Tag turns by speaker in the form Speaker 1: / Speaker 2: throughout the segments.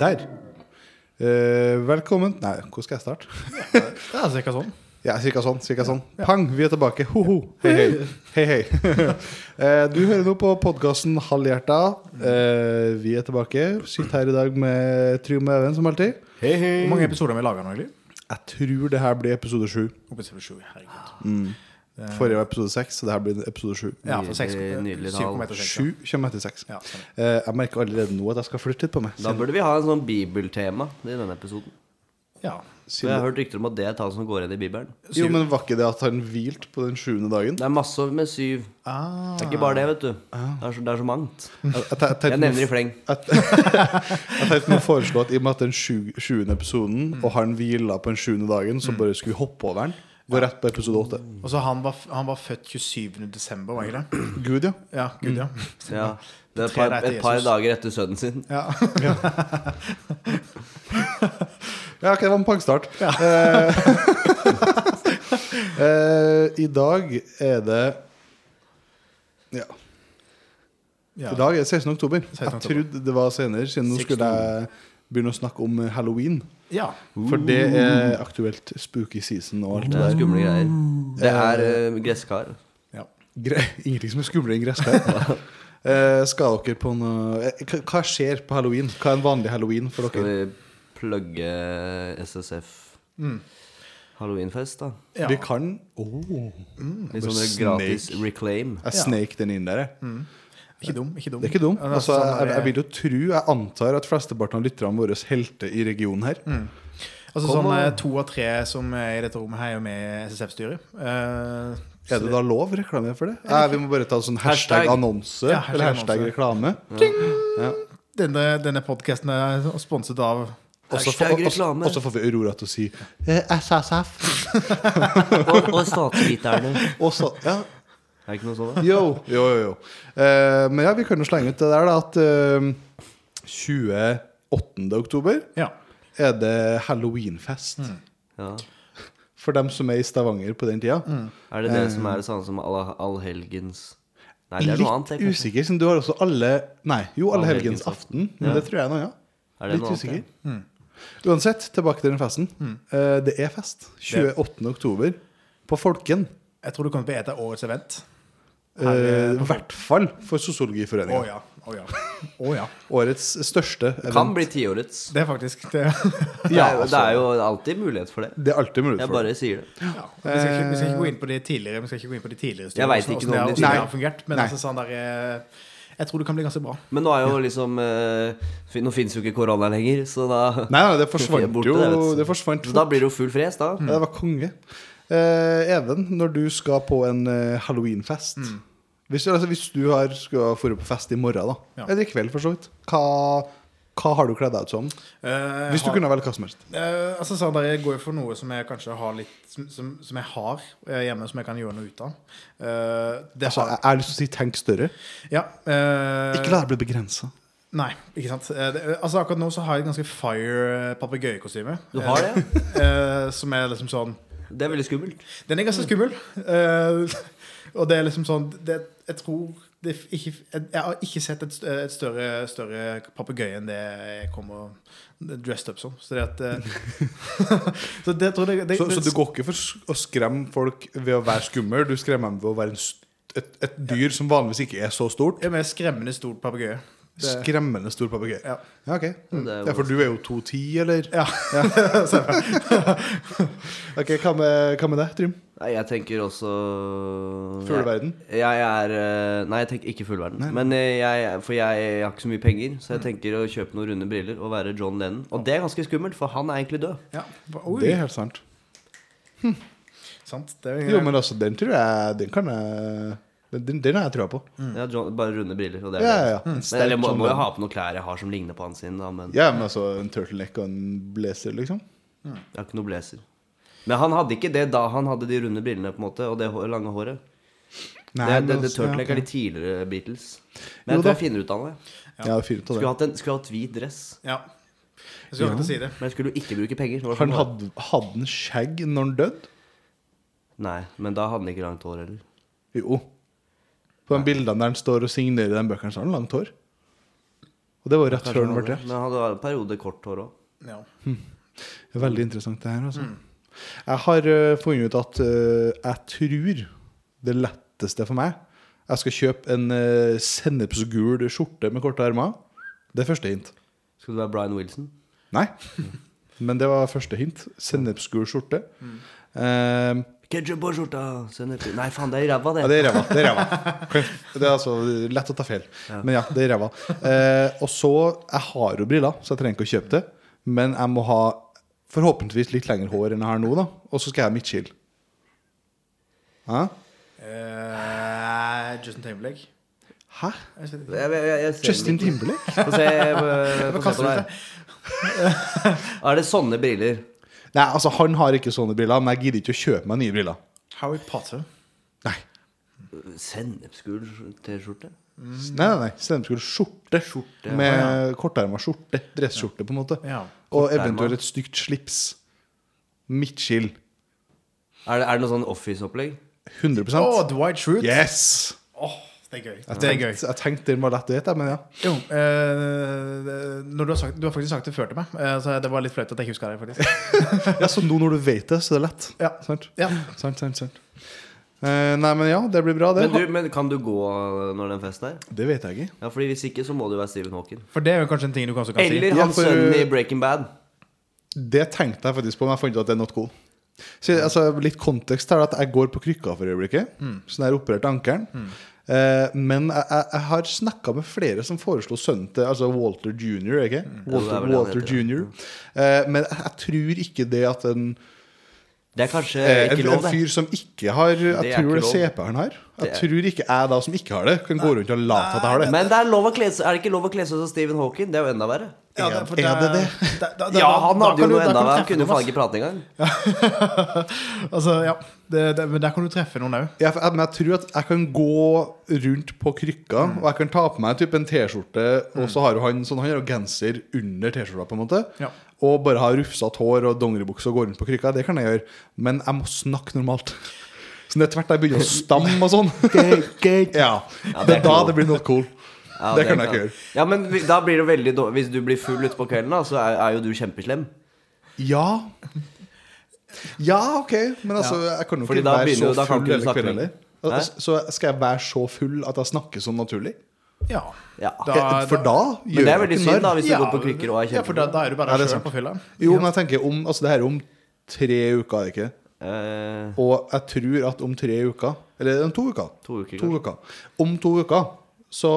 Speaker 1: Der. Eh, velkommen Nei, hvor skal jeg starte?
Speaker 2: Det er cirka sånn.
Speaker 1: Ja, cirka sånn. cirka sånn. Pang, vi er tilbake. Ho-ho. Hei, hei. hei, hei. Eh, du hører nå på podkasten Halvhjerta. Eh, vi er tilbake. Sitter her i dag med Trym og Even, som alltid.
Speaker 3: Hei, hei.
Speaker 2: Hvor mange episoder har vi laga nå, egentlig?
Speaker 1: Jeg tror det her blir episode sju.
Speaker 2: Oppe til sju,
Speaker 1: Ah,
Speaker 2: herregud. Eh,
Speaker 1: Forrige var episode seks, så det her blir episode sju.
Speaker 2: ja, for seks,
Speaker 3: Nydelig- nydelig
Speaker 2: syv
Speaker 3: tall.
Speaker 2: kommer etter seks, ja.
Speaker 1: Sju kommer etter seks.
Speaker 2: Ja, stemmer.
Speaker 1: Eh, jeg merker allerede nå at jeg skal flytte litt på meg.
Speaker 3: Da burde vi ha en sånn bibeltema i denne episoden.
Speaker 2: ja.
Speaker 3: For jeg
Speaker 1: Siden,
Speaker 3: har hørt rykter om at det er tall som går igjen i Bibelen.
Speaker 1: jo, men Var ikke det at han hvilte på den sjuende dagen?
Speaker 3: Det er masse med syv.
Speaker 2: Ah,
Speaker 3: Det er ikke bare det, vet du. Det er så, Ah. det er så mangt.
Speaker 1: Jeg, jeg, jeg, tenkte
Speaker 3: Jeg
Speaker 1: nå-
Speaker 3: nevner i fleng.
Speaker 1: Jeg tenkte å foreslå at i og med at den sju- sjuende episoden, og han hvila på den sjuende dagen, så bare skulle vi hoppe over den. Gå rett på episode åtte.
Speaker 2: Og så han var, f- han var født 27. desember, var ikke det?
Speaker 1: Gud, ja.
Speaker 2: Ja, gud, ja.
Speaker 1: Mm.
Speaker 3: Ja. Det er Mm. et
Speaker 2: Tre deg
Speaker 3: par,
Speaker 2: til
Speaker 3: et par
Speaker 2: Jesus.
Speaker 3: dager etter sønnen sin.
Speaker 2: ja.
Speaker 1: Ja, ok, det var en pangstart. Eh, eh, I dag er det Ja.
Speaker 2: ja.
Speaker 1: I dag er det 16. oktober.
Speaker 2: 16.
Speaker 1: Jeg trodde det var senere, siden nå skulle jeg begynne å snakke om halloween.
Speaker 2: ja.
Speaker 1: For det er aktuelt spooky season og alt
Speaker 3: Det
Speaker 1: det
Speaker 3: er
Speaker 1: der.
Speaker 3: skumle greier. Det er eh, gresskar.
Speaker 2: ja.
Speaker 1: Gre Ingenting som er skumlere enn gresskar. Eh, skal dere på noe eh, hva- Hva skjer på halloween? Hva er en vanlig halloween for
Speaker 3: Skal
Speaker 1: dere?
Speaker 3: vi plugge SSF halloweenfest, da?
Speaker 2: Mm. ja.
Speaker 1: Vi kan oh.
Speaker 3: Litt sånn
Speaker 1: Snake.
Speaker 3: gratis reclaim.
Speaker 1: Jeg
Speaker 2: Ja.
Speaker 1: snek den inn der, jeg.
Speaker 2: Ikke dum. ikke dum.
Speaker 1: Det er ikke dumt.
Speaker 2: Mm. Ja, det er
Speaker 1: Altså,
Speaker 2: sånn
Speaker 1: jeg, jeg
Speaker 2: der-
Speaker 1: vil jo tro Jeg antar at flesteparten av lytterne våre helter i regionen her.
Speaker 2: Altså
Speaker 3: Kom
Speaker 2: sånn
Speaker 3: og-
Speaker 2: eh, To av tre som er i dette rommet, her er jo med i SSF-styret. Eh,
Speaker 1: Er det da lov å reklamere for det? Nei, vi må bare ta sånn hashtag
Speaker 3: Hashtag.
Speaker 1: annonse
Speaker 2: Ja, hashtag
Speaker 1: eller hashtag
Speaker 2: annonse.
Speaker 1: reklame. Ja.
Speaker 2: denne denne podkasten er sponset av
Speaker 1: Og så får-
Speaker 3: Hashtag
Speaker 1: og- og-
Speaker 3: reklame.
Speaker 1: og så får vi Aurora til å si eh, SSF.
Speaker 3: Og, og statsviterne. Er
Speaker 1: Og så, ja,
Speaker 3: det ikke noe sånt? da?
Speaker 1: Jo, jo, jo, jo. Eh, men ja, vi kan jo slenge ut det der, da, at eh, 28. oktober
Speaker 2: Ja.
Speaker 1: er det halloweenfest.
Speaker 3: Mm. Ja.
Speaker 1: For dem som er i Stavanger på den tida.
Speaker 3: Er det det som er det samme som alla- allhelgens Nei, det er
Speaker 1: Eh, Litt
Speaker 3: noe annet. det, kanskje.
Speaker 1: usikker, siden du har også alle Nei, jo, alle helgens aften. Men
Speaker 3: Ja.
Speaker 1: det tror jeg nå, ja.
Speaker 3: Er det
Speaker 1: Litt
Speaker 3: noe annet,
Speaker 1: usikker.
Speaker 3: Mm.
Speaker 1: Uansett, tilbake til den festen. Eh, det er fest. 28. oktober på Folken.
Speaker 2: Jeg tror du kommer til å bli et av årets event.
Speaker 1: Eh, I hvert fall for
Speaker 2: Å
Speaker 1: Sosiologiforeningen.
Speaker 2: ja. Å ja. Å ja.
Speaker 1: Årets største
Speaker 3: Det
Speaker 1: event.
Speaker 3: kan bli tiårets.
Speaker 2: Det er faktisk det.
Speaker 3: Det
Speaker 1: Ja,
Speaker 3: er, jo- det
Speaker 1: altså.
Speaker 3: er jo alltid mulighet for det.
Speaker 1: Det er alltid mulig
Speaker 3: Jeg
Speaker 1: for det.
Speaker 3: bare sier det.
Speaker 2: Ja, vi, skal ikke, vi skal ikke gå inn på de tidligere Vi skal ikke gå inn på de tidligere
Speaker 3: Jeg vet ikke
Speaker 2: hvordan-
Speaker 3: noe om
Speaker 2: hvordan
Speaker 3: de
Speaker 2: det
Speaker 1: tidligere.
Speaker 2: har fungert. Men
Speaker 1: Nei.
Speaker 2: altså sånn der eh, Jeg tror det kan bli ganske bra.
Speaker 3: Men nå er jo liksom eh, fin- Nå fins jo ikke korona lenger, så da
Speaker 1: Nei, nei, det
Speaker 3: Sofie er
Speaker 1: forsvant
Speaker 3: borte,
Speaker 1: jo.
Speaker 3: det, vet du.
Speaker 1: Det forsvant
Speaker 3: så
Speaker 1: fort.
Speaker 3: Da blir det jo full fres, da.
Speaker 1: Ja, det var konge. Eh, Even, når du skal på en eh, halloweenfest
Speaker 2: Mm.
Speaker 1: hvis, altså, hvis du har skulle ha vært på fest i morgen, da,
Speaker 2: Ja.
Speaker 1: eller i kveld for så vidt, hva, hva har du kledd deg ut som?
Speaker 2: Eh,
Speaker 1: Hvis du
Speaker 2: har-
Speaker 1: kunne velge hva som helst.
Speaker 2: eh, altså sånn der, Jeg går jo for noe som jeg kanskje har litt Som, som, som jeg har eh, hjemme, som jeg kan gjøre noe ut av. Eh, det
Speaker 1: Altså,
Speaker 2: har
Speaker 1: jeg jeg har lyst til å si tenk større.
Speaker 2: Ja. eh,
Speaker 1: Ikke la deg bli begrensa.
Speaker 2: Nei, ikke sant. Eh, det, altså Akkurat nå så har jeg et ganske fire papegøyekostyme.
Speaker 3: Du har det?
Speaker 2: Eh, eh, som er liksom sånn
Speaker 3: Det er veldig skummelt.
Speaker 2: Den er ganske skummel. Eh, og det er liksom sånn det, Jeg tror det f- ikke, jeg, jeg har ikke sett et, st- et større, større papegøye enn det jeg kommer dressed up som. Så det at eh, Så det tror jeg det,
Speaker 1: Så, så du går ikke for sk- å skremme folk ved å være skummel, du skremmer dem ved å være en, st- et, et dyr som vanligvis ikke er så stort.
Speaker 2: er mer skremmende stort papegøye. Det-
Speaker 1: Skremmende stor papegøye.
Speaker 2: Ja.
Speaker 1: Ja, ok.
Speaker 3: Det er jo-
Speaker 1: Ja, for du er jo 2,10, eller?
Speaker 2: Ja.
Speaker 1: Ok, Hva med, hva med deg, Trym?
Speaker 3: Nei, jeg tenker også
Speaker 1: Fugleverden?
Speaker 3: Jeg, jeg er eh, Nei, jeg tenker ikke fugleverden. Men eh, jeg, for jeg, jeg har ikke så mye penger, så jeg tenker å kjøpe noen runde briller og være John Lennon. Og det er ganske skummelt, for han er egentlig død.
Speaker 2: ja. Oi,
Speaker 1: Det er helt sant.
Speaker 2: sant. Det er,
Speaker 1: Jo, men altså, den tror jeg Den kan jeg Den, den- den har jeg trua på.
Speaker 3: Ja, John, bare runde briller, og det
Speaker 1: Ja,
Speaker 3: er
Speaker 1: ja,
Speaker 3: det.
Speaker 1: ja. En
Speaker 3: Men,
Speaker 1: sterk
Speaker 3: eller jeg må,
Speaker 1: John
Speaker 3: må jo
Speaker 1: Lennon.
Speaker 3: ha på noen klær jeg har som ligner på han sin, da, men
Speaker 1: Ja, men altså en turtleneck og en blazer, liksom.
Speaker 3: jeg har ikke noe blazer. Men han hadde ikke det da han hadde de runde brillene, på en måte, og det hå- lange håret. det, det, det turtleneck er litt tidligere Beatles. Men
Speaker 1: altså, Jo
Speaker 3: jeg tror
Speaker 1: da.
Speaker 3: jeg finner ut av det.
Speaker 1: Ja, fint av
Speaker 3: Skulle
Speaker 1: det.
Speaker 3: hatt, en, skulle hatt hvit dress.
Speaker 2: ja. Jeg skulle akkurat si det.
Speaker 3: Men jeg skulle jo ikke bruke penger. Det var
Speaker 1: Han
Speaker 3: sånn-
Speaker 1: hadde, hadde han skjegg når han døde?
Speaker 3: Nei, men da hadde han ikke langt hår heller.
Speaker 1: Jo. På de bildene der han står og signerer den bøkene, så har han langt hår. Og det var jo rett
Speaker 3: Kanskje
Speaker 1: før den ble
Speaker 3: han hadde-
Speaker 1: drept.
Speaker 3: Men han hadde en periode kort hår òg.
Speaker 2: Ja.
Speaker 1: Det er Veldig interessant, det her. Altså. Jeg har eh, funnet ut at eh, jeg tror det letteste for meg Jeg skal kjøpe en eh, sennepsgul skjorte med korte ermer. Det er første hint.
Speaker 3: Skulle det være Brian Wilson?
Speaker 1: Nei. Men det var første hint. Sennepsgul skjorte. Eh,
Speaker 3: Ketchup på skjorta! Sennep i- Nei, faen, det er i ræva,
Speaker 1: ja, det
Speaker 3: det.
Speaker 1: er ræva. Det er ræva. Det er altså lett å ta feil. Men ja, det er ræva. Eh, og så Jeg har jo briller, så jeg trenger ikke å kjøpe det. Men jeg må ha forhåpentligvis litt lengre hår enn jeg har nå, da. Og så skal jeg ha midtskill. Hæ?
Speaker 2: Eh, Justin Timberlake.
Speaker 1: Hæ?
Speaker 2: Jeg vet ikke.
Speaker 3: Jeg, jeg, jeg, jeg ser
Speaker 1: Justin
Speaker 3: den ikke.
Speaker 1: Timberlake?
Speaker 3: Få se, eh, få se
Speaker 2: kaster
Speaker 3: på det her. Er det sånne briller?
Speaker 1: Nei, altså Han har ikke sånne briller, men jeg gidder ikke å kjøpe meg nye briller.
Speaker 2: Harry Potter.
Speaker 1: Nei,
Speaker 3: Sennepsgul T-skjorte?
Speaker 1: nei, nei, nei. Stemmeskolen skjorte.
Speaker 3: Skjorte,
Speaker 1: Med korterma skjorte. Dressskjorte, på en måte.
Speaker 2: Ja.
Speaker 1: Og
Speaker 3: Korterma.
Speaker 1: eventuelt et stygt slips. Midtskill.
Speaker 3: Er det, er det noe sånn office-opplegg?
Speaker 2: Å,
Speaker 1: 100
Speaker 2: Dwight Schrute.
Speaker 1: Yes!
Speaker 2: Åh, det er gøy. Det er gøy.
Speaker 1: Jeg tenkte den var lett å gjette, men ja.
Speaker 2: Jo, eh, når du, har sagt, du har faktisk sagt det før til meg, eh, så det var litt flaut at jeg ikke huska det. faktisk
Speaker 1: ja. Så nå når du vet det, så er det lett.
Speaker 2: Ja.
Speaker 1: Sant?
Speaker 2: Ja.
Speaker 1: Sant, sant, sant. Eh, nei, men ja, det blir bra, det.
Speaker 3: Men, du, men kan du gå eh, når den festen er?
Speaker 1: Det vet jeg ikke.
Speaker 3: Ja, fordi Hvis ikke, så må det jo være Stephen Hawking.
Speaker 2: For det er jo kanskje en ting du kanskje kan
Speaker 3: Eller
Speaker 2: si.
Speaker 1: Ja,
Speaker 3: han
Speaker 1: for-
Speaker 3: sønnen i Breaking Bad.
Speaker 1: Det tenkte jeg faktisk på, men jeg fant ut at det er not cool. Så, altså, litt kontekst her, at jeg går på krykka for øyeblikket.
Speaker 3: Mm.
Speaker 1: Sånn jeg opererte ankelen. Eh, men jeg, jeg, jeg har snakka med flere som foreslo sønnen til altså Walter jr. Ikke?
Speaker 3: Mm. Ja, det
Speaker 1: Walter,
Speaker 3: er vel det han
Speaker 1: Walter
Speaker 3: heter, ja.
Speaker 1: jr. Eh, men jeg, jeg tror ikke det at en,
Speaker 3: Det er kanskje
Speaker 1: eh, en,
Speaker 3: ikke lov,
Speaker 1: en
Speaker 3: det.
Speaker 1: fyr som ikke har Jeg
Speaker 3: Det er
Speaker 1: tror
Speaker 3: ikke
Speaker 1: det
Speaker 3: lov.
Speaker 1: er CP-en her. Jeg
Speaker 3: Det er-
Speaker 1: tror ikke jeg da som ikke har det, kan gå rundt og late at jeg har det.
Speaker 3: Men det er, lov å kle, seg- er det ikke lov å kle seg som Stephen Hawking? Det er jo enda verre.
Speaker 2: Ja, det- for
Speaker 1: Er det det?
Speaker 2: Da, da, da,
Speaker 3: Ja, han
Speaker 2: da
Speaker 3: hadde
Speaker 2: kan du-
Speaker 3: jo noe
Speaker 2: da kan
Speaker 3: enda
Speaker 2: du
Speaker 3: verre. Han
Speaker 2: treffe
Speaker 3: kunne
Speaker 2: noen,
Speaker 3: faen ikke prate engang.
Speaker 2: Altså, ja, det, det, men der kan du treffe noen òg.
Speaker 1: Ja, for jeg, men jeg tror at jeg kan gå rundt på krykka,
Speaker 3: Mm.
Speaker 1: og jeg kan ta på meg typ en T-skjorte, og så har jo han sånn, han har jo genser under T-skjorta, på en måte.
Speaker 2: Ja.
Speaker 1: Og bare ha rufsete hår og dongeribukse og gå rundt på krykka. Det kan jeg gjøre, men jeg må snakke normalt. Så det er tvert jeg begynner å stamme og sånn. ja.
Speaker 3: Ja,
Speaker 1: det
Speaker 3: det er
Speaker 1: er da
Speaker 3: cool.
Speaker 1: det blir not cool.
Speaker 3: Ja,
Speaker 1: det, kan jeg ikke gjøre.
Speaker 3: Ja, men vi- da blir det veldig dårlig Hvis du blir full utpå kvelden, da, så er, er jo du kjempeslem.
Speaker 1: Ja. Ja, OK, men altså, jeg kan jo
Speaker 3: Fordi
Speaker 1: ikke
Speaker 3: da
Speaker 1: være
Speaker 3: begynner
Speaker 1: så
Speaker 3: jo- da kan ikke
Speaker 1: full
Speaker 3: du
Speaker 1: hele
Speaker 3: snakke
Speaker 1: kvelden heller.
Speaker 3: Hæ?
Speaker 1: Altså, Så skal jeg være så full at jeg snakker sånn naturlig?
Speaker 2: Ja.
Speaker 3: Ja.
Speaker 2: Da-
Speaker 1: Eh, For da gjør
Speaker 3: Men det er
Speaker 1: jeg
Speaker 3: veldig
Speaker 1: ikke
Speaker 3: synd,
Speaker 1: narr.
Speaker 3: da, hvis du
Speaker 2: ja,
Speaker 3: går på krykker og er
Speaker 2: Ja, for da,
Speaker 3: kjempeflink.
Speaker 2: da er du bare
Speaker 1: Ja, det
Speaker 2: deg
Speaker 1: er
Speaker 2: sjøl
Speaker 1: sant.
Speaker 2: på fylla.
Speaker 1: Jo, men jeg tenker om, altså det her er om tre uker, er det ikke?
Speaker 3: Eh,
Speaker 1: Og jeg tror at om tre uker, eller om to uker,
Speaker 3: to uker,
Speaker 1: to
Speaker 3: kanskje.
Speaker 1: uker. Om to uker så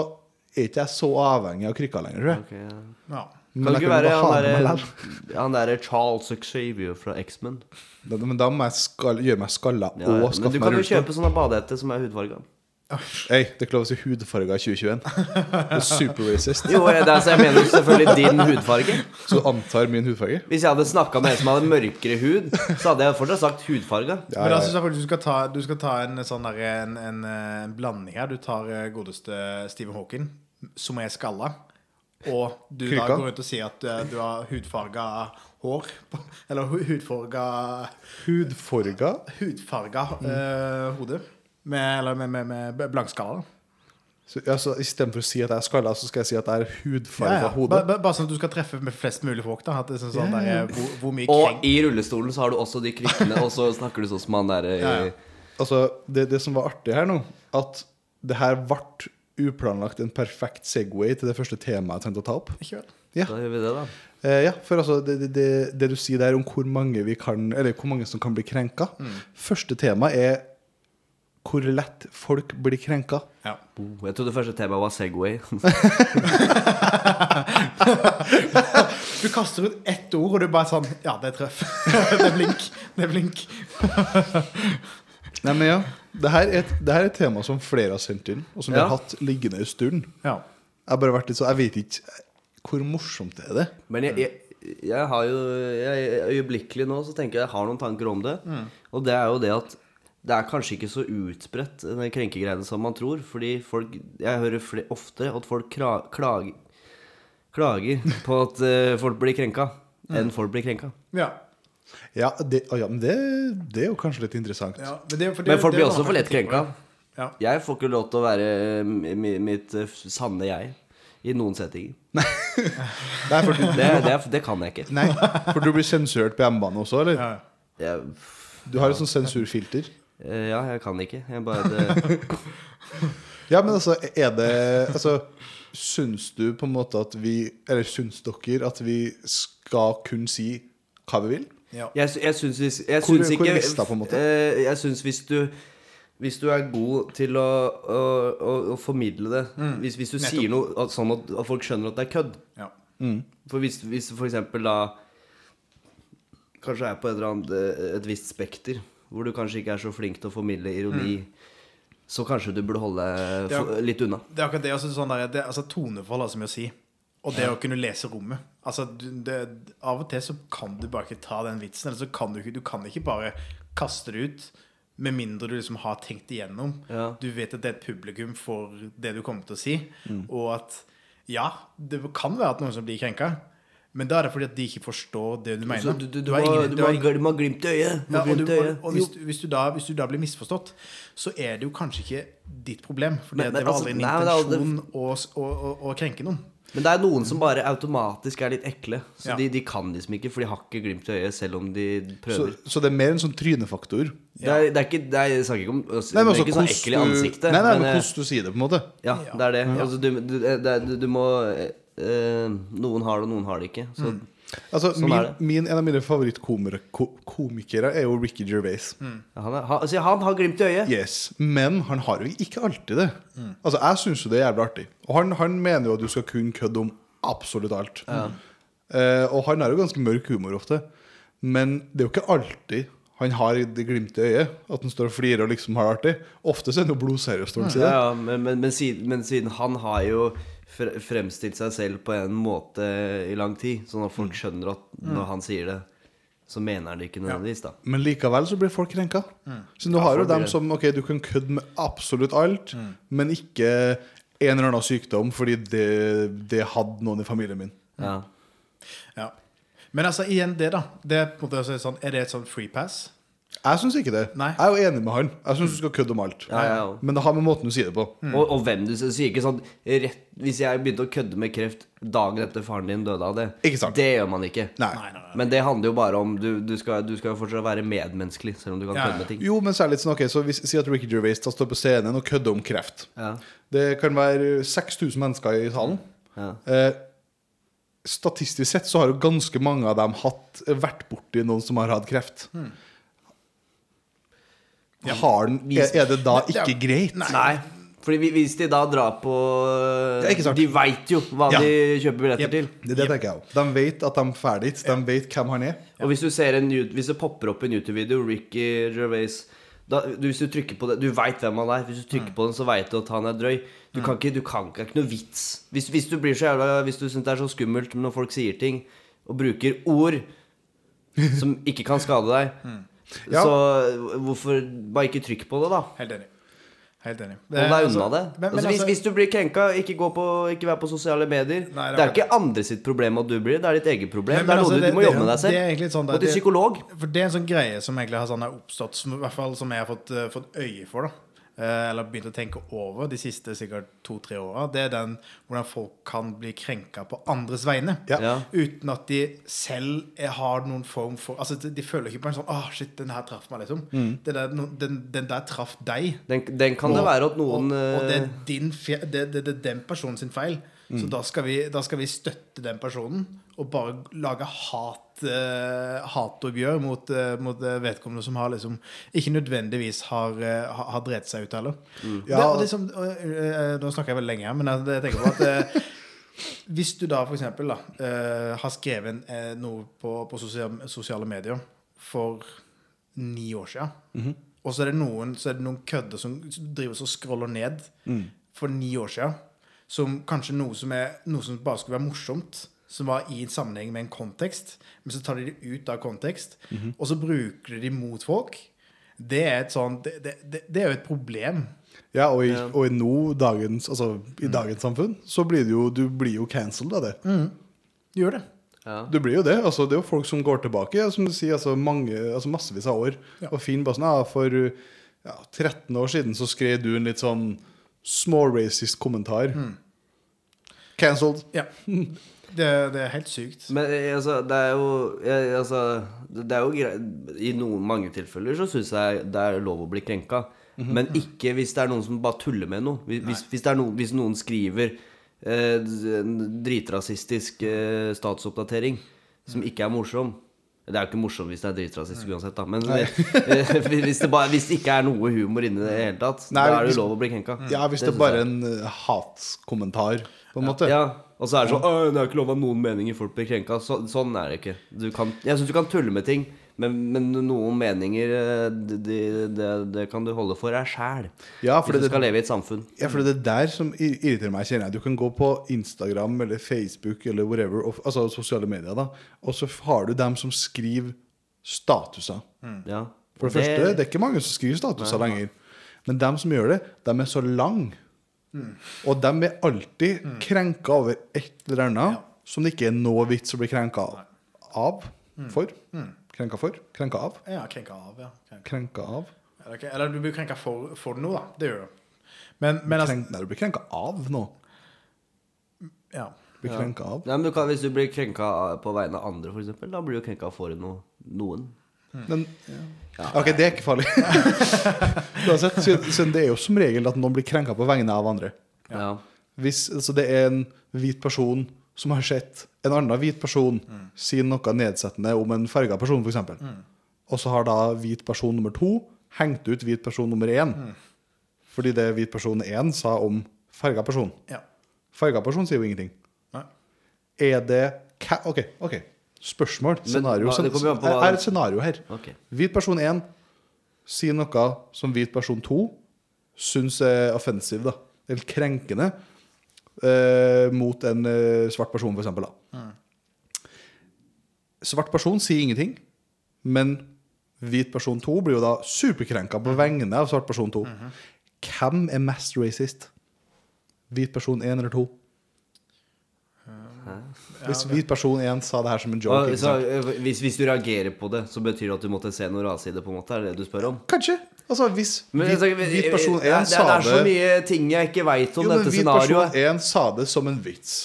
Speaker 1: er ikke jeg så avhengig av krykka lenger, tror jeg.
Speaker 3: Ok, ja.
Speaker 2: Ja.
Speaker 3: Kan
Speaker 1: Men
Speaker 3: det
Speaker 1: jeg
Speaker 3: ikke
Speaker 1: kan
Speaker 3: være
Speaker 1: jo bare ha
Speaker 3: han eh,
Speaker 1: det med
Speaker 3: derre
Speaker 1: meg
Speaker 3: han derre Charles Xavier fra X-Men?
Speaker 1: likevel. Men da må jeg skal, gjøre meg skalla
Speaker 3: Ja, ja.
Speaker 1: og
Speaker 3: Men du
Speaker 1: skaffe
Speaker 3: kan
Speaker 1: meg
Speaker 3: jo
Speaker 1: rullestol.
Speaker 3: kjøpe sånne badehette som er hudfarga.
Speaker 1: Hei, det er ikke lov å si hudfarga i 2021. Det er super racist.
Speaker 3: Jo, jeg, det er, så jeg mener jo selvfølgelig din hudfarge.
Speaker 1: Så du antar min hudfarge?
Speaker 3: Hvis jeg hadde snakka med en som hadde mørkere hud, så hadde jeg fortsatt sagt hudfarga.
Speaker 1: Ja,
Speaker 2: Men
Speaker 1: ja,
Speaker 2: da
Speaker 1: ja.
Speaker 2: syns jeg faktisk du skal ta, du skal ta en sånn der, en, en, eh, en blanding her. Du tar eh, godeste Stephen Hawking, som er skalla, og du da
Speaker 1: Kryka.
Speaker 2: går rundt og sier at eh, du har hudfarga hår. på- Eller hu- hudfarga
Speaker 1: Hudfarga?
Speaker 2: Hudfarga
Speaker 1: Mm.
Speaker 2: eh, hode. Med, eller med, med, med blankskalla. da.
Speaker 1: Så, ja, så Istedenfor å si at jeg er skalla, så skal jeg si at jeg er
Speaker 2: Ja,
Speaker 1: hudfarga
Speaker 2: ja.
Speaker 1: hode.
Speaker 2: Ba- ba- Bare sånn at du skal treffe med flest mulig folk. da at det er sånn, sånn
Speaker 1: Ja, ja.
Speaker 2: Der, eh, hvor, hvor mye
Speaker 3: Og
Speaker 2: krenk
Speaker 3: i rullestolen så har du også de krykkene, og så snakker du sånn som han derre
Speaker 2: Ja, ja.
Speaker 1: Altså, det, det som var artig her nå, at det her ble uplanlagt en perfekt Segway til det første temaet jeg tenkte å ta opp.
Speaker 2: Ikke vel?
Speaker 1: Ja.
Speaker 3: Da gjør vi det, da.
Speaker 1: Eh, ja, for altså, det, det, det, det du sier der om hvor mange, vi kan, eller hvor mange som kan bli krenka
Speaker 2: Mm.
Speaker 1: Første tema er hvor lett folk blir krenka.
Speaker 2: Ja.
Speaker 3: Oh, Jeg trodde første temaet var Segway.
Speaker 2: Du kaster ut ett ord, og du bare sånn Ja, det er treff. det er blink. Det er blink.
Speaker 1: Nei, men ja, det her, er et, det her er et tema som flere har sendt inn, og som vi
Speaker 3: Ja.
Speaker 1: har hatt liggende en stund.
Speaker 2: Ja.
Speaker 1: Jeg har bare vært litt så, jeg vet ikke hvor morsomt er det
Speaker 3: Men jeg, jeg, jeg har jo jeg, Øyeblikkelig nå så tenker jeg jeg har noen tanker om det.
Speaker 2: Mm.
Speaker 3: Og det er jo det at det er kanskje ikke så utbredt, den krenkegreiene som man tror. Fordi folk Jeg hører fle- ofte at folk kra, klager, klager på at eh, folk blir krenka,
Speaker 2: Mm.
Speaker 3: enn folk blir krenka.
Speaker 2: ja.
Speaker 1: Ja, det, å ja men det, det er jo kanskje litt interessant.
Speaker 2: ja. Men, det, er- for det-
Speaker 3: Men folk
Speaker 2: det er
Speaker 3: blir
Speaker 2: jo
Speaker 3: også
Speaker 2: bare
Speaker 3: for lett
Speaker 2: perspektiv på
Speaker 3: krenka.
Speaker 2: det. Ja.
Speaker 3: Jeg får ikke lov til å være eh, mi- mi- mitt eh, sanne jeg. I noen settinger.
Speaker 1: Nei, for du,
Speaker 3: Det, det, det kan jeg ikke.
Speaker 1: nei, for du blir sensurert på hjemmebane også, eller?
Speaker 2: Ja.
Speaker 3: Jeg,
Speaker 1: Du har et sånt sensurfilter.
Speaker 3: eh, ja, jeg kan det ikke. Jeg bare det,
Speaker 1: Ja, men altså, er det Altså, syns du på en måte at vi Eller syns dere at vi skal kunne si hva vi vil?
Speaker 2: Ja.
Speaker 3: Jeg, sy- jeg syns hvis jeg
Speaker 1: Hvor-
Speaker 3: syns
Speaker 1: hvor
Speaker 3: ikke-
Speaker 1: er lista, på en måte?
Speaker 3: eh, Jeg syns hvis du hvis du er god til å, å, å, å formidle det
Speaker 2: Mm.
Speaker 3: Hvis, hvis du sier noe at, sånn at, at folk skjønner at det er kødd
Speaker 2: Ja.
Speaker 1: Mm.
Speaker 3: For hvis, hvis du for eksempel da Kanskje er på et, eller annet, eh, et visst spekter Hvor du kanskje ikke er så flink til å formidle ironi Så kanskje du burde holde deg
Speaker 2: Mm. Ja.
Speaker 3: for- litt unna
Speaker 2: Det er akkurat det. Altså, sånn der, det altså, toneforhold har så mye å si. Og det å kunne lese rommet. Altså, du, det, av og til så kan du bare ikke ta den vitsen. Eller så kan du ikke, du kan ikke bare kaste det ut. Med mindre du liksom har tenkt igjennom.
Speaker 3: Ja.
Speaker 2: Du vet at det er et publikum for det du kommer til å si.
Speaker 3: Mm.
Speaker 2: Og at ja, det kan være at noen som blir krenka. Men da er det fordi at de ikke forstår det du mener.
Speaker 3: Så du, du, du,
Speaker 2: har
Speaker 3: må,
Speaker 2: ingen-
Speaker 3: du,
Speaker 2: har
Speaker 3: må,
Speaker 2: ingen-
Speaker 3: du må ha glimt i øyet Du må
Speaker 2: ja,
Speaker 3: ha
Speaker 2: og,
Speaker 3: glimt
Speaker 2: du,
Speaker 3: i
Speaker 2: og,
Speaker 3: øyet
Speaker 2: og hvis, du- hvis, du da, hvis du da blir misforstått, så er det jo kanskje ikke ditt problem. For det,
Speaker 3: Men- men
Speaker 2: det var
Speaker 3: altså,
Speaker 2: aldri en
Speaker 3: nei, men det er aldri-
Speaker 2: intensjon å, s- å, å, å krenke noen.
Speaker 3: Men det er noen som bare automatisk er litt ekle. Så
Speaker 2: Ja.
Speaker 3: de, de kan liksom ikke, for de har ikke glimt i øyet selv om de
Speaker 1: Så,
Speaker 3: prøver.
Speaker 1: så det er mer en sånn trynefaktor.
Speaker 3: det, er, det er ikke det er, Jeg snakker ikke om
Speaker 1: Nei, men
Speaker 3: Det
Speaker 1: også
Speaker 3: er ikke sånn
Speaker 1: hvordan
Speaker 3: ekle i
Speaker 1: du-
Speaker 3: ansiktet.
Speaker 1: Nei, nei, men
Speaker 3: eh,
Speaker 1: hvordan du sier det, på en måte.
Speaker 3: ja, det er det. Altså, du, du, det er, du, du må eh, Noen har det, og noen har det ikke. Så
Speaker 1: Altså,
Speaker 3: Sånn
Speaker 1: min,
Speaker 3: er det.
Speaker 1: min, en av mine favorittkomikere ko, komikere er jo Ricky Gervais.
Speaker 3: han, er, han, altså, han har glimt i øyet.
Speaker 1: Yes, Men han har jo ikke alltid det. Altså, Jeg syns jo det er jævlig artig. Og han, han mener jo at du skal kunne kødde om absolutt alt. Eh, og han har jo ganske mørk humor ofte. Men det er jo ikke alltid han har det glimtet i øyet. At han står og flirer og liksom har det artig. Ofte så er han jo blodseriøs. når han sier
Speaker 3: Ja,
Speaker 1: det.
Speaker 3: ja, men, men, men, siden, men siden han har jo fre- fremstilt seg selv på en måte i lang tid, sånn at
Speaker 1: Mm.
Speaker 3: folk skjønner at når han sier det, så mener han det ikke nødvendigvis, da.
Speaker 1: Men likevel så blir folk krenka. Så du
Speaker 3: Mm. Ja,
Speaker 1: har jo
Speaker 3: folk blir Mm.
Speaker 1: dem
Speaker 3: det.
Speaker 1: som Ok, du kan kødde med absolutt alt, men ikke en eller annen sykdom fordi det, det hadde noen i familien min.
Speaker 3: Ja.
Speaker 2: Ja. Men altså, igjen det, da. Det er, på en måte også sånn, er det et sånn free pass?
Speaker 1: Jeg syns ikke det.
Speaker 2: Nei.
Speaker 1: Jeg er jo enig med han. Jeg syns du skal kødde om alt.
Speaker 3: Ja, ja, ja.
Speaker 1: Men det har med måten du sier det på.
Speaker 3: Og, og hvem du sier sier ikke sånn rett, Hvis jeg begynte å kødde med kreft dagen etter faren din døde av det,
Speaker 1: Ikke sant.
Speaker 3: det gjør man ikke.
Speaker 1: Nei.
Speaker 2: Nei, nei, nei.
Speaker 3: Men det handler jo bare om Du, du, skal, du skal jo fortsatt være medmenneskelig, selv om du kan
Speaker 2: Ja,
Speaker 3: kødde med ting.
Speaker 1: Jo, men særlig sånn, ok, så hvis, Si at Ricky Gervais da står på scenen og kødder om kreft.
Speaker 3: Ja.
Speaker 1: Det kan være 6000 mennesker i salen.
Speaker 3: Ja.
Speaker 1: Eh, statistisk sett så har jo ganske mange av dem hatt, vært borti noen som har hatt kreft. Har den, er, er det da
Speaker 2: Ja.
Speaker 1: ikke greit?
Speaker 3: Nei. Fordi vi- hvis de da drar på
Speaker 1: Ja, ikke sant.
Speaker 3: De veit jo hva
Speaker 1: Ja.
Speaker 3: de kjøper billetter
Speaker 2: Jep.
Speaker 3: til.
Speaker 1: Det, det tenker jeg også. De vet at de er dit. De vet hvem han er.
Speaker 3: Og hvis du ser en you- Hvis det popper opp en YouTube-video, Ricky Gervais da, du, Hvis du trykker på det Du veit hvem han er. Hvis du
Speaker 2: Mm.
Speaker 3: trykker på den, så veit du at han er drøy. Du kan ikke, du kan ikke, det er ikke noe vits. Hvis, hvis du blir så jævla Hvis du syns det er så skummelt når folk sier ting, og bruker ord som ikke kan skade deg,
Speaker 2: Mm.
Speaker 1: Ja.
Speaker 3: så hvorfor bare ikke trykk på det, da?
Speaker 2: Helt enig. Helt enig.
Speaker 3: Hold deg unna
Speaker 2: altså-
Speaker 3: det.
Speaker 2: Men, men
Speaker 3: altså, hvis,
Speaker 2: altså,
Speaker 3: hvis du blir krenka, ikke, gå på, ikke vær på sosiale medier.
Speaker 2: Nei,
Speaker 3: det er ikke andre sitt problem at du blir, det er ditt eget problem.
Speaker 2: Men-
Speaker 3: det
Speaker 2: men
Speaker 3: er noe
Speaker 2: altså,
Speaker 3: du,
Speaker 2: det-
Speaker 3: du må
Speaker 2: det-
Speaker 3: jobbe med deg selv.
Speaker 2: det er egentlig sånn, det-
Speaker 3: Gå til
Speaker 2: det-
Speaker 3: psykolog.
Speaker 2: For det er en sånn greie som egentlig har sånn her oppstått, som, i hvert fall som jeg har fått, eh, fått øye for, da. Eh, Eller begynt å tenke over de siste sikkert to-tre åra. Det er den hvordan folk kan bli krenka på andres vegne.
Speaker 1: Ja.
Speaker 3: Ja.
Speaker 2: Uten at de selv er- har noen form for Altså, de de føler ikke på en sånn Åh, shit, den her traff meg, liksom. Det der, no- den, den der traff deg.
Speaker 3: Den, den kan det være at
Speaker 2: og,
Speaker 3: noen
Speaker 2: og det, er
Speaker 3: eh, Mm.
Speaker 2: din, fe- det, det, det er den personen sin feil. Så da skal, vi, da skal vi støtte den personen og bare lage hat, eh, hatoppgjør mot, eh, mot eh, vedkommende som har liksom ikke nødvendigvis har, eh, har, har drept seg ut heller.
Speaker 3: Mm.
Speaker 2: Og Det,
Speaker 1: Ja.
Speaker 2: og liksom, eh, eh, nå snakker jeg veldig lenge her, men jeg, jeg tenker på at eh, hvis du da for eksempel da, eh, har skrevet en, eh, noe på, på sosiale, sosiale medier for ni år siden, og så er det noen, så er det noen kødder som driver og scroller ned for ni år siden, som kanskje noe som, er, noe som bare skulle være morsomt, som var i en sammenheng med en kontekst, men så tar de det ut av kontekst, og så bruker de det mot folk, det er, et sånn, det, det, det, det er jo et problem.
Speaker 1: Ja, og i, og i nå, dagens, altså, i dagens samfunn, så blir du jo, du blir jo cancelled av det.
Speaker 2: Gjør det.
Speaker 3: ja.
Speaker 1: Du blir jo det. altså Det er jo folk som går tilbake, ja, som du sier, altså, mange, altså massevis av år. Og fin bare sånn, ja, For ja, 13 år siden så skrev du en litt sånn småracist kommentar. Cancelled.
Speaker 2: Ja. Det, det er helt sykt.
Speaker 3: Men eh, altså, det er jo eh, altså, det det er jo greit I noen mange tilfeller så syns jeg det er lov å bli krenka. Men ikke hvis det er noen som bare tuller med noe. Hvis, hvis, hvis, det er noen, hvis noen skriver eh, en dritrasistisk eh, statsoppdatering som ikke er morsom Det er jo ikke morsom hvis det er dritrasistisk uansett, da. Men eh, hvis, det bare, hvis det ikke er noe humor inni det i det hele tatt,
Speaker 1: Nei,
Speaker 3: da er det
Speaker 1: hvis-
Speaker 3: jo lov å bli krenka.
Speaker 1: Ja, hvis det,
Speaker 3: synes
Speaker 1: bare
Speaker 3: jeg.
Speaker 1: er en eh, hatskommentar, på en måte.
Speaker 3: Ja, og så er det sånn «Åh, Det er ikke lov at noen meninger folk blir krenka. Så, sånn er det ikke. Du kan, jeg syns du kan tulle med ting, men, men noen meninger eh, det de, det- det kan du holde for deg sjæl.
Speaker 1: Ja, fordi
Speaker 3: Hvis du
Speaker 1: det-
Speaker 3: skal leve i et samfunn.
Speaker 1: Ja, for det er der som ir- irriterer meg, kjenner jeg. Du kan gå på Instagram eller Facebook eller whatever, og- altså sosiale medier, da, og så har du dem som skriver statuser.
Speaker 3: Ja.
Speaker 1: For det, første, det er ikke mange som skriver statuser lenger. Men dem som gjør det, dem er så lang. Og dem er alltid krenka over et eller annet som det ikke er noe vits å bli krenka av. For. Krenka for. Krenka av.
Speaker 2: Ja, krenka av, ja. Krenka.
Speaker 1: Krenka av.
Speaker 2: Eller, eller du blir krenka for, for noe, da. Det gjør du. Men, men altså
Speaker 1: Krenk, nei, du blir krenka av nå.
Speaker 2: Ja.
Speaker 1: Du Blir krenka av.
Speaker 3: Nei, men du kan, Hvis du blir krenka på vegne av andre, f.eks., da blir du krenka for no, noen.
Speaker 1: Men Ok, det er ikke farlig. Uansett, siden siden det er jo som regel at noen blir krenka på vegne av andre.
Speaker 3: Ja.
Speaker 1: Hvis altså, det er en hvit person som har sett en annen hvit person si noe nedsettende om en farga person, f.eks., eksempel og så har da hvit person nummer to hengt ut hvit person nummer én fordi det hvit person én sa om farga person.
Speaker 2: ja.
Speaker 1: Farga person sier jo ingenting.
Speaker 2: Nei.
Speaker 1: Er det ka OK. ok Spørsmål. Scenario.
Speaker 3: hva- det kommer jo an på
Speaker 1: er,
Speaker 3: hva-
Speaker 1: er et scenario her.
Speaker 3: Ok.
Speaker 1: Hvit person 1 sier noe som hvit person 2 syns er offensive, da. Eller krenkende. eh, mot en eh, svart person, for eksempel. Da. Svart person sier ingenting, men hvit person 2 blir jo da superkrenka på vegne av svart person 2. Hvem er mest racist? Hvit person 1 eller 2? Hvis hvit person 1 sa det her som en joke
Speaker 3: Og,
Speaker 1: ikke
Speaker 3: så,
Speaker 1: sant?
Speaker 3: eh, hvis, hvis du reagerer på det, så betyr det at du måtte se noe rase i det, på en måte? Er det det du spør om?
Speaker 1: Kanskje. Altså, hvis
Speaker 3: Men,
Speaker 1: hvit,
Speaker 3: altså,
Speaker 1: hvit person
Speaker 3: det, er-
Speaker 1: 1
Speaker 3: det, er-
Speaker 1: sa
Speaker 3: det er så
Speaker 1: det
Speaker 3: mye ting jeg ikke veit om
Speaker 1: Jo, men
Speaker 3: dette
Speaker 1: hvit
Speaker 3: scenarioet.
Speaker 1: person 1 sa det som en vits.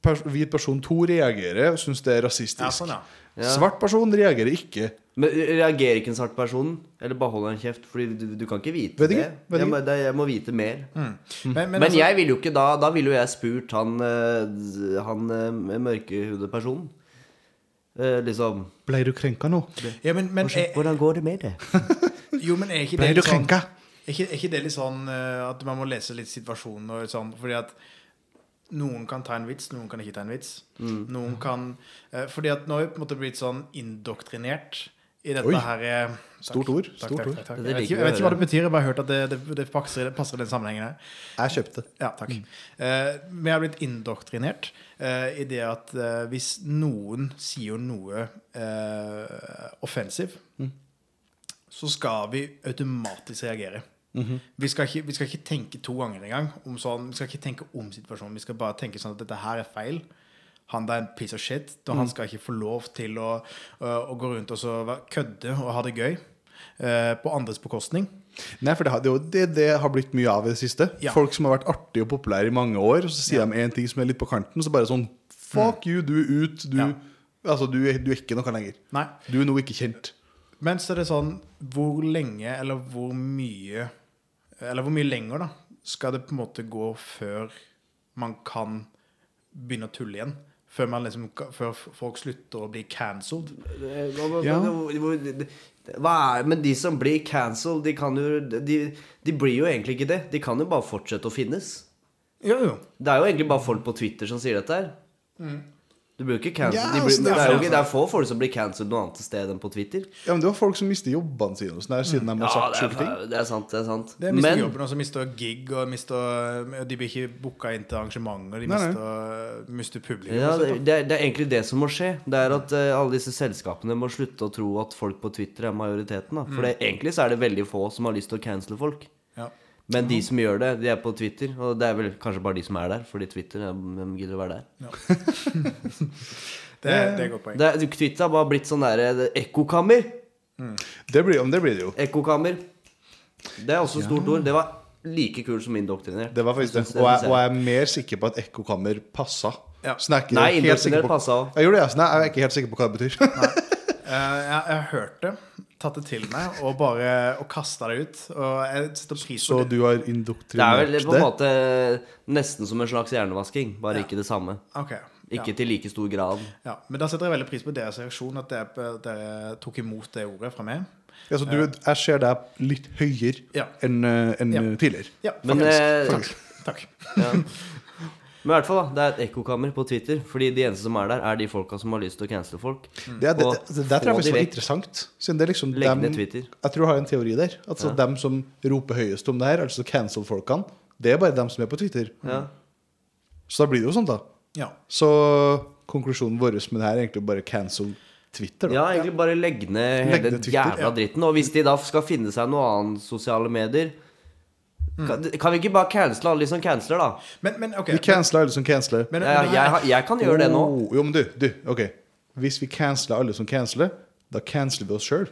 Speaker 1: Pers hvit person 2 reagerer og syns det er rasistisk.
Speaker 2: Ja, sånn, ja.
Speaker 3: Ja.
Speaker 1: Svart person reagerer ikke.
Speaker 3: Men eh, reagerer ikke en svart person, eller bare holder han kjeft? Fordi du, du kan ikke vite
Speaker 1: Vet ikke,
Speaker 3: det.
Speaker 1: vet
Speaker 3: Jeg,
Speaker 1: ikke.
Speaker 3: må, det. jeg må vite mer.
Speaker 2: Mm. Men, men,
Speaker 3: Men,
Speaker 2: altså,
Speaker 3: jeg ville jo ikke da Da ville jo jeg spurt han, eh, han eh, mørkehudet personen. Eh, liksom
Speaker 1: Ble du krenka nå?
Speaker 2: ja, men,
Speaker 1: Eh,
Speaker 2: men
Speaker 3: «Hvordan-
Speaker 2: er,
Speaker 3: Hvordan går det med det?
Speaker 2: Jo, men er ikke
Speaker 1: Ble
Speaker 2: det
Speaker 1: du
Speaker 2: litt sånn
Speaker 1: krenka?
Speaker 2: Er ikke, er ikke det litt sånn eh, at man må lese litt situasjonen og sånn, fordi at noen kan ta en vits, noen kan ikke ta en vits. Noen kan eh, Fordi at nå har vi på en måte blitt sånn indoktrinert i dette
Speaker 1: Oi.
Speaker 2: her eh, takk,
Speaker 1: Stort ord,
Speaker 2: Takk,
Speaker 1: stort
Speaker 2: takk,
Speaker 1: ord.
Speaker 2: takk, takk.
Speaker 3: Det
Speaker 2: Jeg, vet
Speaker 3: liker
Speaker 2: ikke,
Speaker 3: vi
Speaker 2: jeg
Speaker 3: å
Speaker 2: vet ikke hva
Speaker 3: høre.
Speaker 2: det betyr, jeg bare har hørt at det, det, det passer, passer i den sammenhengen her.
Speaker 1: Jeg kjøpte.
Speaker 2: Ja, takk. Eh, vi har blitt indoktrinert eh, i det at eh, hvis noen sier noe uh, offensiv, så skal vi automatisk reagere. vi, skal ikke, vi skal ikke tenke to ganger engang. om Sånn, vi skal ikke tenke om situasjonen. Vi skal bare tenke sånn at dette her er feil. Han der er en piece of shit. Og han skal ikke få lov til å, eh, å, å gå rundt og så være- kødde og ha det gøy eh, på andres bekostning.
Speaker 1: Nei, for det, har- det, er jo- det, det har blitt mye av i det siste.
Speaker 2: Ja.
Speaker 1: Folk som har vært artige og populære i mange år, og så sier de en ting som er litt på kanten, så bare sånn Fuck
Speaker 3: Mm.
Speaker 1: you, du er ut. Du,
Speaker 2: Ja.
Speaker 1: altså, du, er- du er ikke noe lenger.
Speaker 2: Nei.
Speaker 1: Du er nå ikke kjent.
Speaker 2: Men så er det sånn Hvor lenge eller hvor mye Eller hvor mye lenger da skal det på en måte gå før man kan begynne å tulle igjen? Før, man liksom, før folk slutter å bli cancelled?
Speaker 3: Eh, hva- hva-
Speaker 1: Ja.
Speaker 3: hva- hvor- det- Hva er, men de som blir cancelled, de kan jo de, de blir jo egentlig ikke det. De kan jo bare fortsette å finnes.
Speaker 2: Jo, jo.
Speaker 3: Det er jo egentlig bare folk på Twitter som sier dette her. Du blir jo ikke cancelled.
Speaker 1: Mm. Ja,
Speaker 3: de blir,
Speaker 1: altså, det
Speaker 3: det,
Speaker 1: er
Speaker 3: er jo
Speaker 2: sant.
Speaker 3: ikke, det er få folk som blir cancelled noe annet sted enn på Twitter.
Speaker 1: Ja, men Det var folk som mister jobbene sine og sånn der, siden de
Speaker 3: Mm. Ja,
Speaker 1: har sagt
Speaker 3: det er,
Speaker 1: sjuke ting.
Speaker 3: det er sant. det er sant
Speaker 2: Det er mister
Speaker 3: Men
Speaker 2: jobben, og så mister gig, og mister, de blir ikke booka inn til arrangementer.
Speaker 1: Nei,
Speaker 2: De
Speaker 1: nei.
Speaker 2: mister, eh, mister publikum.
Speaker 3: ja,
Speaker 2: og
Speaker 3: det,
Speaker 2: sånt, da.
Speaker 3: det, er, det er egentlig det som må skje. Det er at eh, alle disse selskapene må slutte å tro at folk på Twitter er majoriteten. Da.
Speaker 1: Mm.
Speaker 3: For det, egentlig så er det veldig få som har lyst til å cancele folk.
Speaker 2: Ja.
Speaker 3: Men
Speaker 1: Mm.
Speaker 3: de som gjør det, de er på Twitter. Og det er vel kanskje bare de som er der, fordi Twitter eh, hvem gidder å være der?
Speaker 2: Det, er- det er et godt poeng.
Speaker 3: Det, er- Twitter har bare blitt sånn derre ekkokammer.
Speaker 1: Det blir, ja, men det blir det jo.
Speaker 3: Ekkokammer. Det er også et stort ord. Det var like kul som indoktrinert.
Speaker 1: Det var faktisk
Speaker 3: Jeg
Speaker 1: det.
Speaker 3: synes
Speaker 1: Og jeg,
Speaker 3: synes
Speaker 1: og jeg er mer sikker på at ekkokammer passa.
Speaker 2: Ja.
Speaker 1: Så jeg er ikke
Speaker 3: Nei,
Speaker 1: helt sikker
Speaker 3: indoktrinert
Speaker 1: på
Speaker 3: passa òg.
Speaker 1: Jeg gjorde det, altså. Nei, jeg er ikke helt sikker på hva det betyr.
Speaker 2: Eh, jeg, jeg har hørt det, tatt det til meg og bare og kasta det ut. Og jeg setter pris
Speaker 1: Så
Speaker 2: på det.
Speaker 1: du har
Speaker 3: Det er
Speaker 1: indoktrinert
Speaker 3: vel på en måte nesten som en slags hjernevasking, bare ikke det samme.
Speaker 2: Ok, ja.
Speaker 3: Ikke til like stor grad.
Speaker 2: Ja, men da setter jeg veldig pris på deres reaksjon, at dere, dere tok imot det ordet fra meg.
Speaker 1: Ja, så du, jeg ser deg litt høyere
Speaker 2: Eh. Ja.
Speaker 1: enn eh, enn,
Speaker 2: Ja.
Speaker 1: eh, tidligere.
Speaker 2: Ja,
Speaker 3: Men,
Speaker 2: faktisk.
Speaker 3: eh,
Speaker 1: Faktisk.
Speaker 2: Takk.
Speaker 3: ja. Men i hvert fall da, det er et ekkokammer på Twitter, fordi de eneste som er der, er de folka som har lyst til å cancele folk.
Speaker 1: Mm. Det, er- det,
Speaker 3: Og
Speaker 1: det, det, der tror jeg
Speaker 3: få de
Speaker 1: faktisk var
Speaker 3: vekk.
Speaker 1: interessant. Siden det er liksom
Speaker 3: Legg ned
Speaker 1: dem-
Speaker 3: Twitter.
Speaker 1: Jeg tror jeg har en teori der. At så
Speaker 3: Ja.
Speaker 1: dem som roper høyest om det her, altså cancel-folkene, det er bare dem som er på Twitter.
Speaker 3: Ja.
Speaker 1: Så da blir det jo sånn, da.
Speaker 2: Ja.
Speaker 1: Så konklusjonen vår med det her er egentlig bare cancel Twitter, da.
Speaker 3: Ja, egentlig bare legge ned
Speaker 1: Legg
Speaker 3: hele
Speaker 1: ned Twitter,
Speaker 3: jævla dritten. Og hvis de da skal finne seg noe annet sosiale medier
Speaker 1: Mm.
Speaker 3: kan, kan vi ikke bare cancele alle de som canceler, da?
Speaker 2: Men, men OK.
Speaker 1: Vi canceler alle som canceler.
Speaker 2: Men-
Speaker 3: Jeg, jeg, jeg, kan gjøre det nå.
Speaker 1: Oh, jo, men du, du, ok. Hvis vi canceler alle som canceler, da canceler vi oss sjøl.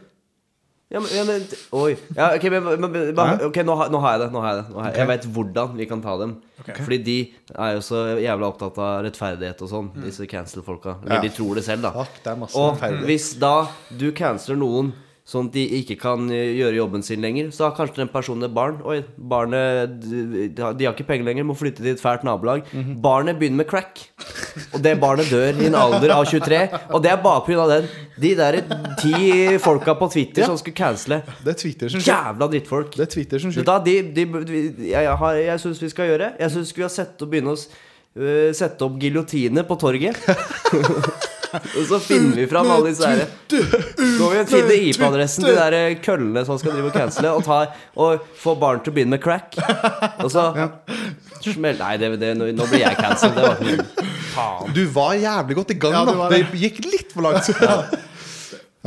Speaker 3: Ja, men, ja, men Oi. Ja, ok, men, men, men bare-
Speaker 1: Hæ?
Speaker 3: ok, nå, har- nå har jeg det. Nå har jeg, det nå har jeg. jeg vet hvordan vi kan ta dem.
Speaker 2: Ok.
Speaker 3: Fordi de er jo så jævla opptatt av rettferdighet og sånn, disse cancel-folka. Eller
Speaker 1: Ja.
Speaker 3: de tror det selv, da.
Speaker 1: Fuck, det er masse
Speaker 3: Og
Speaker 1: rettferdighet.
Speaker 3: hvis da du canceler noen sånn at de ikke kan eh, gjøre jobben sin lenger, så har kanskje den personen et barn. Oi, barnet De de har ikke penger lenger, må flytte til et fælt nabolag.
Speaker 1: Mhm.
Speaker 3: Barnet begynner med crack. Og det barnet dør i en alder av 23. Og det er bare pga. den. De der ti folka på Twitter som skulle cancele.
Speaker 1: Det er Twitter sin skyld.
Speaker 3: Jævla drittfolk.
Speaker 1: Det er Twitter sin
Speaker 3: Det
Speaker 1: skyld.
Speaker 3: da, de, de, de, jeg har- jeg syns vi skal gjøre Jeg syns vi har sett og begynne å s- øh, sette opp giljotine på torget. og så finner vi fram alle disse herre. Går vi og finner IP-adressen til de der eh, køllene som skal drive og cancele, og, ta, og få barn til å begynne med crack. Og så smell Nei, det, det, nå nå blir jeg cancelled. Det var ikke mulig.
Speaker 1: Du var jævlig godt i gang,
Speaker 2: Ja, du
Speaker 1: da.
Speaker 2: var
Speaker 1: Det
Speaker 2: det.
Speaker 1: gikk litt for langt. Ja.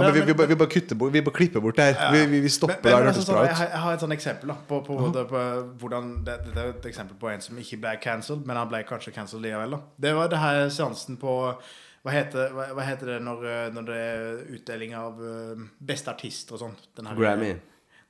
Speaker 1: men vi, vi, bare- vi bare kutter bort, vi bare klipper bort det her. Vi, vi, vi stopper
Speaker 2: Men,
Speaker 1: der
Speaker 2: men,
Speaker 1: det Mhm.
Speaker 2: altså,
Speaker 1: hørtes
Speaker 2: sånn,
Speaker 1: bra
Speaker 2: jeg,
Speaker 1: ut.
Speaker 2: har- jeg har et sånt eksempel da, på, på, det, på hvordan det, det er et eksempel på en som ikke ble cancelled, men han ble kanskje cancelled likevel. da. Det var det her seansen på Hva heter, hva, hva heter det når, eh, når det er utdeling av eh, beste artist og sånn? Den her-
Speaker 3: Grammy.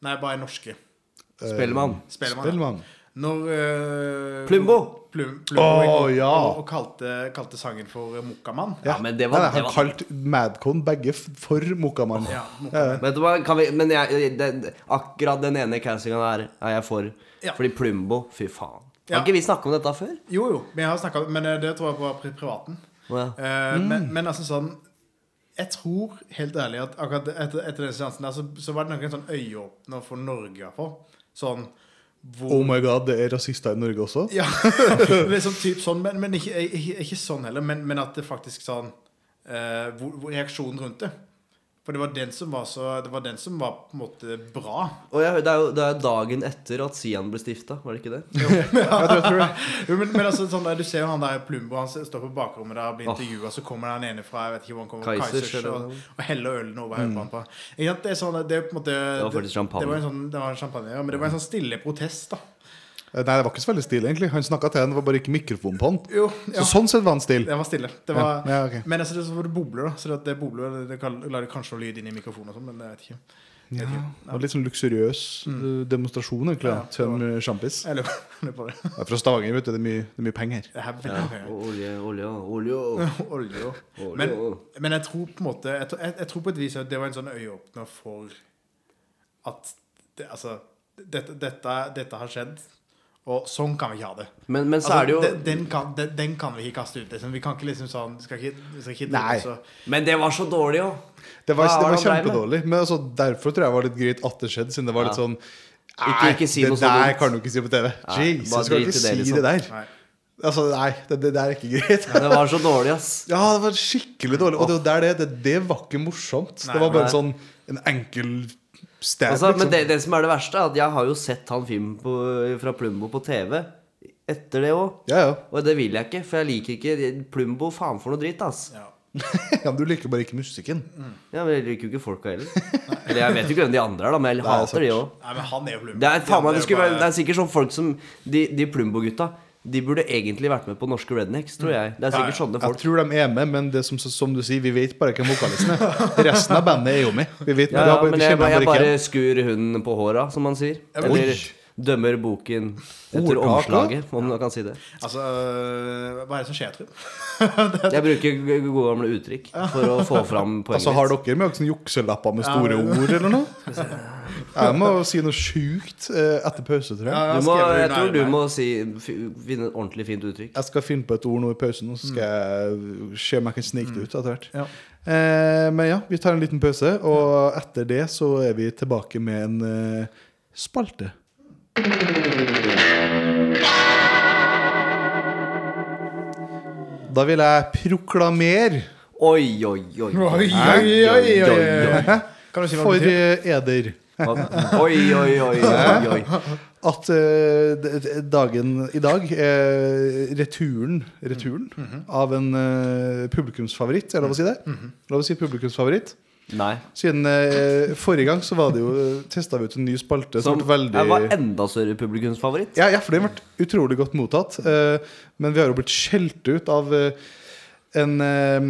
Speaker 2: Nei, bare norske. Øh.
Speaker 3: Spellemann.
Speaker 2: Spellemann. ja.
Speaker 1: Spellemann.
Speaker 2: Når eh,
Speaker 3: Plumbo.
Speaker 2: Plum, Plumbo
Speaker 1: Åh,
Speaker 2: gikk opp
Speaker 1: ja.
Speaker 2: Og, og kalte, kalte sangen for eh, Mokkamann.
Speaker 3: Ja, men det
Speaker 1: Nei, nei,
Speaker 3: var, det
Speaker 1: han
Speaker 3: var
Speaker 1: kalte Madcon begge f- for Mokkamann. Ja,
Speaker 2: Ja,
Speaker 1: ja.
Speaker 2: Mokkamann.
Speaker 3: Vet du hva, kan vi, men jeg, den, akkurat den ene cancingen her er jeg for.
Speaker 2: Ja.
Speaker 3: Fordi Plumbo, fy faen. Har
Speaker 2: Ja.
Speaker 3: ikke vi snakket om dette før?
Speaker 2: Jo, jo, vi har snakket om- men eh, det tror jeg var pri- privaten.
Speaker 3: Å, ja.
Speaker 2: Eh, men, men altså sånn Jeg tror helt ærlig at akkurat etter, etter den seansen der, så, så var det nok en sånn øyeåpner for Norge, i hvert fall. Sånn hvor
Speaker 1: Oh my god, det er rasister i Norge også?
Speaker 2: Ja, liksom typ sånn, men, men ikke, ikke, ikke sånn heller, men, men at det faktisk sånn eh, hvor, hvor Reaksjonen rundt det. For det var den som var så Det var den som var på en måte bra.
Speaker 3: Og jeg, det, er jo, det er dagen etter at Sian ble stiftet, var det ikke det?
Speaker 1: Jeg tror, jeg tror det.
Speaker 2: Jo, men, men altså, sånn der, du ser jo han der Plumbo, han står på bakrommet der og blir
Speaker 3: Åh.
Speaker 2: intervjua, så kommer det han ene fra jeg vet ikke hvor han kommer,
Speaker 3: Kaizers,
Speaker 2: Kaizers,
Speaker 3: eller
Speaker 2: og,
Speaker 3: noe.
Speaker 2: og heller ølen over hodet på han. på. Ikke sant, Det er sånn, det er på en måte
Speaker 3: Det var faktisk champagne.
Speaker 2: Det var en sånn, det var en champagne, ja, men det var en sånn stille protest, da.
Speaker 1: Eh, Nei, det var ikke så veldig stille, egentlig. Han snakka til en, det var bare ikke mikrofon på han.
Speaker 2: Jo, ja.
Speaker 1: Så sånn sett var han stille.
Speaker 2: Det var stille. Det var,
Speaker 1: Ja, ja, ok.
Speaker 2: Men altså, det er så hvor det bobler, da. Så det, at det bobler, det, det kan, lar det kanskje noe lyd inn i mikrofonen og sånn, men jeg vet ikke. Jeg vet
Speaker 1: Ja,
Speaker 2: ikke.
Speaker 1: det var litt sånn luksuriøs eh, demonstrasjon, egentlig,
Speaker 2: Mm. Ja,
Speaker 1: da, til en eh, sjampis.
Speaker 2: Jeg lurer lurer på det.
Speaker 1: Det er Fra Stavanger, vet du. Det er mye, det er mye penger.
Speaker 2: Det er veldig
Speaker 3: Og
Speaker 2: høyt.
Speaker 3: Olje, olje, olje.
Speaker 2: Olje og
Speaker 3: Olje
Speaker 2: men,
Speaker 3: og-
Speaker 2: men jeg tror på en måte jeg, tror- jeg, jeg tror på et vis at det var en sånn øyeåpner for at det, Altså, dette, dette, dette har skjedd, og sånn kan vi ikke ha det.
Speaker 3: Men, men så
Speaker 2: Altså,
Speaker 3: er det jo...
Speaker 2: den, den, kan, den, den kan vi ikke kaste ut. Liksom. Vi kan ikke liksom sånn vi skal ikke, vi skal ikke
Speaker 1: Nei.
Speaker 2: Så,
Speaker 3: Men det var så dårlig, jo.
Speaker 1: Det var,
Speaker 3: Hva
Speaker 1: det var
Speaker 3: har han drevet med?
Speaker 1: kjempedårlig. Men altså, derfor tror jeg det var litt greit at det skjedde, siden det var litt
Speaker 3: Ja.
Speaker 1: sånn
Speaker 3: Ikke- ikke si
Speaker 1: "Nei,
Speaker 3: noe
Speaker 1: det
Speaker 3: så
Speaker 1: der
Speaker 3: dumt."
Speaker 1: kan du ikke si på TV. Jesus,
Speaker 3: bare
Speaker 1: skal du
Speaker 3: drit
Speaker 1: ikke
Speaker 3: i det,
Speaker 1: si
Speaker 3: liksom.
Speaker 1: det der?
Speaker 2: nei.
Speaker 1: Altså, nei, det, det der er ikke greit.
Speaker 3: Det var så dårlig, ass.
Speaker 1: Ja, det var skikkelig dårlig. Og det, var der det, det, det var ikke morsomt.
Speaker 2: Nei,
Speaker 1: det var bare
Speaker 3: nei.
Speaker 1: sånn en enkel stab.
Speaker 3: Altså, men
Speaker 1: liksom.
Speaker 3: det, det som er det verste, er at jeg har jo sett han filmen på, fra Plumbo på TV etter det også.
Speaker 1: Ja, ja.
Speaker 3: Og det vil jeg ikke, for jeg liker ikke Plumbo, faen for noe dritt, ass.
Speaker 2: Ja.
Speaker 1: ja, men Du liker bare ikke musikken.
Speaker 3: Ja, men jeg liker jo ikke folka heller. Eller jeg vet jo ikke hvem de andre er, da, men jeg
Speaker 1: Nei,
Speaker 3: hater de
Speaker 1: sant.
Speaker 3: òg.
Speaker 2: nei, men han er jo plumbo.
Speaker 3: Det er, faen meg, det,
Speaker 2: jo
Speaker 3: skulle være, det
Speaker 2: bare-
Speaker 3: er sikkert sånn folk som De, de Plumbo-gutta De burde egentlig vært med på norske Rednecks, tror jeg. Det er
Speaker 2: Ja, ja.
Speaker 3: sikkert sånne
Speaker 1: Jeg
Speaker 3: folk.
Speaker 1: tror de er med, men det som, som du sier, vi vet bare hvem vokalisten er. Resten av bandet er jo med. Vi vet, vi
Speaker 3: Ja, ja,
Speaker 1: har bare-
Speaker 3: men
Speaker 1: vi kjenner
Speaker 3: jeg, jeg
Speaker 1: bare ikke
Speaker 3: bare
Speaker 1: igjen.
Speaker 3: skur hunden på håra, som man sier.
Speaker 2: Ja, men-
Speaker 3: Eller
Speaker 1: Oi.
Speaker 3: dømmer boken etter
Speaker 1: Ordtaket?
Speaker 3: omslaget, om man kan si det.
Speaker 2: Altså, hva er det som skjer, tror jeg?
Speaker 3: Jeg bruker g- gode gamle uttrykk for å få fram poenget
Speaker 1: Altså, har dere med sånne jukselapper med store
Speaker 2: Ja.
Speaker 1: ord eller noe? Jeg må si noe sjukt eh, etter pause, tror jeg.
Speaker 2: Ja,
Speaker 3: Du må,
Speaker 2: skrev
Speaker 3: jeg
Speaker 2: nei,
Speaker 3: tror du
Speaker 2: nei.
Speaker 3: må si, fi- finne et ordentlig fint uttrykk.
Speaker 1: Jeg skal finne på et ord nå i pausen, og så skal jeg se om jeg kan snike det ut etter hvert.
Speaker 2: Ja.
Speaker 1: Eh, men ja, vi tar en liten pause, og etter det så er vi tilbake med en eh, spalte. Da vil jeg proklamere
Speaker 3: Oi, oi, oi.
Speaker 2: Oi, oi, oi, oi, oi.
Speaker 1: Hæ?
Speaker 2: Kan du si hva
Speaker 1: for
Speaker 2: det betyr?
Speaker 1: eh, eder.
Speaker 3: Oi, oi, oi, oi, oi.
Speaker 1: At eh, d- d- dagen i dag er returen, returen av en eh, publikumsfavoritt. Er det lov å si det? Lov å si publikumsfavoritt?
Speaker 3: Nei.
Speaker 1: Siden eh, forrige gang så var det jo testa vi ut en ny spalte som
Speaker 3: Som
Speaker 1: ble
Speaker 3: jeg var
Speaker 1: veldig
Speaker 3: enda større publikumsfavoritt.
Speaker 1: ja, ja, for den ble utrolig godt mottatt. eh, men vi har jo blitt skjelt ut av eh, en, eh,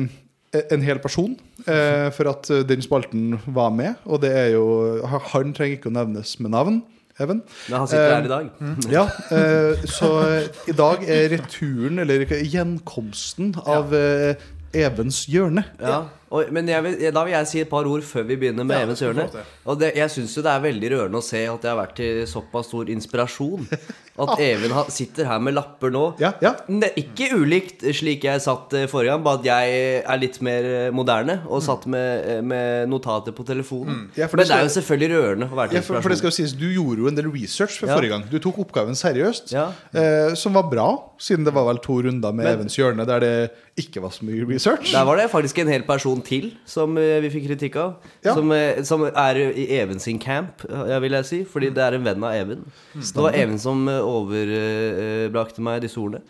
Speaker 1: en hel person eh, for at eh, den spalten var med. Og det er jo Han trenger ikke å nevnes med navn. Even.
Speaker 3: Men han sitter
Speaker 1: Eh,
Speaker 3: her i dag.
Speaker 1: Ja, eh, så eh, i dag er returen, eller ikke, gjenkomsten, av eh, Evens hjørne.
Speaker 3: Ja. Oi, men jeg vil, da vil jeg si et par ord før vi begynner med
Speaker 2: Ja,
Speaker 3: Evens
Speaker 2: det skal du
Speaker 3: hjørne.
Speaker 2: få lov
Speaker 3: Og det, jeg syns jo det er veldig rørende å se at jeg har vært til såpass stor inspirasjon. At Even har- sitter her med lapper nå.
Speaker 1: Ja, ja.
Speaker 3: Ne, ikke ulikt slik jeg satt eh, forrige gang, bare at jeg er litt mer eh, moderne og satt med, eh, med notater på telefonen.
Speaker 1: Mm. Ja, for det
Speaker 3: Men det er jo
Speaker 1: skal-
Speaker 3: selvfølgelig rørende å være
Speaker 1: Ja,
Speaker 3: til
Speaker 1: for, for det
Speaker 3: inspirasjon.
Speaker 1: skal jo sies, Du gjorde jo en del research for
Speaker 3: Ja.
Speaker 1: forrige gang. Du tok oppgaven seriøst,
Speaker 3: Ja.
Speaker 1: eh, som var bra, siden det var vel to runder med
Speaker 3: Men-
Speaker 1: Evens hjørne der det ikke var så mye research.
Speaker 3: Der var det faktisk en hel person til som eh, vi fikk kritikk av.
Speaker 1: Ja.
Speaker 3: Som, eh, som er i Even sin camp, eh, vil jeg si. Fordi det er en venn av Even. Så det var Even som eh, overbrakte meg disse ordene.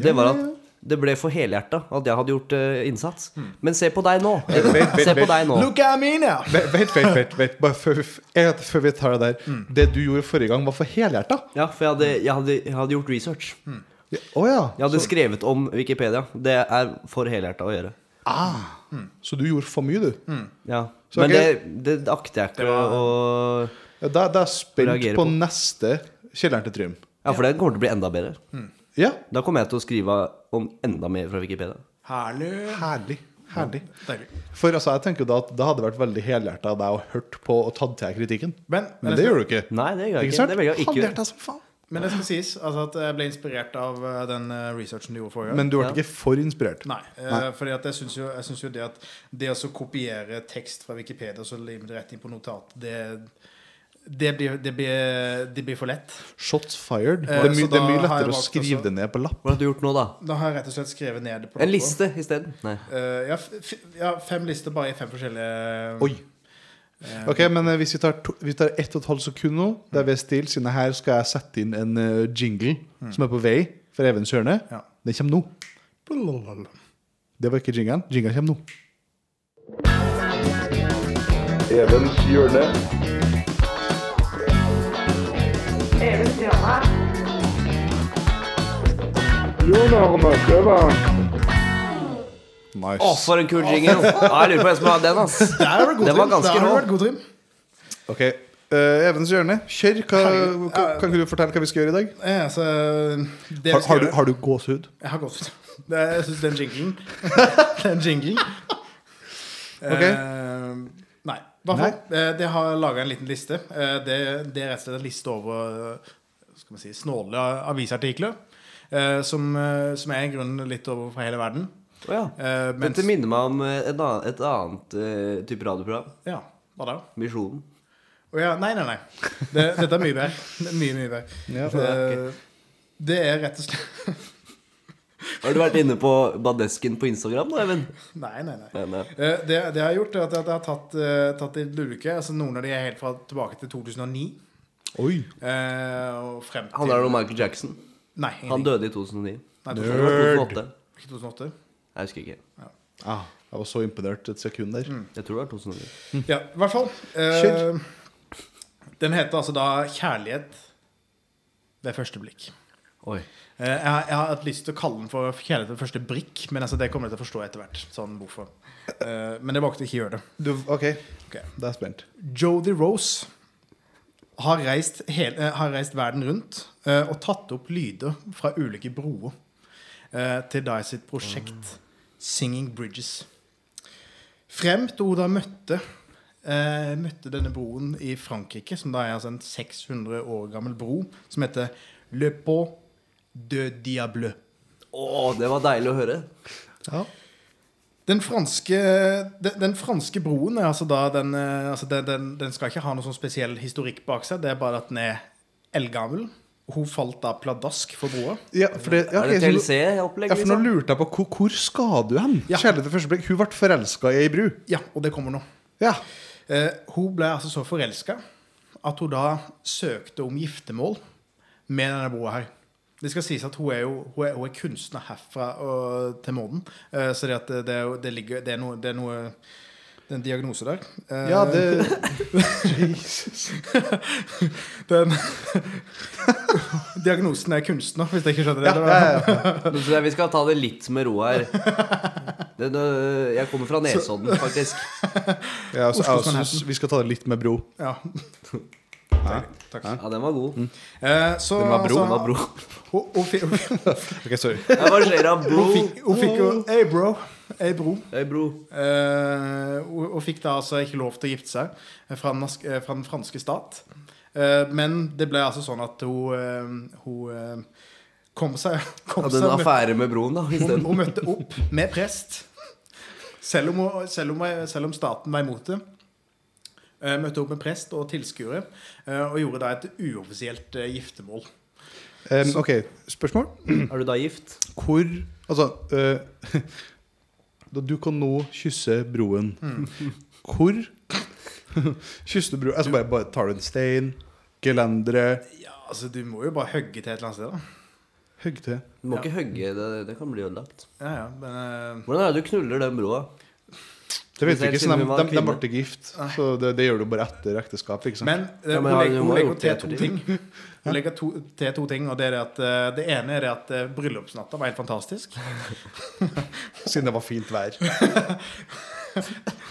Speaker 3: Det var at det ble for helhjerta at jeg hadde gjort eh, innsats. Men se på deg nå!
Speaker 1: Vent, vent, vent,
Speaker 3: Se på
Speaker 1: vent.
Speaker 3: deg nå.
Speaker 2: Look at me now!
Speaker 1: Vent, vent, vent, vent, vent. Bare før, jeg- før vi tar det der. Det du gjorde forrige gang, var for helhjerta.
Speaker 3: Ja, for jeg hadde, jeg hadde, jeg hadde gjort research.
Speaker 1: Ja, Å ja.
Speaker 3: Jeg hadde skrevet om Wikipedia. Det er for helhjerta å gjøre.
Speaker 1: Ah. Så du gjorde for mye, du.
Speaker 3: Ja.
Speaker 1: Så,
Speaker 3: Men
Speaker 1: ok.
Speaker 3: det, det akter jeg ikke å
Speaker 1: Ja, da, da er jeg spent
Speaker 3: Reagerer
Speaker 1: på,
Speaker 3: på.
Speaker 1: neste Kjelleren til Trym.
Speaker 3: Ja, for det kommer til å bli enda bedre.
Speaker 1: Ja,
Speaker 3: Da kommer jeg til å skrive om enda mer fra Wikipedia.
Speaker 2: Herlig.
Speaker 1: herlig. Herlig.
Speaker 2: Deilig.
Speaker 1: For altså, jeg tenker jo da at det hadde vært veldig helhjerta av deg å hørt på og tatt til deg kritikken.
Speaker 2: Men,
Speaker 1: Men det gjør du ikke.
Speaker 3: Nei, det gjør jeg
Speaker 1: Ikke
Speaker 3: ikke.
Speaker 1: sant?
Speaker 3: Det velger jeg å ikke gjøre.
Speaker 1: Halvhjerta som faen.
Speaker 2: men det skal sies altså at jeg ble inspirert av eh, den eh, researchen du gjorde forrige gang.
Speaker 1: Men du ble
Speaker 3: Ja.
Speaker 1: ikke for inspirert.
Speaker 2: Nei. eh, fordi at jeg syns jo, jeg synes jo det at det å så kopiere tekst fra Wikipedia og så lime det rett inn på notat, det, det, blir, det, blir, det blir for lett.
Speaker 1: Shots fired.
Speaker 2: Eh,
Speaker 1: det, er
Speaker 2: så
Speaker 1: my, det er
Speaker 2: da
Speaker 1: mye
Speaker 2: har jeg
Speaker 1: lettere å
Speaker 2: valgt
Speaker 1: skrive
Speaker 2: også-
Speaker 1: det ned på lapp.
Speaker 3: Hva har du gjort nå, da?
Speaker 2: Da har jeg rett og slett skrevet ned på
Speaker 3: En
Speaker 2: noe.
Speaker 3: liste isteden? Nei.
Speaker 2: Eh, ja, f f- ja, fem lister bare i fem forskjellige
Speaker 1: Oi.
Speaker 2: eh,
Speaker 1: Ok, men eh, hvis vi tar, to, vi tar ett og et halvt sekund nå, det er ved stil, siden her skal jeg sette inn en eh, jingle som er på vei for Evens hjørne.
Speaker 2: Mm. Ja.
Speaker 1: Den kommer nå. Det var ikke jingelen. Jingelen kommer nå.
Speaker 4: Evens hjørne.
Speaker 5: Evens hjørne.
Speaker 4: Hjørnehånda kløver.
Speaker 1: Nice.
Speaker 3: Å, for en kul jingle! Ja, jeg lurer på hvem som har den, ass.
Speaker 2: Der har du vært god,
Speaker 3: Den var
Speaker 2: Trym.
Speaker 3: ganske
Speaker 2: Der har du
Speaker 3: rå.
Speaker 2: vært god, Trym.
Speaker 1: Ok, eh, Evens hjørne. Kjør. Hva,
Speaker 2: Herregud.
Speaker 1: hva- kan ikke du fortelle hva vi skal gjøre i dag?
Speaker 2: Eh, altså,
Speaker 1: Har,
Speaker 2: det vi skal
Speaker 1: har, du,
Speaker 2: gjøre-
Speaker 1: har du gåsehud?
Speaker 2: Jeg har gått ut. Det, jeg syns den jinglen Den jinglen
Speaker 1: Ok.
Speaker 2: eh, Nei. Hva for? Eh, De har laga en liten liste. Eh, det, det er rett og slett en liste over eh, skal man si, snåle avisartikler. eh, som, eh, som er i grunnen litt over for hele verden.
Speaker 3: Å, ja.
Speaker 2: Eh, mens,
Speaker 3: Dette minner meg om eh, et annet, et annet eh, type radioprogram.
Speaker 2: ja, hva da?
Speaker 3: Misjonen.
Speaker 2: Å ja, nei, nei, nei. Det, dette er mye bedre. Det er Mye, mye bedre.
Speaker 1: Ja,
Speaker 2: Eh, det er rett og slett
Speaker 3: Har du vært inne på Badesken på Instagram nå, Even?
Speaker 2: Nei, nei, nei.
Speaker 3: Nei, nei.
Speaker 2: Eh, Det, det jeg har gjort, er at jeg har tatt, eh, tatt de ulike. Altså noen av de er helt fra tilbake til 2009.
Speaker 1: Oi.
Speaker 2: eh, og frem til
Speaker 3: Handler det om Michael Jackson?
Speaker 2: Nei,
Speaker 3: Han
Speaker 2: ingenting.
Speaker 3: døde i 2009.
Speaker 2: Nei,
Speaker 3: Det
Speaker 1: Nerd.
Speaker 2: to-
Speaker 3: var 2008.
Speaker 2: Ikke 2008.
Speaker 3: Jeg husker ikke.
Speaker 1: Ah, jeg var så imponert et sekund der.
Speaker 3: Jeg tror det var 2009.
Speaker 2: Ja, i hvert fall. eh,
Speaker 1: Kjør.
Speaker 2: den heter altså da 'Kjærlighet ved første blikk'.
Speaker 3: Oi.
Speaker 2: Eh, jeg, har- jeg har hatt lyst til å kalle den for 'Kjærlighet ved første brikk', men altså, det kommer jeg til å forstå etter hvert. Sånn hvorfor. Eh, men jeg valgte å ikke gjøre det.
Speaker 1: Du, ok,
Speaker 2: Ok.
Speaker 1: da er jeg spent.
Speaker 2: Jodie Rose har reist, hele, eh, har reist verden rundt eh, og tatt opp lyder fra ulike broer eh, til Dye sitt prosjekt Singing Bridges. Frem til hun da møtte, eh, møtte denne broen i Frankrike, som da er altså en 600 år gammel bro, som heter Le Pont de Diable.
Speaker 3: Å, det var deilig å høre.
Speaker 2: Den franske, den, den franske broen er altså da den, eh, altså den, den, den skal ikke ha noe sånn spesiell historikk bak seg. Det er bare at den er eldgammel. Hun falt da pladask for broa.
Speaker 1: Ja, for det, ja,
Speaker 3: er det
Speaker 1: ok,
Speaker 3: liksom?
Speaker 1: så-
Speaker 3: TLC-opplegg?
Speaker 1: Ja, for nå lurte jeg på hvor, hvor skal du hen?
Speaker 2: Ja.
Speaker 1: Kjærlighet ved første blikk. Hun ble forelska i ei bru.
Speaker 2: Ja, og det kommer nå.
Speaker 1: Ja.
Speaker 2: Eh, hun ble altså så forelska at hun da søkte om giftermål med denne broa her. Det skal sies at hun er jo hun er, hun er kunstner herfra og til månen. Eh, så det, at det, det, er jo- det, ligger, det, er noe, det er noe Det er en diagnose der. Eh,
Speaker 1: ja, det Jesus.
Speaker 2: den, diagnosen er kunstner, hvis jeg ikke skjønner det.
Speaker 1: Ja,
Speaker 2: det
Speaker 1: ja,
Speaker 2: var-
Speaker 1: ja, ja.
Speaker 3: Men så jeg vi skal ta det litt med ro her. Det, det, jeg kommer fra Nesodden, faktisk.
Speaker 1: Ja, så,
Speaker 2: Oslo
Speaker 1: jeg
Speaker 2: Manhattan.
Speaker 1: synes vi skal ta det litt med bro.
Speaker 2: Ja.
Speaker 3: Ja, den var god.
Speaker 2: Eh, så,
Speaker 1: Den var bro,
Speaker 2: så-
Speaker 3: Den var bro.
Speaker 2: Hun, hun, fikk- hun, fikk-
Speaker 1: Ok, sorry.
Speaker 3: Ja, Hva skjer da, bro?
Speaker 2: hun, fikk- hun fikk jo Ei, bro. Ei, bro.
Speaker 3: Hei, bro.
Speaker 2: Eh, og, og fikk da altså ikke lov til å gifte seg eh, fra den, norsk- eh, fra den franske stat. Eh, men det ble altså sånn at hun, eh, hun eh, kom seg, kom
Speaker 3: Hadde
Speaker 2: seg
Speaker 3: en
Speaker 2: møtte,
Speaker 3: affære med broen, da,
Speaker 2: hun,
Speaker 3: isteden.
Speaker 2: hun møtte opp med prest. Selv om, hun, selv om, selv om staten var imot det. Eh, møtte opp med prest og tilskuere eh, og gjorde da et uoffisielt eh, giftermål.
Speaker 1: Em, ok, spørsmål?
Speaker 3: Er du da gift?
Speaker 1: Hvor Altså eh, da Du kan nå kysse broen. Hvor Kysser du broen? Altså bare, bare tar du en stein, gelendere,
Speaker 2: Ja, altså Du må jo bare hogge til et eller annet sted, da.
Speaker 1: hogg til.
Speaker 3: Du må ikke hogge, det, det kan bli ødelagt.
Speaker 2: Ja, ja, men, eh,
Speaker 3: Hvordan er det du knuller den broa?
Speaker 1: Det vet vi
Speaker 3: Spesielt
Speaker 1: ikke, så
Speaker 3: siden
Speaker 1: de,
Speaker 3: hun var
Speaker 1: de, de
Speaker 3: kvinne.
Speaker 1: ble ikke gift. Så det, det gjør du bare etter ekteskapet. ikke sant?
Speaker 2: men eh,
Speaker 3: Ja, men
Speaker 2: hun
Speaker 3: han-
Speaker 2: legger,
Speaker 3: hun
Speaker 2: hun
Speaker 3: har
Speaker 2: legger
Speaker 3: gjort
Speaker 2: til
Speaker 3: det
Speaker 2: to
Speaker 3: ettertid.
Speaker 2: ting. Hun legger to, til to ting, og det er det at eh, det ene er det at eh, bryllupsnatta var helt fantastisk.
Speaker 1: Siden det var fint vær.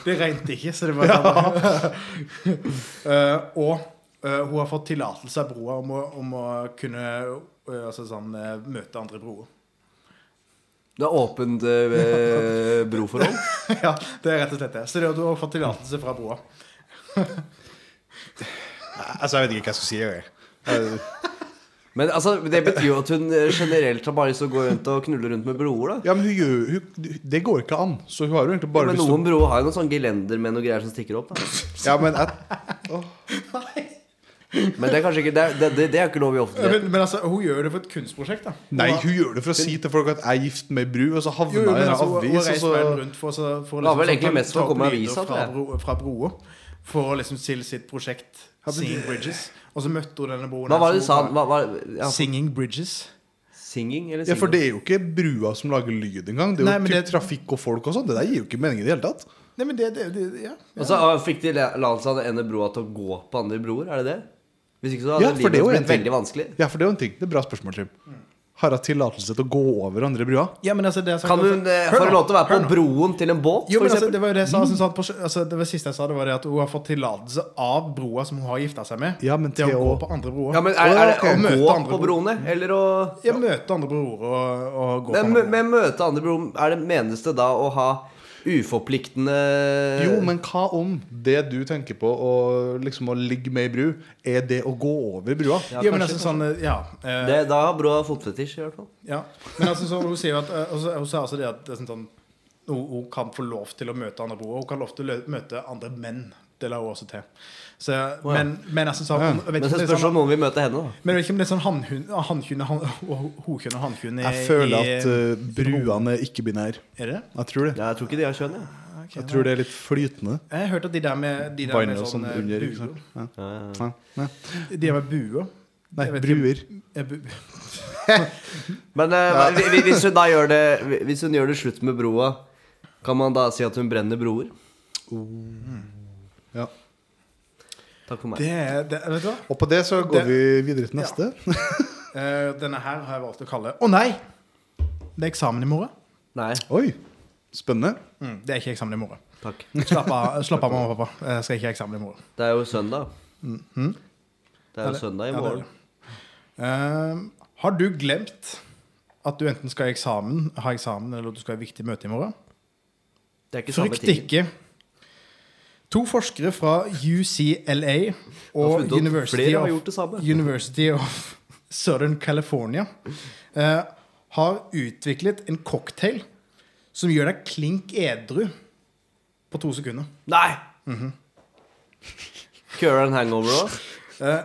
Speaker 2: Det regnet ikke, så det var ja. Og eh, hun har fått tillatelse av broa om å, om å kunne eh, altså sånn, eh, møte andre broer.
Speaker 3: Du har åpent eh, broforhold?
Speaker 2: ja, det er rett og slett det. Så det, at du har fått tillatelse fra broa.
Speaker 1: Altså, Jeg vet ikke hva jeg skal si. Jeg. Eh,
Speaker 3: Men altså, det betyr jo at hun eh, generelt har bare lyst til å gå rundt og knulle rundt med broer, da.
Speaker 1: Ja, men hun gjør hun, Det går ikke an. Så hun har jo egentlig bare
Speaker 3: Men
Speaker 1: lyst til
Speaker 3: noen broer har jo noen sånn gelender med noe greier som stikker opp. Da.
Speaker 1: å- Ja, men jeg,
Speaker 3: Men det er kanskje ikke Det, det, det, det er ikke lov i offentlighet.
Speaker 2: Men, men altså, hun gjør jo det for et kunstprosjekt, da.
Speaker 1: Nei, hun gjør det for å si til folk at jeg er gift med ei bru, og så havna
Speaker 2: Jo,
Speaker 1: jeg
Speaker 2: jo,
Speaker 1: i
Speaker 2: men
Speaker 1: en
Speaker 2: altså, hun- hun har
Speaker 1: avis, og
Speaker 2: reist
Speaker 1: så
Speaker 2: verden rundt for, så, for å
Speaker 3: Det var vel
Speaker 2: sånn
Speaker 3: egentlig
Speaker 2: ta-
Speaker 3: mest for
Speaker 2: ta
Speaker 3: å komme
Speaker 2: opp
Speaker 3: i
Speaker 2: lyder
Speaker 3: avisa, tror
Speaker 2: fra,
Speaker 3: jeg.
Speaker 2: bro, fra broa. For å liksom til sitt prosjekt Singing Bridges. Og så møtte hun denne broen.
Speaker 3: Hva
Speaker 2: her,
Speaker 3: var
Speaker 2: så
Speaker 3: det du sa?
Speaker 2: hun
Speaker 3: Hva, hva,
Speaker 2: var-
Speaker 3: ja,
Speaker 2: Singing Bridges.
Speaker 3: singing
Speaker 1: Ja,
Speaker 3: eller singing?
Speaker 1: for det er jo ikke brua som lager lyd engang. Det er jo
Speaker 2: Nei, men
Speaker 1: typ
Speaker 2: det-
Speaker 1: trafikk og folk og sånn. Det der gir jo ikke mening i det hele tatt.
Speaker 2: Nei, men det, det, det ja.
Speaker 3: Og så ah, fikk de tillatelse av den ene broa til å gå på andre broer, er det det? Hvis ikke så hadde
Speaker 1: Ja, for det er
Speaker 3: livet
Speaker 1: jo en
Speaker 3: blitt
Speaker 1: ting.
Speaker 3: veldig vanskelig.
Speaker 1: Ja, for det er jo en ting. Det er bra spørsmål,
Speaker 2: Mm.
Speaker 1: Trym. Har jeg tillatelse til å gå over andre brua?
Speaker 2: ja, men altså, det jeg sa-
Speaker 3: Kan hun eh,
Speaker 2: Hør
Speaker 3: få
Speaker 2: nå,
Speaker 3: lov til å være
Speaker 2: hør nå.
Speaker 3: på broen til en båt,
Speaker 2: jo,
Speaker 3: for
Speaker 2: men altså,
Speaker 3: eksempel?
Speaker 2: det var jo det jeg sa. Sånn, at på, sjø- altså, det var siste jeg sa, det var det at hun har fått tillatelse av broa som hun har gifta seg med,
Speaker 1: Ja, men
Speaker 2: til
Speaker 1: til
Speaker 2: å gå
Speaker 1: å-
Speaker 2: på andre broer.
Speaker 3: Ja, men er, er
Speaker 2: Å
Speaker 3: det å
Speaker 2: møte
Speaker 3: gå
Speaker 2: andre
Speaker 3: på
Speaker 2: broer.
Speaker 3: broene, eller å
Speaker 2: Ja, møte andre broer og, og gå på
Speaker 3: Men
Speaker 2: andre broer.
Speaker 3: mø- med møte andre broer, er det menes det da å ha uforpliktende
Speaker 2: Eh.
Speaker 1: Jo, men hva om det du tenker på å, liksom, å ligge med ei bru, er det å gå over brua?
Speaker 3: Ja,
Speaker 2: Ja, men
Speaker 3: kanskje,
Speaker 2: altså sånn, ja. eh,
Speaker 3: det, Da har broa fotfetisj, i hvert fall.
Speaker 2: Ja, men altså, så hun sier jo at eh, altså, Hun sier altså det at det er sånn, sånn, hun, hun kan få lov til å møte andre broer. Hun kan lov til å lø- møte andre menn. Det la hun også til. Så, Men, men altså, så, jeg vet
Speaker 3: Men
Speaker 2: ikke om
Speaker 3: så
Speaker 2: det er
Speaker 3: spørs
Speaker 2: sånn,
Speaker 3: om noen vil møte henne, da.
Speaker 2: men jeg vet ikke om det er sånn hannhund- hannkjønn og han- og hokjønn og hannkjønn i-
Speaker 1: Jeg føler
Speaker 2: i-
Speaker 1: at eh, bruene er ikke-binære.
Speaker 2: Er det?
Speaker 1: Jeg tror det.
Speaker 3: Ja, jeg tror ikke de har kjønn, jeg.
Speaker 1: Jeg tror det er litt flytende.
Speaker 2: Jeg har hørt at de der med, de der med
Speaker 1: Beina og
Speaker 2: sånn,
Speaker 1: sånn
Speaker 2: eh,
Speaker 1: under. Ikke
Speaker 2: buer
Speaker 1: sant? Ja.
Speaker 3: Ja, ja, ja.
Speaker 1: Ja. Nei.
Speaker 2: De der med buer
Speaker 1: Nei,
Speaker 2: Jeg vet ikke.
Speaker 1: bruer.
Speaker 2: Eh, bu-
Speaker 3: Men eh, hva- hvi- hvis hun da gjør det Hvis hun gjør det slutt med broa, kan man da si at hun brenner broer?
Speaker 1: Ja.
Speaker 3: Takk for meg.
Speaker 2: Det, er- det, vet du hva?
Speaker 1: Og på det så går
Speaker 2: Det-
Speaker 1: vi videre til neste.
Speaker 2: Eh, denne her har jeg valgt å kalle Å nei! Det er eksamen i morgen.
Speaker 3: Nei,
Speaker 1: Oi, spennende.
Speaker 2: Mm, det er ikke eksamen i morgen.
Speaker 3: takk.
Speaker 2: Slapp av, slapp av mamma og pappa. Jeg skal ikke ha eksamen i morgen.
Speaker 1: Mhm.
Speaker 3: Det er jo søndag. Det er jo søndag i morgen.
Speaker 2: Ehm, har du glemt at du enten skal i eksamen, ha eksamen eller at du skal ha viktig møte i morgen?
Speaker 3: Det er ikke samme
Speaker 2: Frykt
Speaker 3: ting.
Speaker 2: ikke. To forskere fra UCLA
Speaker 3: har
Speaker 2: og
Speaker 3: funnet opp
Speaker 2: University
Speaker 3: flere har gjort
Speaker 2: of,
Speaker 3: det samme.
Speaker 2: University of Southern California eh, har utviklet en cocktail som gjør deg klink edru på to sekunder.
Speaker 3: Nei!
Speaker 1: Mhm.
Speaker 3: Kører det en hangover òg?
Speaker 2: Eh,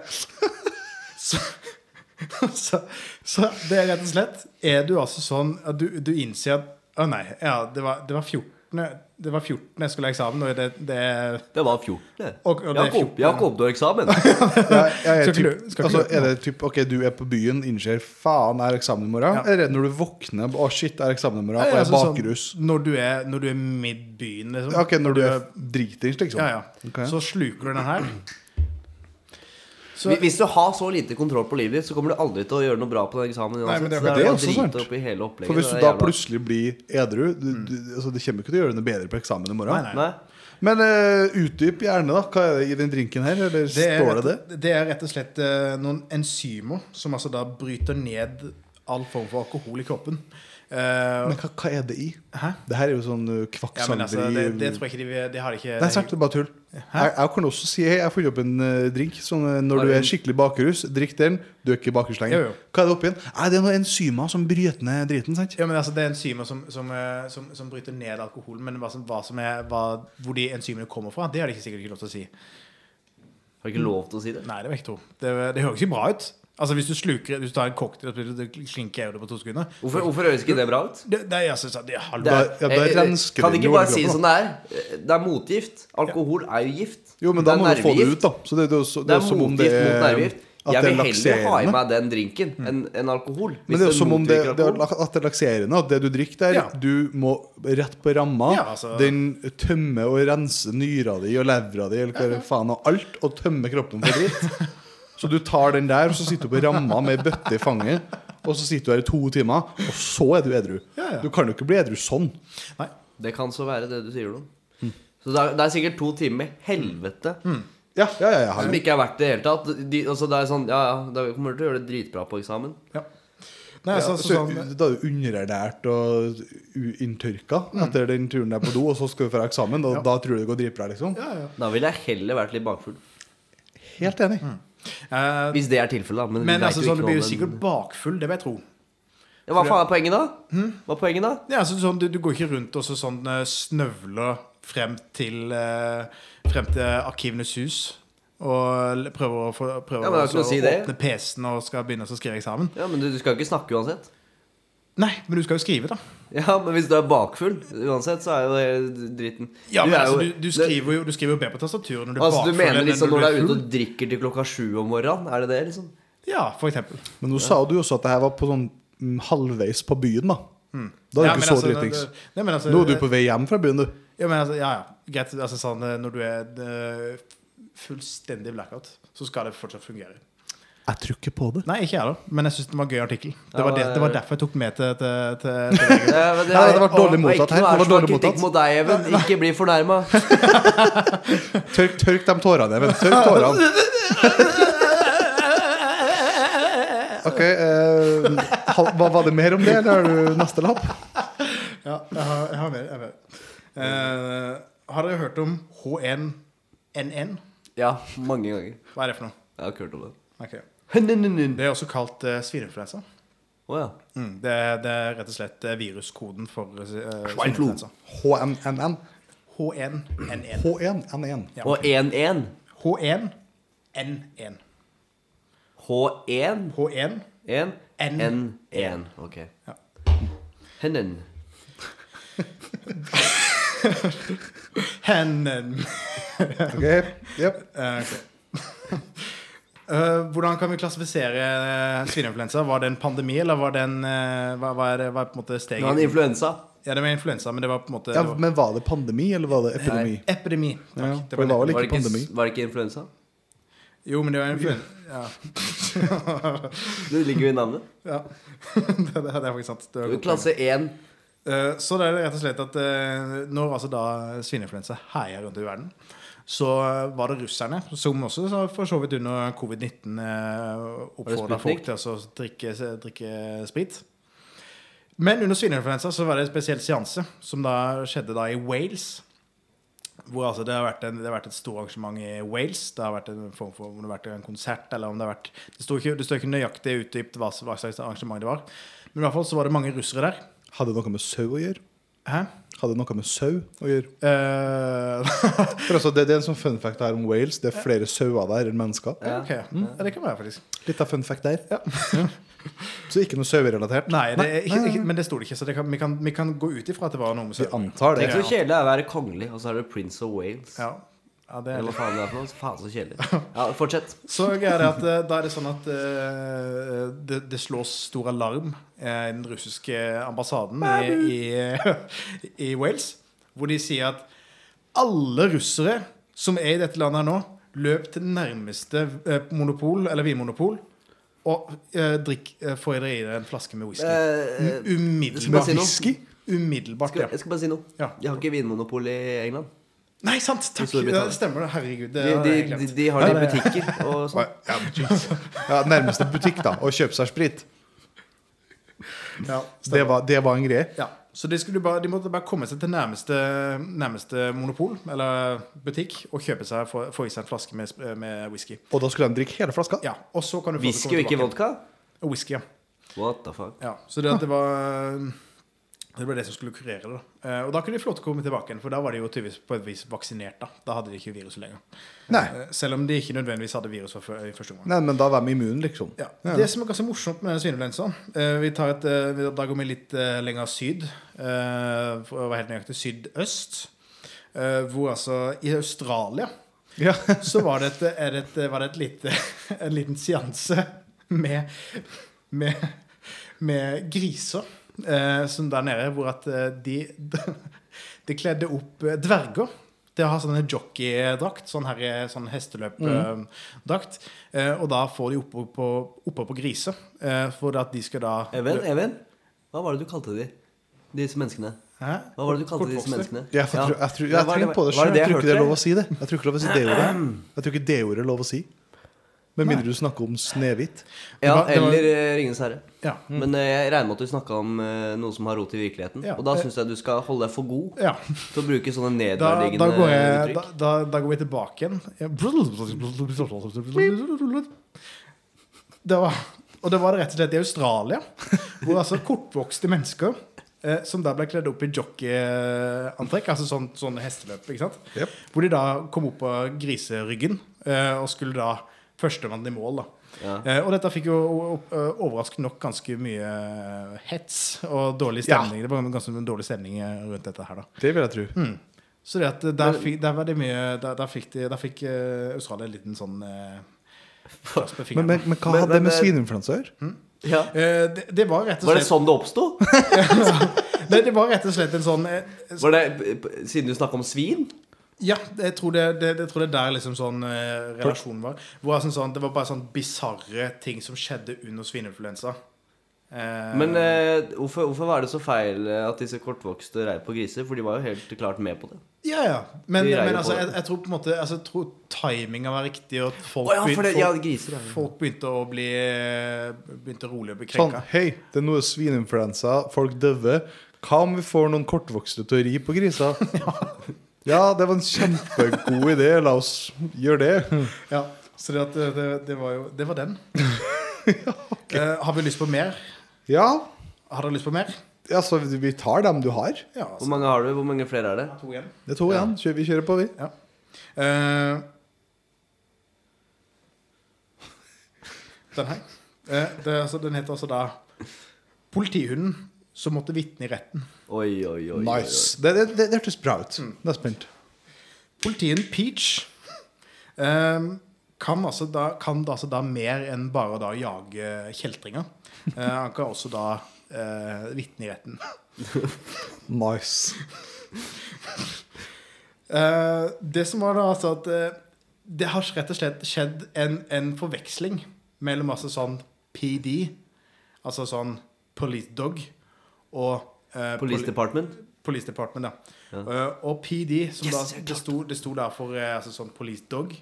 Speaker 2: så, så det er rett og slett Er du altså sånn at du, du innser at Å nei, ja, det var, det var 14. Det var 14 jeg skulle ha eksamen, og det, det er
Speaker 3: Det var 14. det.
Speaker 2: Og- og det er
Speaker 3: jeg har ikke opp- jeg har ikke oppnådd eksamen.
Speaker 1: Jeg, jeg er
Speaker 2: Skal ikke
Speaker 1: typ,
Speaker 2: du- skal ikke
Speaker 1: altså,
Speaker 2: du-
Speaker 1: er det typ Ok, du er på byen, innser faen, er eksamen i morgen?
Speaker 2: Ja.
Speaker 1: Eller er det når du våkner Å, shit, er eksamen i morgen?
Speaker 2: Nei,
Speaker 1: Og er
Speaker 2: altså sånn,
Speaker 1: bakrus?
Speaker 2: når, du er, når du er midtbyen, liksom.
Speaker 1: Ok, når du er dritings, liksom?
Speaker 2: ja, ja.
Speaker 1: Ok.
Speaker 2: Så sluker du den her. Så,
Speaker 3: Hvis- Hvis du har så lite kontroll på livet ditt, så kommer du aldri til å gjøre noe bra på den eksamen.
Speaker 2: Nei, men det er
Speaker 3: uansett.
Speaker 1: akkurat det,
Speaker 3: Så bare å
Speaker 1: også
Speaker 3: drite
Speaker 1: sant.
Speaker 3: opp i hele opplegget,
Speaker 1: For hvis du
Speaker 3: det er
Speaker 1: da
Speaker 3: jævla-
Speaker 1: plutselig blir edru du, du, altså, Det kommer ikke til å gjøre noe bedre på eksamen i morgen.
Speaker 2: Nei,
Speaker 3: Nei.
Speaker 1: Men eh, utdyp gjerne, da. Hva er det i den drinken her? Eller
Speaker 2: det, er
Speaker 1: står det det?
Speaker 2: rett, det er rett og slett eh, noen enzymer som altså da bryter ned all form for alkohol i kroppen. Eh,
Speaker 1: Men hva, hva er det i?
Speaker 2: Hæ?
Speaker 1: Det her er jo sånn uh,
Speaker 2: ja, men altså,
Speaker 1: kvakksanderi
Speaker 2: det, det tror jeg ikke de vil Det har de ikke
Speaker 1: Nei, sant, det er bare tull. Jeg, jeg kan også si hei, jeg har funnet opp en eh, drink. Sånn, eh, når
Speaker 3: Har
Speaker 1: du
Speaker 3: du en-
Speaker 1: er skikkelig bakrus, drikk den. Du er ikke bakrus
Speaker 2: Jo,
Speaker 1: lenger.
Speaker 2: jo.
Speaker 1: Hva er det oppi den? Nei, det er noen enzymer som bryter ned driten. sant?
Speaker 2: Ja, men altså, Det er enzymer som, som, eh, som, som bryter ned alkoholen, men hva som, hva som er, hva, hvor de enzymene kommer fra, det har de ikke sikkert ikke lov til å si.
Speaker 3: Har ikke lov til å si det.
Speaker 2: Nei, det vil jeg ikke tro. Det, det høres ikke bra ut. Altså, Hvis du sluker, hvis du tar en cocktail og så klinker jeg det på to sekunder
Speaker 3: Hvorfor, hvorfor høres ikke det bra ut?
Speaker 2: Det, det, jeg synes, at det, hallo.
Speaker 3: Det
Speaker 1: Da- ja, da
Speaker 3: eh, eh,
Speaker 1: rensker
Speaker 3: kan
Speaker 1: det
Speaker 3: de ikke
Speaker 1: jo
Speaker 3: bare
Speaker 1: hele
Speaker 3: si det
Speaker 1: kroppen,
Speaker 3: som det er? Eh, Det er motgift. Alkohol er jo gift.
Speaker 1: Jo, men da
Speaker 3: Det er
Speaker 1: må du få det
Speaker 3: nervegift.
Speaker 1: ut, da. Så det, det, er jo så-
Speaker 3: Det er
Speaker 1: jo som om
Speaker 3: motgift
Speaker 1: det
Speaker 3: mot
Speaker 1: er-
Speaker 3: nervegift.
Speaker 1: at
Speaker 3: Jeg
Speaker 1: det er
Speaker 3: vil heller ha i
Speaker 1: lakserende.
Speaker 3: meg den drinken enn enn alkohol. hvis
Speaker 1: Men det er jo
Speaker 3: den
Speaker 1: som om det,
Speaker 3: motvirker
Speaker 1: det er,
Speaker 3: alkohol.
Speaker 1: at det er lakserende. At det du drikker der,
Speaker 2: Ja.
Speaker 1: du må rett på ramma.
Speaker 2: Ja, altså.
Speaker 1: Den tømmer og renser nyra di og levra di eller hva faen og alt, og tømmer kroppen for dritt. Så du tar den der, og så sitter du på ramma med ei bøtte i fanget. Og så sitter du her i to timer, og så er du edru.
Speaker 2: Ja, ja.
Speaker 1: Du kan jo ikke bli edru sånn.
Speaker 2: Nei.
Speaker 3: Det kan så være det du sier noe om.
Speaker 1: Mm.
Speaker 3: Så det er, det er sikkert to timer med helvete
Speaker 1: Ja, ja, Mm. ja, ja.
Speaker 3: som
Speaker 1: herregud.
Speaker 3: ikke er verdt det i det hele tatt. De, altså det er sånn, ja, ja, da kommer du til å gjøre det dritbra på eksamen.
Speaker 2: Ja. Nei,
Speaker 1: Ja,
Speaker 2: altså,
Speaker 1: så,
Speaker 2: sånn,
Speaker 1: da er du underernært og u- inntørka
Speaker 2: Mm.
Speaker 1: etter den turen der på do, og så skal du fra eksamen, og da tror du det går dritbra, liksom.
Speaker 2: ja, ja.
Speaker 3: Da ville jeg heller vært litt bakfull.
Speaker 1: Helt enig.
Speaker 2: Mm. Eh,
Speaker 3: Hvis det er tilfellet, da. Men, vi
Speaker 2: men
Speaker 3: vet
Speaker 2: altså,
Speaker 3: jo
Speaker 2: sånn,
Speaker 3: ikke
Speaker 2: du blir
Speaker 3: noe
Speaker 2: jo
Speaker 3: om
Speaker 2: sikkert
Speaker 3: den-
Speaker 2: bakfull, det vil jeg tro.
Speaker 3: ja, Hva faen er poenget da?
Speaker 1: Mm.
Speaker 3: Hva er poenget da?
Speaker 2: Ja, altså, sånn, du, du går ikke rundt og så sånn eh, snøvler frem til, eh, frem til Arkivenes hus og l- prøver å, få, prøver
Speaker 3: Ja, men det er
Speaker 2: å
Speaker 3: ikke noe å si det.
Speaker 2: åpne PC-en og skal begynne å skrive eksamen.
Speaker 3: Ja, men du, du skal jo ikke snakke uansett.
Speaker 2: Nei, men du skal jo skrive, da.
Speaker 3: Ja, men hvis du er bakfull uansett, så er jo det dritten.
Speaker 2: Ja, men
Speaker 3: er
Speaker 2: altså,
Speaker 3: jo-
Speaker 2: du, du skriver jo du skriver jo bedre på tastaturet når du
Speaker 3: det,
Speaker 2: er
Speaker 3: altså, du
Speaker 2: bakfull.
Speaker 3: mener
Speaker 2: enn
Speaker 3: liksom når du
Speaker 2: blir
Speaker 3: er ute
Speaker 2: full.
Speaker 3: og drikker til klokka sju om morgenen? Er det det, liksom?
Speaker 2: Ja, for eksempel.
Speaker 1: Men nå sa du jo også at det her var på sånn mm, halvveis på byen, da. Da er
Speaker 2: Ja,
Speaker 1: du
Speaker 2: men
Speaker 1: ikke så
Speaker 2: altså,
Speaker 1: dritings.
Speaker 2: det- det- nei, men altså,
Speaker 1: Nå er du på vei hjem fra byen, du.
Speaker 2: Ja, men altså, ja, ja. Greit, altså sånn eh, når du er eh, fullstendig blackout, så skal det fortsatt fungere.
Speaker 1: Jeg tror ikke på det.
Speaker 2: Nei, ikke jeg heller, men jeg syns den var en gøy artikkel. Det
Speaker 3: Ja,
Speaker 2: var, det,
Speaker 3: det-
Speaker 2: det var derfor jeg tok den med til, til, til, til VG.
Speaker 3: Ja, Eh, men det,
Speaker 1: Nei, det har vært
Speaker 3: og-
Speaker 1: dårlig
Speaker 3: og
Speaker 1: mottatt
Speaker 3: ikke
Speaker 1: her. Det
Speaker 3: noe
Speaker 1: var
Speaker 3: ærsvak
Speaker 1: dårlig
Speaker 3: kritikk
Speaker 1: mottatt.
Speaker 3: mot deg, Even. Ikke bli fornærma.
Speaker 1: Tørk, tørk de tårene, Even. Tørk tårene. Ok, eh, hal- hva var det mer om det, eller har du neste lapp?
Speaker 2: Ja, jeg har, jeg har mer. Jeg har, mer. Eh, har dere hørt om H1NN?
Speaker 3: Ja, mange ganger.
Speaker 2: Hva er det for noe?
Speaker 3: Jeg har ikke hørt om det.
Speaker 2: Ok.
Speaker 3: Å
Speaker 2: Det er også kalt uh, svineinfluensa.
Speaker 3: ja.
Speaker 2: Mm, det, det er rett og slett eh, viruskoden for eh, svineinfluensa.
Speaker 1: HMNN.
Speaker 2: H1NN.
Speaker 1: H1N1.
Speaker 2: Ja.
Speaker 3: Og 1-1.
Speaker 2: H1N1.
Speaker 3: H1.
Speaker 2: H1
Speaker 3: 1.
Speaker 2: N.
Speaker 3: N1. Ok.
Speaker 2: Ja.
Speaker 3: Hennen.
Speaker 2: Hennen.
Speaker 1: Ok, yep.
Speaker 2: Eh, ok. Eh, hvordan kan vi klassifisere eh, svineinfluensa? Var det en pandemi, eller var det en eh, hva, hva er, hva er på en måte
Speaker 3: Det var en
Speaker 2: steget?
Speaker 3: influensa.
Speaker 2: Ja, det var influensa, men det var på en måte
Speaker 1: ja,
Speaker 2: det var-
Speaker 1: Men var det pandemi, eller var det epidemi?
Speaker 2: Epidemi. Takk.
Speaker 1: Ja, for
Speaker 2: det var
Speaker 1: det var
Speaker 2: det.
Speaker 1: vel
Speaker 3: Var det,
Speaker 1: ikke pandemi?
Speaker 3: ikke, var det ikke influensa?
Speaker 2: Jo, men det var influensa. Ja.
Speaker 3: Det ligger jo i navnet.
Speaker 2: ja. det, det, det er faktisk sant. Det var godt
Speaker 3: Klasse 1.
Speaker 2: poeng. Eh, så det er det rett og slett at eh, når altså da svineinfluensa herjer rundt i verden, så var det russerne, som også så for så vidt under covid-19 eh, oppfordra folk
Speaker 3: Sputnik?
Speaker 2: til altså å drikke, drikke sprit. Men under svineinfluensa så var det en spesiell seanse, som da skjedde da i Wales. Hvor altså det, har vært en, det har vært et stort arrangement i Wales. Det har vært en form for, om det har vært en konsert, eller om det har vært Det står ikke, det står ikke nøyaktig utdypt hva, hva slags arrangement det var. Men i hvert fall så var det mange russere der.
Speaker 1: Hadde det noe med sau å gjøre?
Speaker 2: Hæ?
Speaker 1: Hadde det noe med sau å gjøre?
Speaker 2: Eh,
Speaker 1: For altså, det, det er en sånn fun fact her om Wales. Det er flere sauer der enn mennesker.
Speaker 2: ok. Ja, det kan være, faktisk.
Speaker 1: Litt av fun fact der. Så ikke noe sauerelatert.
Speaker 2: Nei, det er ikke, ikke, men det sto det ikke, så det kan, vi, kan, vi kan gå ut ifra at det var noe med
Speaker 1: Vi
Speaker 2: søvn.
Speaker 1: antar det.
Speaker 3: Tenk så kjedelig det er å være kongelig, og så er det Prince of Wales.
Speaker 2: Ja. Ja, det er
Speaker 3: Eller hva faen det er for noe. Faen, så kjedelig. Ja, fortsett.
Speaker 2: Så greia er det at eh, da er det sånn at eh, det, det slås stor alarm eh, i den russiske ambassaden i, i, i Wales, hvor de sier at alle russere som er i dette landet her nå, løp til nærmeste eh, monopol, eller vinmonopol, og eh, drikk, eh, få i dere en flaske med whisky.
Speaker 3: Eh, skal jeg
Speaker 2: Umiddelbart.
Speaker 3: si noe?
Speaker 2: Whisky? Umiddelbart,
Speaker 3: skal,
Speaker 2: ja.
Speaker 3: jeg skal bare si noe.
Speaker 2: Ja.
Speaker 3: De har ikke vinmonopol i England.
Speaker 2: Nei, sant! Takk.
Speaker 3: Storbritannia.
Speaker 2: Det stemmer, det. Herregud. Det
Speaker 3: De,
Speaker 2: har
Speaker 3: de,
Speaker 2: jeg
Speaker 3: de,
Speaker 2: glemt.
Speaker 3: de har det i butikker og sånn.
Speaker 1: Ja, men jeez. ja, nærmeste butikk, da. Å kjøpe seg sprit.
Speaker 2: Ja,
Speaker 1: Det var, det var en greie.
Speaker 2: Ja, så de, skulle bare, de måtte bare komme seg til nærmeste, nærmeste monopol eller butikk og kjøpe seg, få, få i seg en flaske med, sp- med whisky.
Speaker 1: Og da skulle de drikke hele flaska.
Speaker 2: Ja, og så kan du få det
Speaker 3: Whisky
Speaker 2: komme
Speaker 3: og ikke
Speaker 2: tilbake.
Speaker 3: vodka?
Speaker 2: Whisky, ja.
Speaker 3: What the fuck?
Speaker 2: ja. Så det, at det var det var det som skulle kurere det. da. Eh, Og da kunne de få lov til å komme tilbake igjen, for da var de jo tydeligvis på et vis vaksinert. Da Da hadde de ikke viruset lenger.
Speaker 1: Nei.
Speaker 2: Eh, Selv om de ikke nødvendigvis hadde virus fra før- i første omgang.
Speaker 1: Nei, men da var de immune, liksom.
Speaker 2: Ja. Det som er ganske morsomt med svineinfluensaen eh, vi tar et, eh, vi- Da går vi litt eh, lenger syd, eh, for å være helt nøyaktig sydøst. Eh, hvor altså I Australia
Speaker 1: Ja.
Speaker 2: så var det, et, er det, et, var det et lite, en liten seanse med, med, med griser eh, som der nede, hvor at eh, de, de kledde opp eh, dverger til å ha sånne jockeydrakt, sånn, her, eh, sånn hesteløpdrakt. Eh, og da får de oppå på, oppå på griser, eh, for at de skal da
Speaker 3: Even, Even, hva var det du kalte de? Disse menneskene.
Speaker 2: Hæ?
Speaker 3: Hva var det du kalte disse
Speaker 2: Kortvokste?
Speaker 3: menneskene?
Speaker 1: Jeg, får tro- jeg, tror- jeg
Speaker 3: Ja,
Speaker 1: har
Speaker 3: var
Speaker 1: tenkt på det
Speaker 3: var
Speaker 1: sjøl. Jeg tror
Speaker 3: jeg
Speaker 1: ikke det er
Speaker 3: hørte?
Speaker 1: lov å si det. Jeg tror ikke det er lov å si D-ordet. Jeg tror ikke D-ordet er lov å si. Med mindre du snakker om Snehvit.
Speaker 3: Ja,
Speaker 2: Det var- det var-
Speaker 3: eller eh, Ringenes herre.
Speaker 2: Ja.
Speaker 3: Men eh, jeg regner med at du snakka om eh, noe som har rot i virkeligheten.
Speaker 2: Ja,
Speaker 3: Og da
Speaker 2: eh,
Speaker 3: syns jeg du skal holde deg for god
Speaker 2: Ja.
Speaker 3: til å bruke sånne
Speaker 2: Da, da,
Speaker 3: nedverdigende
Speaker 2: går jeg, da,
Speaker 3: uttrykk.
Speaker 2: da, da går vi tilbake igjen. Det var, og det var det rett og slett i Australia, hvor altså kortvokste mennesker eh, som da ble kledd opp i jockeyantrekk, altså sånn, sånn hesteløp, ikke sant?
Speaker 1: Jep.
Speaker 2: hvor de da kom opp på griseryggen eh, og skulle da førstemann i mål. da.
Speaker 3: Ja.
Speaker 2: Eh, og dette fikk jo eh, overraskende nok ganske mye hets og dårlig
Speaker 1: Ja.
Speaker 2: stemning. Det var ganske mye dårlig stemning eh, rundt dette her, da.
Speaker 1: Det vil jeg tro.
Speaker 2: Så det at eh, der, fikk, der var det mye Der, der fikk, de, der fikk eh, Australia en liten sånn eh, klaps på
Speaker 1: Men,
Speaker 2: fingeren.
Speaker 1: men, men hva
Speaker 3: Men-
Speaker 1: hadde det
Speaker 3: men,
Speaker 1: med
Speaker 3: eh,
Speaker 1: svineinfluensa å gjøre?
Speaker 3: Ja.
Speaker 2: Eh, det, det var rett og
Speaker 3: Var det
Speaker 2: slett
Speaker 3: sånn det oppsto?
Speaker 2: det, det var rett og slett en sånn eh, s-
Speaker 3: Var det p- Siden du snakka om svin?
Speaker 2: Ja, jeg tror det, det, jeg tror det er der liksom sånn eh, relasjonen var. Hvor altså sånn, Det var bare sånn bisarre ting som skjedde under svineinfluensa. Eh,
Speaker 3: Men eh, hvorfor, hvorfor var det så feil eh, at disse kortvokste rei på griser? For de var jo helt klart med på det.
Speaker 2: Ja, ja. Men,
Speaker 3: Vi reier
Speaker 2: men
Speaker 3: på
Speaker 2: altså,
Speaker 3: det.
Speaker 2: jeg, jeg tror på en måte altså, Jeg tror timinga var riktig, og at folk,
Speaker 3: Å ja, for
Speaker 2: begynte,
Speaker 3: det, ja,
Speaker 2: folk,
Speaker 3: griser, ja.
Speaker 2: folk begynte å bli eh, Begynte rolig å bli
Speaker 1: Sånn,
Speaker 2: krenka.
Speaker 1: hei, det er noe svineinfluensa, folk døver. Hva om vi får noen kortvokste til å ri på grisa? Ja, det var en kjempegod idé. La oss gjøre det.
Speaker 2: Ja, så det, at eh, det, det, det var jo Det var den. eh, har vi lyst på mer?
Speaker 1: Ja,
Speaker 2: Har dere lyst på mer?
Speaker 1: altså, vi tar dem du har.
Speaker 2: Ja,
Speaker 3: Hvor
Speaker 2: altså,
Speaker 3: mange har du? Hvor mange flere er det?
Speaker 2: to igjen.
Speaker 1: Det er to igjen. Kjør, vi kjører på, vi.
Speaker 2: Ja. Eh, den her. Eh, det, er altså, den heter altså da 'Politihunden som måtte vitne i retten'.
Speaker 3: Oi, oi, oi. oi, Mm. oi.
Speaker 1: Nice. Det, det, det, det hørtes bra ut. Det er spent.
Speaker 2: Politien Peach eh, kan, altså da, kan da, altså da mer enn bare da jage kjeltringer. Eh, han kan også da eh, vitne i retten.
Speaker 1: Nice.
Speaker 2: Eh, det som var da, altså at eh, det har rett og slett skjedd en, en forveksling mellom altså sånn PD, altså sånn police dog, og eh,
Speaker 3: Police
Speaker 2: poli-
Speaker 3: Department?
Speaker 2: Police Department, ja.
Speaker 3: Ja.
Speaker 2: Eh, og PD, som
Speaker 3: Yes,
Speaker 2: da,
Speaker 3: jeg
Speaker 2: det, sto, det sto der for eh, altså, sånn Police Dog.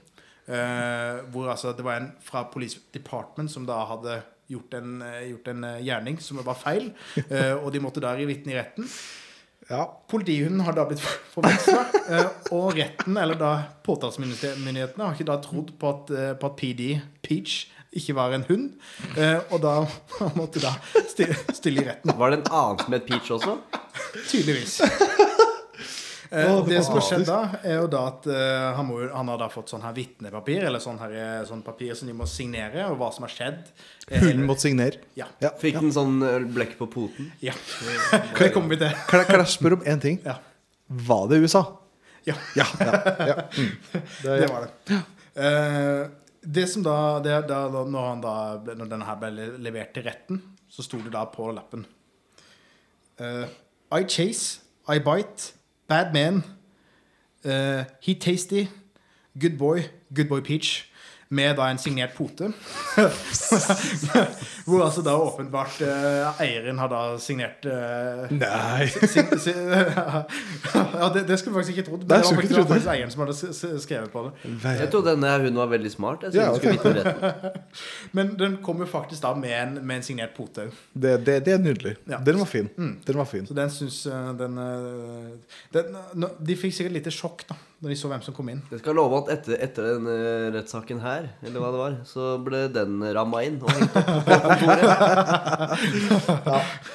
Speaker 2: eh, hvor altså det var en fra Police Department som da hadde gjort en, eh, gjort en eh, gjerning som var feil. eh, og de måtte da gi vitne i retten.
Speaker 1: Ja.
Speaker 2: Politihunden har da blitt forveksla, og retten, eller da påtalemyndighetene, har ikke da trodd på at, eh, på at PD, Peach, ikke var en hund. eh, Og da måtte da stille, stille i retten,
Speaker 3: Var det en annen som het Peach også?
Speaker 2: tydeligvis. Eh,
Speaker 1: Å, det er
Speaker 2: det som har
Speaker 1: fantastisk.
Speaker 2: skjedd da, er jo da at eh, han, må, jo- han har da fått sånn her vitnepapir, eller sånn, her, eh, sånn papir som de må signere, og hva som har skjedd. Eh,
Speaker 1: Hunden måtte signere.
Speaker 2: Ja.
Speaker 1: Ja.
Speaker 3: Fikk den sånn eh, blekk på poten?
Speaker 2: ja. Det kommer vi til.
Speaker 1: Kan, jeg, kan jeg spørre om én ting?
Speaker 2: Ja.
Speaker 1: Var det USA?
Speaker 2: Ja.
Speaker 1: Ja. ja, ja. Mm.
Speaker 2: Det var det. Eh, det som da, det, da da- når, han da ble, når denne her ble le- levert til retten, så sto det da på lappen eh, I chase, I bite, bad man, eh, he tasty, good boy, good boy peach. Med da en signert pote. Hvor altså da åpenbart eh, eieren har da signert eh,
Speaker 1: Nei.
Speaker 2: Sin- sin- ja, det, det skulle vi faktisk ikke trodd. Men
Speaker 1: Nei,
Speaker 2: det var
Speaker 1: skulle ikke
Speaker 2: faktisk, det var
Speaker 1: trodd det.
Speaker 2: faktisk eieren som hadde s- s- skrevet på det.
Speaker 3: Jeg trodde denne hunden var veldig smart. Jeg
Speaker 1: Ja,
Speaker 3: synes den skulle vitne i retten.
Speaker 2: Men den kom jo faktisk da med en, med en signert pote.
Speaker 1: Det, det, det er nydelig.
Speaker 2: Ja.
Speaker 1: Den var fin.
Speaker 3: Mm.
Speaker 1: Den var fin.
Speaker 2: Så den syns eh, den, eh, den nå- De fikk sikkert lite sjokk da Når de så hvem som kom inn.
Speaker 3: Jeg skal love at etter, etter denne rettssaken her, eller hva det var, så ble den ramma inn og hengt opp på kontoret.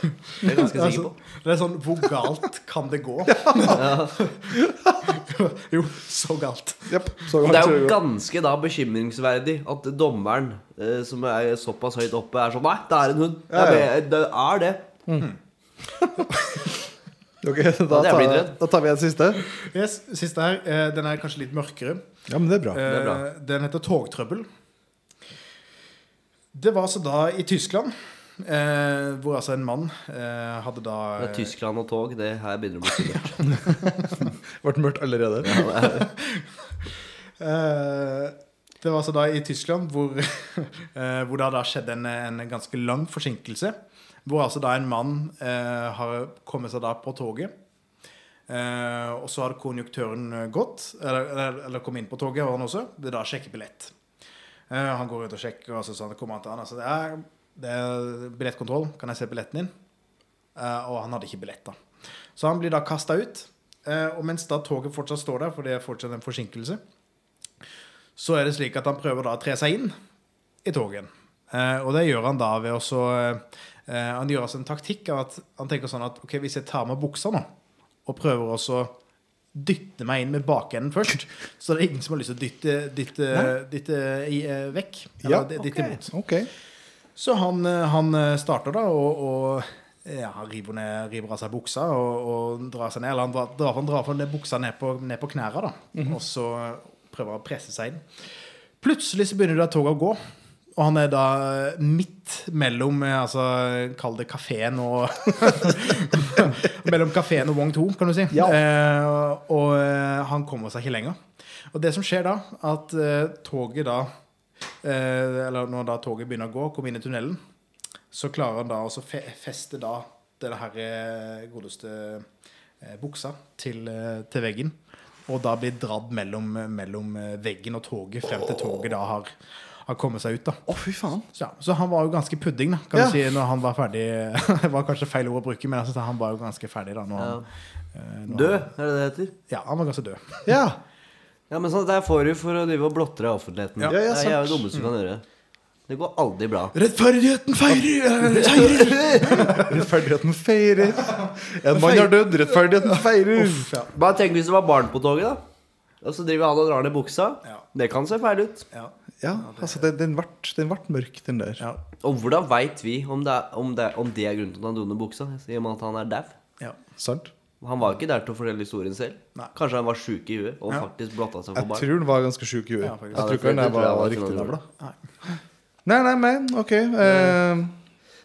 Speaker 3: Det er jeg ganske sikker på.
Speaker 2: Altså, det er sånn Hvor galt kan det gå? jo, så galt.
Speaker 1: Japp, så
Speaker 3: Det er jo
Speaker 1: tror jeg-
Speaker 3: ganske da bekymringsverdig at dommeren, eh, som er såpass høyt oppe, er sånn Nei, det er en hund. Det
Speaker 1: Ja,
Speaker 3: er, det er det.
Speaker 1: Ok, da,
Speaker 3: det er
Speaker 1: tar
Speaker 3: blitt
Speaker 1: jeg,
Speaker 3: redd.
Speaker 1: da tar vi en siste.
Speaker 2: Yes, siste her. eh, Den er kanskje litt mørkere.
Speaker 1: Ja, men det er bra.
Speaker 3: er bra.
Speaker 2: Eh, Den heter Togtrøbbel. Det var altså da i Tyskland, eh, hvor altså en mann eh, hadde da
Speaker 3: Det er Tyskland og tog. Det her begynner å bli skummelt.
Speaker 1: Ble mørkt allerede.
Speaker 2: Eh, Det var altså da i Tyskland hvor, eh, hvor det hadde skjedd en, en ganske lang forsinkelse. Hvor altså da en mann eh, har kommet seg da på toget. Eh, og så hadde konjunktøren gått, eller, eller, eller kom inn på toget, og han også. Det er da sjekke billett. Eh, han går rundt og sjekker, og så sånn, kommer han til han. Altså, det, er, det er billettkontroll. Kan jeg se billetten din? Eh, og han hadde ikke billett, da. Så han blir da kasta ut. Eh, og mens da toget fortsatt står der, for det er fortsatt en forsinkelse, så er det slik at han prøver da å tre seg inn i toget. Eh, og det gjør han da ved også eh, Han gjør altså en taktikk av at han tenker sånn at ok, hvis jeg tar meg buksa nå, og prøver også å dytte meg inn med bakenden først, så det er ingen som har lyst til å dytte, dytte, dytte i, eh, vekk. Eller
Speaker 1: Ja,
Speaker 2: d- dytte imot.
Speaker 1: Ok.
Speaker 2: Så han, eh, han eh, starter da og, og ja, han river, ned, river av seg buksa og, og drar seg ned. Eller han drar, drar, han drar for ned buksa ned på, ned på knærne, da. Og så prøver han å presse seg inn. Plutselig så begynner da toget å gå. Og han er da eh, midt mellom eh, altså, Kall det kafeen og Mellom kafeen og Wong 2, kan du si.
Speaker 1: Ja.
Speaker 2: Eh, og eh, han kommer seg ikke lenger. Og det som skjer da, at eh, toget da eh, Eller når da toget begynner å gå, kommer inn i tunnelen, så klarer han da å fe feste da den her eh, godeste eh, buksa til, eh, til veggen. Og da blir dratt mellom, mellom eh, veggen og toget frem til toget da har, har kommet seg ut. da
Speaker 1: Å, fy faen.
Speaker 2: så, ja, så han var jo ganske pudding, da, kan
Speaker 1: Ja.
Speaker 2: du si, når han var ferdig. Det var kanskje feil ord å bruke, men jeg synes han var jo ganske ferdig da. Når
Speaker 3: Ja.
Speaker 2: han, eh, når
Speaker 3: Død,
Speaker 2: han-
Speaker 3: er det det heter?
Speaker 2: Ja, han var ganske død.
Speaker 1: Ja.
Speaker 3: Ja, men sånn, Der får du for å drive og blotre offentligheten.
Speaker 1: Ja, ja,
Speaker 3: det er
Speaker 1: sant.
Speaker 3: jo det dummeste du kan gjøre. Det går aldri bra.
Speaker 1: Rettferdigheten feirer! eh, Rettferdigheten feirer. En mann har dødd, rettferdigheten feirer.
Speaker 2: Uff, ja.
Speaker 3: Bare tenk hvis det var barn på toget, da. Og så driver han og drar ned buksa.
Speaker 2: Ja.
Speaker 3: Det kan se feil ut.
Speaker 2: Ja,
Speaker 1: Ja, altså, den, den, vart, den vart mørk, den der.
Speaker 2: ja,
Speaker 3: Og hvordan veit vi om det, er, om, det, om det er grunnen til at han dro ned buksa? I og med at han er dau?
Speaker 2: ja.
Speaker 1: Sant?
Speaker 3: Han var jo ikke der til å fortelle historien selv.
Speaker 2: Nei.
Speaker 3: Kanskje han var sjuk i huet og
Speaker 2: Ja.
Speaker 3: faktisk blotta seg
Speaker 1: Jeg
Speaker 3: for barn.
Speaker 1: tror den var ganske sjuk i huet.
Speaker 2: Ja,
Speaker 1: Jeg
Speaker 2: faktisk.
Speaker 1: tror
Speaker 3: Ja, det-
Speaker 1: ikke den
Speaker 3: det
Speaker 1: der
Speaker 3: tror jeg
Speaker 1: var
Speaker 3: var
Speaker 1: riktig
Speaker 3: ikke noe
Speaker 1: navla. Nei, nei, men ok. eh,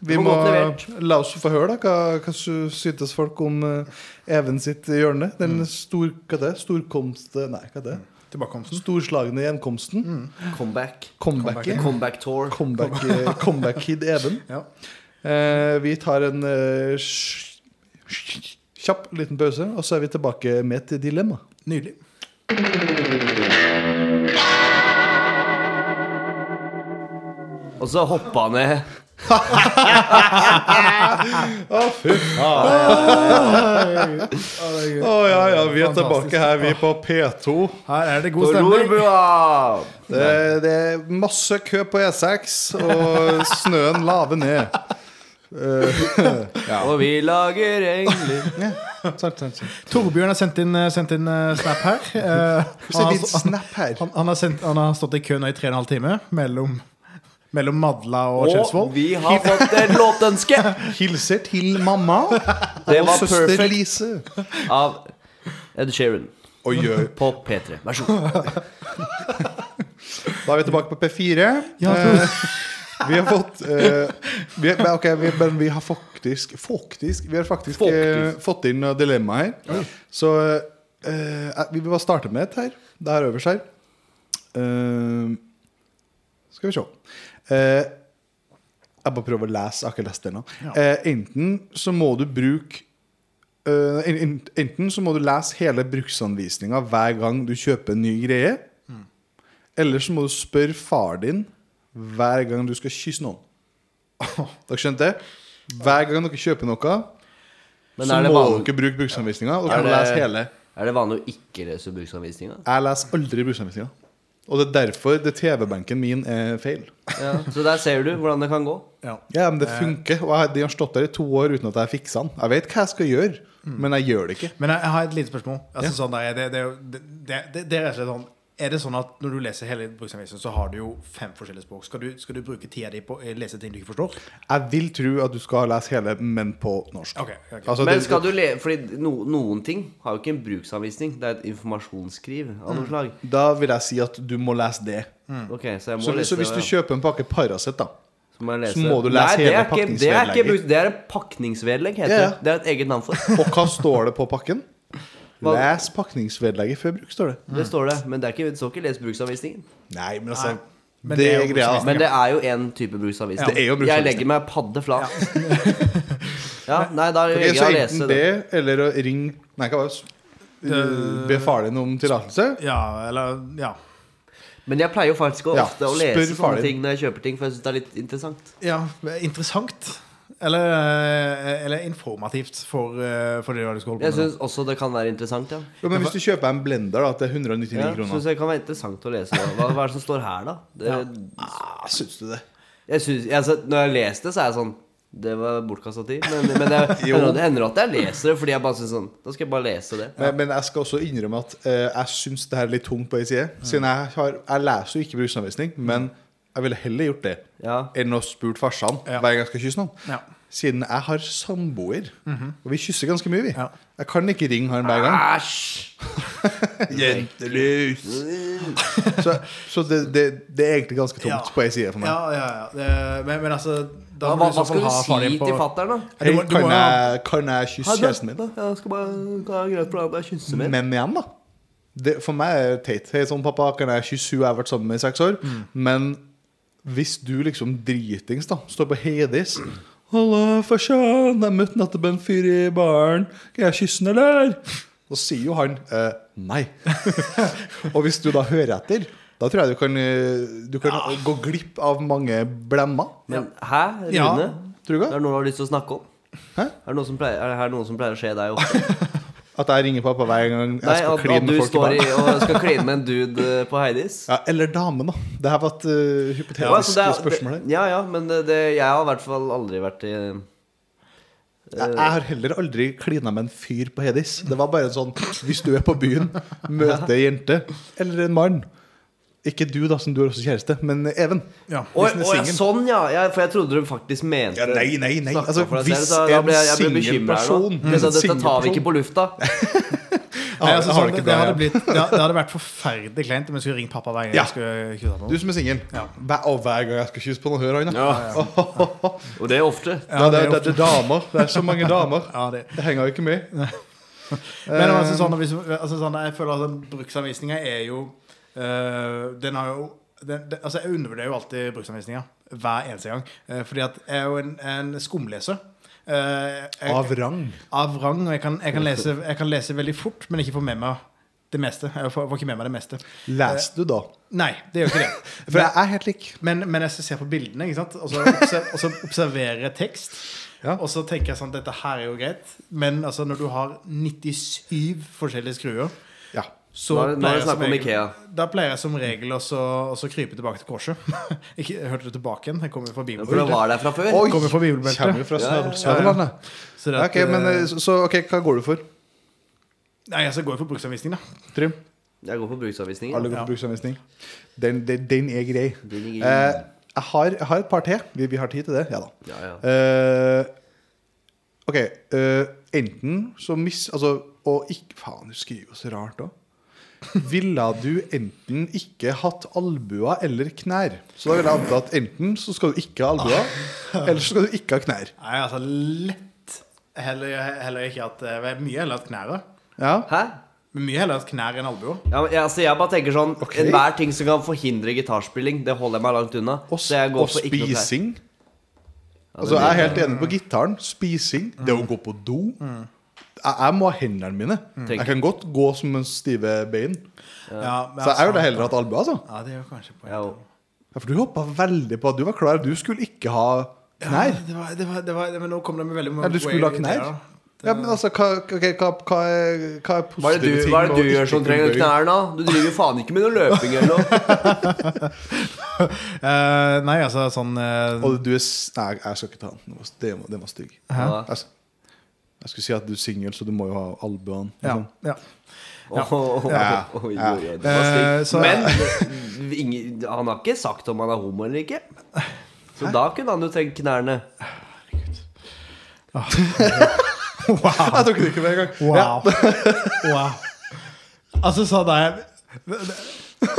Speaker 1: vi
Speaker 3: Det var
Speaker 1: må
Speaker 3: godt levert.
Speaker 1: la oss få høre da, hva, hva sy- syntes folk om eh, Even sitt hjørne. Den stor, hva det, er? storkomste Nei, hva det? er?
Speaker 2: Mm. Tilbakekomsten.
Speaker 1: Storslagne gjenkomsten.
Speaker 3: Comeback.
Speaker 1: Comebacket.
Speaker 3: Comeback tour.
Speaker 1: Comeback, eh, comeback kid Even.
Speaker 2: Ja.
Speaker 1: Eh, vi tar en eh, sj- sj- kjapp liten pause, og så er vi tilbake med et dilemma.
Speaker 2: Nydelig.
Speaker 3: Og så hoppa han ned.
Speaker 1: Å ja, ja, vi er tilbake her, vi er på P2.
Speaker 2: Her er det god
Speaker 3: På
Speaker 2: stemning.
Speaker 3: rorbua!
Speaker 1: Det, det er masse kø på E6, og snøen laver ned.
Speaker 3: Og vi lager engler.
Speaker 2: Torbjørn har sendt inn, sendt inn eh, snap her. Eh,
Speaker 1: Så er
Speaker 2: han, har-
Speaker 1: det litt snap her.
Speaker 2: han, han, har sendt, han har stått i kø nå i tre og en halv time mellom, mellom Madla og
Speaker 3: Og
Speaker 2: Kjelsvoll.
Speaker 3: vi har fått et låtønske
Speaker 1: Hilser til mamma
Speaker 3: Det
Speaker 1: og
Speaker 3: var
Speaker 1: søster
Speaker 3: perfect.
Speaker 1: Lise.
Speaker 3: av Ed Sheeran
Speaker 1: Og gjør.
Speaker 3: på P3. Vær så god.
Speaker 1: Da er vi tilbake på P4.
Speaker 2: Ja,
Speaker 1: Eh, vi har fått eh, vi, men ok, vi, Men vi har faktisk Faktisk, vi har faktisk eh,
Speaker 3: Faktisk.
Speaker 1: fått inn eh, dilemma her. Så eh, eh, vi vil bare starte med et her. Det er øverst her. Eh, skal vi se. Eh, jeg bare prøver å lese. Jeg har ikke lest det ennå.
Speaker 2: Ja.
Speaker 1: Eh, enten så må du bruke eh, en- en- Enten så må du lese hele bruksanvisninga hver gang du kjøper en ny greie. Eller så må du spørre far din hver gang du skal kysse noen. Dere skjønte det? Hver gang dere kjøper noe,
Speaker 3: Men
Speaker 1: så
Speaker 3: er det,
Speaker 1: må
Speaker 3: vanlig,
Speaker 1: dere bruke bruksanvisninga. Og
Speaker 3: Er
Speaker 1: dere må
Speaker 3: det-
Speaker 1: lese hele.
Speaker 3: er det vanlig å ikke lese bruksanvisninga?
Speaker 1: Jeg leser aldri bruksanvisninga. Og det er derfor det TV-benken min er feil.
Speaker 3: Ja, så der ser du hvordan det kan gå.
Speaker 2: Ja.
Speaker 1: Ja, men
Speaker 3: Eh.
Speaker 1: det funker. Og jeg, de har stått der i to år uten at jeg fiksa den. Jeg vet hva jeg skal gjøre,
Speaker 3: Mm.
Speaker 1: men jeg gjør det ikke.
Speaker 2: Men jeg, jeg har et lite spørsmål. Altså,
Speaker 1: Ja.
Speaker 2: sånn der, det, det, er jo- det, det, det, det er rett og slett sånn Er det sånn at når du leser hele bruksanvisningen, så har du jo fem forskjellige språk? Skal du, skal du bruke tida di på å lese ting du ikke forstår?
Speaker 1: Jeg vil tro at du skal lese hele, men på norsk.
Speaker 2: Ok, ok.
Speaker 1: Altså,
Speaker 3: Men
Speaker 1: det-
Speaker 3: skal du le... Fordi no, noen ting har jo ikke en bruksanvisning. Det er et informasjonsskriv av
Speaker 1: Mm.
Speaker 3: noe slag.
Speaker 1: Da vil jeg si at du må lese det.
Speaker 3: Ok, Så jeg Mm. må
Speaker 1: Mm. Så,
Speaker 3: lese
Speaker 1: så hvis du
Speaker 3: ja.
Speaker 1: kjøper en pakke Paracet, da
Speaker 3: så må, jeg lese.
Speaker 1: så må du lese
Speaker 3: Nei, det er
Speaker 1: hele
Speaker 3: ikke- Det er, ikke,
Speaker 1: pakningsvedlegget.
Speaker 3: bruk- det er en pakningsvedlegg, heter
Speaker 1: Ja, ja.
Speaker 3: det. Det er et eget navn for det.
Speaker 1: Og hva står det på pakken?
Speaker 3: Hva-
Speaker 1: Les pakningsvedlegget før bruk, står det.
Speaker 3: Det står det. Men det, er ikke, det står ikke 'les bruksanvisningen'.
Speaker 1: Nei, men altså
Speaker 2: Nei,
Speaker 1: Det
Speaker 2: men det er
Speaker 1: er
Speaker 2: jo liksom-
Speaker 1: greia.
Speaker 2: bruksanvisning.
Speaker 3: Men det er jo en type bruksanvisning.
Speaker 1: Ja, det er jo bruksanvisning.
Speaker 3: Jeg legger meg padde flat. Ja, nei, da
Speaker 1: Ok, så
Speaker 3: velger jeg å
Speaker 1: enten
Speaker 3: lese det.
Speaker 1: det, eller å ringe Nei, hva var det?
Speaker 2: Eh,
Speaker 1: Uh, Be far din om tillatelse?
Speaker 2: Ja, eller Ja.
Speaker 3: Men jeg pleier jo faktisk å,
Speaker 1: Ja,
Speaker 3: ofte å
Speaker 1: spør
Speaker 3: lese
Speaker 1: faren
Speaker 3: sånne
Speaker 1: din.
Speaker 3: ting når jeg kjøper ting, for jeg syns det er litt interessant.
Speaker 2: ja interessant. Eller, eh, eller informativt for, eh, for det du skal holde
Speaker 3: Jeg
Speaker 2: på med. nå.
Speaker 3: syns også det kan være interessant, ja.
Speaker 1: Jo, men hvis du kjøper en blender da, til 199
Speaker 3: ja
Speaker 1: kroner
Speaker 3: synes jeg kan være interessant å lese. Hva, hva er det som står her, da? Det,
Speaker 1: ah, Syns du det?
Speaker 3: jeg synes, jeg, altså, når jeg leser det, så er jeg sånn Det var bortkasta tid. Men, men jeg,
Speaker 1: Jo.
Speaker 3: det hender at jeg leser det, fordi jeg bare syns sånn Da skal jeg bare lese det.
Speaker 1: Men, men jeg skal også innrømme at eh, jeg syns det her er litt tungt på ei side. Siden jeg, har, jeg leser jo ikke bruksanvisning,
Speaker 2: Mm.
Speaker 1: men jeg ville heller gjort det
Speaker 3: Ja.
Speaker 1: enn å spurt farsan
Speaker 2: Ja.
Speaker 1: hver gang jeg skal kysse noen.
Speaker 2: Ja. Mhm.
Speaker 1: Siden jeg har samboer, og vi kysser ganske mye, vi.
Speaker 2: Ja.
Speaker 1: Jeg kan ikke ringe han hver gang.
Speaker 3: Æsj!
Speaker 1: Jentelus! så så det, det, det er egentlig ganske tomt
Speaker 2: Ja.
Speaker 1: på ei side for meg.
Speaker 2: Ja, ja, ja. Det- Men, men altså da
Speaker 3: Hva,
Speaker 2: må
Speaker 3: hva,
Speaker 2: i så fall
Speaker 3: hva skal du
Speaker 2: ha far
Speaker 3: si
Speaker 2: din på-
Speaker 3: til fatter'n, da?
Speaker 2: Ja, du
Speaker 1: Hei,
Speaker 2: må- du
Speaker 1: kan,
Speaker 2: må jo ha-
Speaker 1: jeg, kan jeg kysse kjæresten min?
Speaker 3: Jeg skal bare Det er greit for deg at jeg kysser mer.
Speaker 1: Men igjen, da. Det, for meg er det teit. Hei, sånn, pappa, kan jeg kysse hun jeg har vært sammen med i seks år?
Speaker 3: Mm.
Speaker 1: Men hvis du liksom dritings, da, står på Hades Halla, farsan, jeg møtte nettopp en fyr i baren. Kan jeg kysse han, eller? Da sier jo han eh, nei. Og hvis du da hører etter, da tror jeg du kan, eh, du kan gå glipp av mange blemmer.
Speaker 3: Men hæ,
Speaker 2: Ja.
Speaker 3: Rune?
Speaker 1: Tror du
Speaker 3: Er
Speaker 1: ikke?
Speaker 3: det noe du har lyst til å snakke om?
Speaker 1: Hæ?
Speaker 3: Er det noe som pleier, er det her noe som pleier å skje deg ofte?
Speaker 1: At jeg ringer pappa hver gang jeg
Speaker 3: Nei,
Speaker 1: skal
Speaker 3: at,
Speaker 1: kline
Speaker 3: at du
Speaker 1: med folk i
Speaker 3: står i
Speaker 1: baren.
Speaker 3: og skal kline med en dude eh, på Heidis?
Speaker 1: Ja, eller dame, da. Det her var et eh, hypotetisk
Speaker 3: Ja, altså, det er-
Speaker 1: spørsmål. her.
Speaker 3: det- Ja, ja, men det, det, jeg har i hvert fall aldri vært i
Speaker 1: Jeg,
Speaker 3: Eh.
Speaker 1: jeg har heller aldri klina med en fyr på Hedis. Det var bare en sånn Hvis du er på byen, møter ei jente eller en mann Ikke du, da, som du har også kjæreste, men Even.
Speaker 2: Ja.
Speaker 3: Å
Speaker 1: Hvis den er
Speaker 3: å, ja,
Speaker 1: singel.
Speaker 3: sånn, ja. ja! For jeg trodde du faktisk mente
Speaker 1: Ja, nei, nei, nei.
Speaker 3: snakket
Speaker 1: Altså,
Speaker 3: for deg
Speaker 1: hvis
Speaker 3: selv, så da
Speaker 1: en
Speaker 3: ble jeg- jeg ble
Speaker 1: singel
Speaker 3: bekymret her nå.
Speaker 1: person-
Speaker 3: Men
Speaker 1: hvis
Speaker 3: så
Speaker 1: en
Speaker 3: Dette tar vi
Speaker 1: singel
Speaker 3: ikke på lufta.
Speaker 2: Nei, altså,
Speaker 1: har det
Speaker 2: sånn, det,
Speaker 1: ikke
Speaker 2: det,
Speaker 1: bra,
Speaker 2: hadde
Speaker 1: ja.
Speaker 2: blitt, det, hadde- det hadde vært forferdelig kleint om jeg skulle ringe pappa hver gang
Speaker 1: Ja.
Speaker 2: jeg skulle kysse ham.
Speaker 1: Du som er singel.
Speaker 2: Ja.
Speaker 1: Hver- Og hver gang jeg skal kysse på noen, hører han da.
Speaker 3: Og det er ofte.
Speaker 1: Ja, det, er-
Speaker 2: det er
Speaker 1: det, det er damer. Det er så mange damer.
Speaker 2: Ja, det.
Speaker 1: Det henger jo ikke med.
Speaker 2: Men altså, sånn, hvis, altså, sånn, jeg føler at den bruksanvisninga er jo øh, Den har jo den, den, Altså, Eh, jeg undervurderer jo alltid bruksanvisninga hver eneste gang. øh, fordi at jeg er jo en, en skumleser. Eh, jeg-
Speaker 1: Av rang.
Speaker 2: av rang. Og jeg kan, jeg, kan lese, jeg kan lese veldig fort, men ikke få med meg det meste. Jeg får, får ikke med meg det meste. Eh,
Speaker 1: Leste du, da?
Speaker 2: Nei, det gjør ikke det.
Speaker 1: For jeg er helt lik.
Speaker 2: Men, men jeg ser på bildene, ikke sant? Og, så obser- og så observerer jeg tekst.
Speaker 1: Ja.
Speaker 2: Og så tenker jeg sånn Dette her er jo greit. Men altså, når du har 97 forskjellige skruer
Speaker 1: Ja.
Speaker 2: så
Speaker 3: Nå er det- nå er det
Speaker 2: pleier jeg som
Speaker 3: snakk om
Speaker 2: regel-
Speaker 3: Ikea.
Speaker 2: Da pleier jeg som regel også å krype tilbake til korset. ikke, jeg hørte det tilbake igjen. Jeg kommer fra
Speaker 3: Ja, For det
Speaker 2: bibelbeltet.
Speaker 3: var der fra før.
Speaker 1: Oi!
Speaker 2: Kommer fra bibelbeltet.
Speaker 1: Kommer jo fra
Speaker 3: Ja, ja, ja.
Speaker 1: Sør- Sørlandet.
Speaker 2: Så det at,
Speaker 1: Ok, men eh,
Speaker 2: eh,
Speaker 1: så- så ok, hva går du for?
Speaker 2: Nei, altså, jeg går jo for bruksanvisning, da.
Speaker 1: Trym?
Speaker 3: Jeg går på bruksanvisningen.
Speaker 1: Alle går
Speaker 2: Ja.
Speaker 1: for bruksanvisning. Den, den, den er grei.
Speaker 3: Den er grei.
Speaker 1: Eh, jeg, har, jeg har et par til. Vi, vi har tid til det. Ja da.
Speaker 3: Ja, ja.
Speaker 1: Eh, ok. eh, enten så mis... Altså, og ikke Faen, du skriver jo så rart òg. Ville du enten ikke hatt albuer eller knær? Så da vil jeg anta at enten så skal du ikke ha albuer, eller så skal du ikke ha knær.
Speaker 2: Nei, altså lett Heller, heller ikke at eh, Mye heller at knære
Speaker 1: Ja,
Speaker 3: Hæ?
Speaker 2: Men mye heller at knær enn albuer
Speaker 3: Ja, men, jeg- altså, jeg bare tenker sånn
Speaker 1: Ok.
Speaker 3: Enhver ting som kan forhindre gitarspilling, det holder jeg meg langt unna.
Speaker 1: Og,
Speaker 3: Så jeg går
Speaker 1: og
Speaker 3: for ikke noe klær.
Speaker 1: spising.
Speaker 3: Ja, det
Speaker 1: Altså, jeg er
Speaker 3: blir-
Speaker 1: helt enig på gitaren. Spising, det å gå på do. Jeg, jeg må ha hendene mine.
Speaker 3: Mm.
Speaker 1: Jeg kan godt gå som en stive bein.
Speaker 2: ja. men
Speaker 1: Så jeg er jo
Speaker 2: altså-
Speaker 1: det heller hatt albue, altså.
Speaker 2: Ja, det gjør kanskje poeng
Speaker 3: Ja, jo.
Speaker 1: Ja, for du hoppa veldig på at du var klar. Du skulle ikke ha knær.
Speaker 2: det var, det var, det var, men nå kom det med veldig mange
Speaker 1: Ja, du skulle ha knær. Ja, men altså, hva, ok, hva, hva, er, hva er
Speaker 3: Hva er det
Speaker 1: positive
Speaker 3: du,
Speaker 1: ting?
Speaker 3: hva er det
Speaker 1: å
Speaker 3: du
Speaker 1: ikke
Speaker 3: gjør som
Speaker 1: kunne
Speaker 3: trenger
Speaker 1: bøye?
Speaker 3: knær, da? Du driver jo faen ikke med noe løping eller noe.
Speaker 2: Eh, nei, altså sånn eh,
Speaker 1: Og du er s- Nei, jeg skal ikke ta den. Den var- Den var, den var stygg.
Speaker 3: Ja.
Speaker 1: Jeg, s- jeg skulle si at du er singel, så du må jo ha albuene.
Speaker 2: ja,
Speaker 1: liksom.
Speaker 2: ja.
Speaker 3: Åh, åh, åh,
Speaker 1: Ja.
Speaker 3: åh, jo,
Speaker 1: Ja.
Speaker 3: jo, det var stygt.
Speaker 2: Eh, så-
Speaker 3: Men eh, ingen, han har ikke sagt om han er homo eller ikke. Så da kunne han jo trengt knærne.
Speaker 1: Jeg tok det ikke med en gang.
Speaker 2: Wow
Speaker 1: Ja.
Speaker 2: Wow Altså sånn er jeg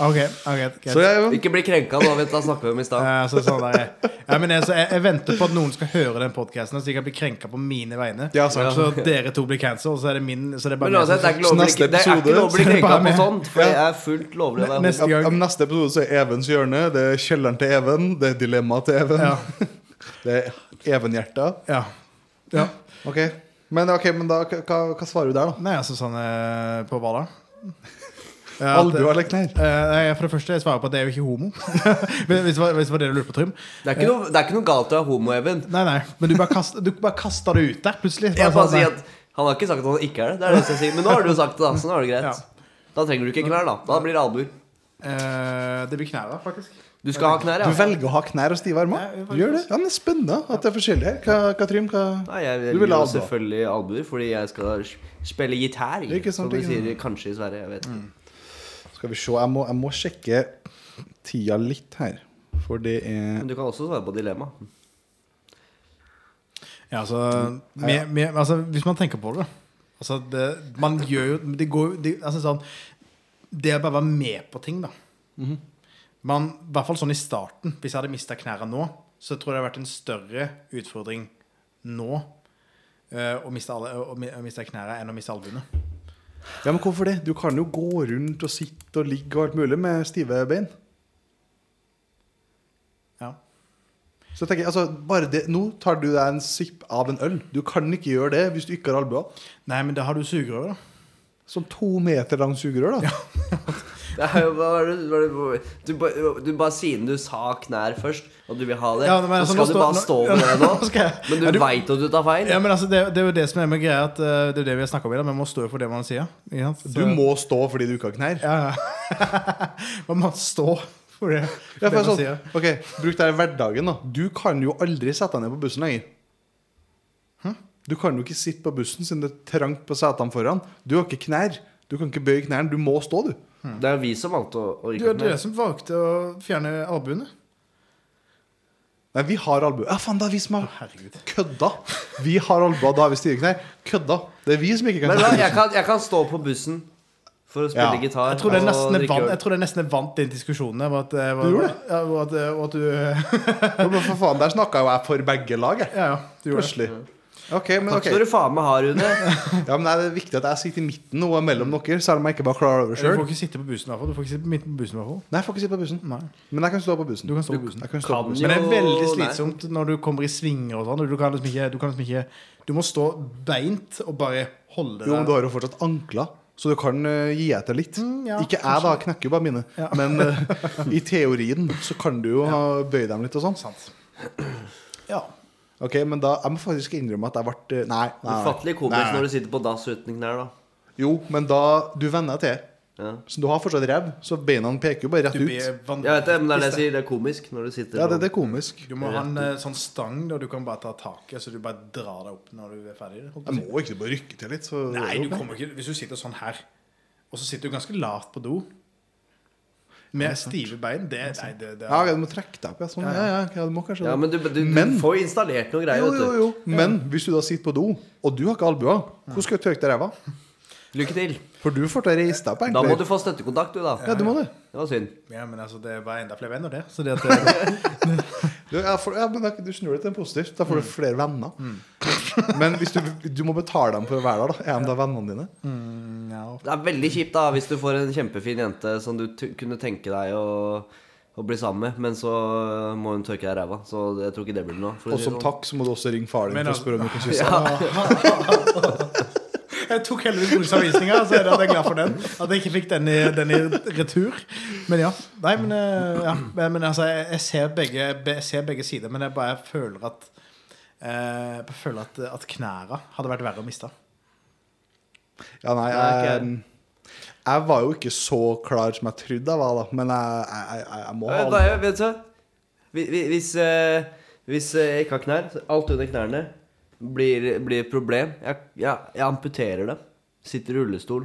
Speaker 2: Ok, ok greit.
Speaker 1: Så jeg,
Speaker 3: Ikke bli krenka nå, vet du, da snakker vi om i stad.
Speaker 2: Eh, så sånn er jeg. Ja, men jeg, så jeg, jeg venter på at noen skal høre den podkasten, så de kan bli krenka på mine vegne.
Speaker 1: Ja, sant.
Speaker 2: Så dere to blir cancelled, og så er det min så det er bare meg
Speaker 3: Men
Speaker 2: som-
Speaker 3: uansett, det er ikke lov å bli-
Speaker 1: neste
Speaker 3: det er ikke
Speaker 2: episode,
Speaker 3: lov å bli
Speaker 2: så er det
Speaker 3: krenka
Speaker 2: bare
Speaker 3: på
Speaker 2: med.
Speaker 3: sånt. For jeg er fullt lovlig å være homo.
Speaker 2: Neste
Speaker 1: ja,
Speaker 2: gang.
Speaker 1: men neste episode så er Evens hjørne. Det er kjelleren til Even. Det er dilemmaet til Even.
Speaker 2: Ja.
Speaker 1: Det er Even-hjerta.
Speaker 2: Ja. ja.
Speaker 1: Ok. Men, ok, men da, hva, hva svarer du der, da?
Speaker 2: Nei, altså sånn eh, på hva da? Ja, at-
Speaker 1: Albue eller knær?
Speaker 2: Eh, nei, for det første, jeg svarer på at det er jo ikke homo. Men hvis, det var- hvis det var det du lurte på, Trym.
Speaker 3: Det er ikke noe, det er ikke noe galt å være homo, Even.
Speaker 2: Nei, nei, men du bare kast- du bare kasta det ut der, plutselig.
Speaker 3: Jeg
Speaker 2: Bare sånn,
Speaker 3: bare sier
Speaker 2: nei.
Speaker 3: at Han har ikke sagt at han ikke er det. det, er det som jeg sier. Men nå har du jo sagt det, da. Så nå er det
Speaker 2: Ja.
Speaker 3: greit. Da trenger du ikke knær, da. Da blir det albuer.
Speaker 2: Eh, Det blir knæra, faktisk.
Speaker 3: Du skal ha knær,
Speaker 1: Du
Speaker 3: ja.
Speaker 1: velger å ha knær og stive armer?
Speaker 2: Ja,
Speaker 1: Du gjør det? Ja, men det er spennende at det er forskjellig her. Hva, hva Trym? Hva
Speaker 3: Nei, jeg
Speaker 1: Du vil
Speaker 3: velger
Speaker 1: ha
Speaker 3: jo
Speaker 1: albuer.
Speaker 3: selvfølgelig albuer, fordi jeg skal s- spille gitar.
Speaker 1: Ikke sant,
Speaker 3: som de
Speaker 1: ikke
Speaker 3: sier kanskje i Sverige. Jeg vet ikke.
Speaker 2: Mm.
Speaker 1: Skal vi se, jeg må, jeg må sjekke tida litt her. For det er
Speaker 3: Men du kan også svare på dilemma.
Speaker 2: Ja, altså, med, med, altså Hvis man tenker på det, da. altså, det Man gjør jo Det går jo det, altså, sånn, det å bare være med på ting, da. Mhm. Man, I hvert fall sånn i starten. Hvis jeg hadde mista knærne nå, så tror jeg det hadde vært en større utfordring nå eh, å miste alle- å- å mi- å miste knærne enn å miste albuene.
Speaker 1: Ja, men hvorfor det? Du kan jo gå rundt og sitte og ligge og alt mulig med stive bein.
Speaker 2: Ja.
Speaker 1: Så jeg tenker, altså, bare det, Nå tar du deg en sipp av en øl. Du kan ikke gjøre det hvis du ikke har albuer.
Speaker 2: Nei, men da har du sugerør, da.
Speaker 1: Sånn to meter langt sugerør, da.
Speaker 3: Det er jo bare, bare, bare, du, bare- du bare Siden du sa knær først, og du vil ha det,
Speaker 2: Ja, men altså,
Speaker 3: så
Speaker 2: nå
Speaker 3: skal du
Speaker 2: står-
Speaker 3: bare
Speaker 2: nå-
Speaker 3: stå med det nå.
Speaker 2: Nå skal jeg-
Speaker 3: Men du,
Speaker 2: Ja, du-
Speaker 3: vet veit at du tar feil.
Speaker 2: Ja, men altså, det, det er jo det som er med greia, at eh, det er det vi har snakka om i dag. Man må stå jo for det man sier. ikke sant? Så-
Speaker 1: Du må stå fordi du ikke har knær.
Speaker 2: Ja, ja. Man må stå for det, for
Speaker 1: Ja,
Speaker 2: det
Speaker 1: for sånn,
Speaker 2: man sier.
Speaker 1: ok, Bruk det her i hverdagen, da. Du kan jo aldri sette deg ned på bussen lenger. Du kan jo ikke sitte på bussen siden det er trangt på setene foran. Du har ikke knær. Du kan ikke bøye knærne. Du må stå, du.
Speaker 3: Det er jo vi som valgte å, å
Speaker 2: Du
Speaker 3: rykke
Speaker 2: er
Speaker 3: opp
Speaker 2: dere
Speaker 3: med.
Speaker 2: som valgte å fjerne albuene.
Speaker 1: Nei, vi har albue. Ja, faen, det er vi som har
Speaker 2: Herregud.
Speaker 1: kødda. Vi har albue, da har vi stive knær. Kødda. Det er vi som ikke kan
Speaker 3: Men
Speaker 1: sette
Speaker 3: da,
Speaker 1: oss.
Speaker 3: jeg kan, jeg kan stå på bussen for å spille
Speaker 1: Ja.
Speaker 3: gitar.
Speaker 2: Jeg tror det
Speaker 3: og
Speaker 2: nesten er
Speaker 3: drikke
Speaker 2: vant,
Speaker 3: øl.
Speaker 2: jeg tror det er nesten er vant den diskusjonen. Var at, eh, var,
Speaker 1: Du gjorde det?
Speaker 2: Ja, var at, eh, var at du
Speaker 1: Men for faen, Der snakka jo jeg for begge lag, jeg.
Speaker 2: Ja, ja. Du gjorde det.
Speaker 1: Plutselig. Ok, men
Speaker 3: Takk
Speaker 1: ok
Speaker 3: skal du faen meg ha, Rune.
Speaker 1: Ja, men Det er viktig at jeg sitter i midten og er mellom dere, selv om jeg ikke bare klarer over
Speaker 2: Du får
Speaker 1: sjøl.
Speaker 2: ikke sitte på bussen, i hvert fall. Du får ikke sitte midt på bussen, i hvert fall.
Speaker 1: Nei, jeg får ikke sitte på bussen.
Speaker 2: Nei.
Speaker 1: Men jeg kan stå på bussen.
Speaker 2: Du kan stå på bussen.
Speaker 1: Jeg kan stå på
Speaker 3: kan
Speaker 1: bussen.
Speaker 3: jo-
Speaker 2: Men det er veldig
Speaker 3: nei.
Speaker 2: slitsomt når du kommer i svinger og sånn. og Du kan liksom ikke Du, kan liksom ikke, du må stå beint og bare holde
Speaker 1: Jo, men
Speaker 2: deg.
Speaker 1: du har jo fortsatt ankler, så du kan eh, gi etter litt.
Speaker 2: Mm, ja,
Speaker 1: ikke jeg, da. jeg Knekker jo bare mine. Men eh, i teorien så kan du jo ha- bøye dem litt og sånn.
Speaker 2: Sant. Ja.
Speaker 1: Ok, men da Jeg må faktisk innrømme at jeg ble eh, Nei. nei, nei.
Speaker 3: Ufattelig komisk når du sitter på dass uten knær, da.
Speaker 1: Jo, men da Du venner deg til.
Speaker 3: Ja.
Speaker 1: Så du har fortsatt rev, så beina peker jo bare rett
Speaker 2: Du
Speaker 1: ut.
Speaker 2: blir vanvittig.
Speaker 3: Jeg vet det, men det er det jeg sier. Det er komisk når du sitter
Speaker 1: Ja, det, det er komisk.
Speaker 2: Du må ha en eh, sånn stang der du kan bare ta taket, så du bare drar deg opp når du er ferdig. holdt på å
Speaker 1: Jeg
Speaker 2: si.
Speaker 1: må ikke bare rykke til litt, så
Speaker 2: Nei, du kommer ikke Hvis du sitter sånn her, og så sitter du ganske lavt på do med stive bein Det, nei, det, det
Speaker 1: Ja, ok, du må trekke deg opp, ja. Sånn. Ja, ja, ok, du må kanskje
Speaker 3: Ja, men du, du,
Speaker 1: Men-
Speaker 3: du får jo installert noen greier,
Speaker 1: Jo, jo,
Speaker 3: vet
Speaker 1: jo. Men hvis du da sitter på do, og du har ikke albuer, hvordan skal du tøke deg ræva?
Speaker 3: du. Lykke til.
Speaker 1: For du får til å reise deg opp,
Speaker 3: Da må
Speaker 1: egentlig.
Speaker 3: du få støttekontakt, du, da.
Speaker 1: Ja, du må det.
Speaker 3: Det var synd.
Speaker 2: Ja, men altså, det var enda flere venn av det. Så det at,
Speaker 1: Du, ja, for, ja, men da, du snur det til en positivt. Da
Speaker 3: Mm.
Speaker 1: får du flere venner. Men hvis du, du må betale dem for å være der, da. Er de da vennene dine?
Speaker 2: ja,
Speaker 3: Det er veldig kjipt da hvis du får en kjempefin jente som du t kunne tenke deg å, å bli sammen med, men så må hun tørke deg i ræva. Så jeg tror ikke det blir noe. for å
Speaker 1: Og
Speaker 3: si det
Speaker 1: som
Speaker 3: sånn.
Speaker 1: takk så må du også ringe faren din for
Speaker 2: Men
Speaker 1: å
Speaker 2: altså-
Speaker 1: spørre om du kan kysse.
Speaker 2: Jeg tok heldigvis bruksanvisninga, så er det at jeg er glad for den. At jeg ikke fikk den i, den i retur. Men ja. Nei, men, eh, ja. Men, men altså, jeg, jeg, ser begge, be- jeg ser begge sider, men jeg bare føler at eh, Jeg føler at, at knæra hadde vært verre å miste.
Speaker 1: Ja, nei,
Speaker 3: Nei,
Speaker 1: jeg, jeg var jo ikke så klar som jeg trodde jeg var, da. Men jeg, jeg, jeg, jeg må ha
Speaker 3: Eh,
Speaker 1: albuer.
Speaker 3: Nei, vet du hva? Hvi- hvi- Hvis, eh, hvis eh, jeg ikke har knær, så alt under knærne blir, blir et problem. Jeg, jeg, jeg amputerer dem. Sitter i rullestol.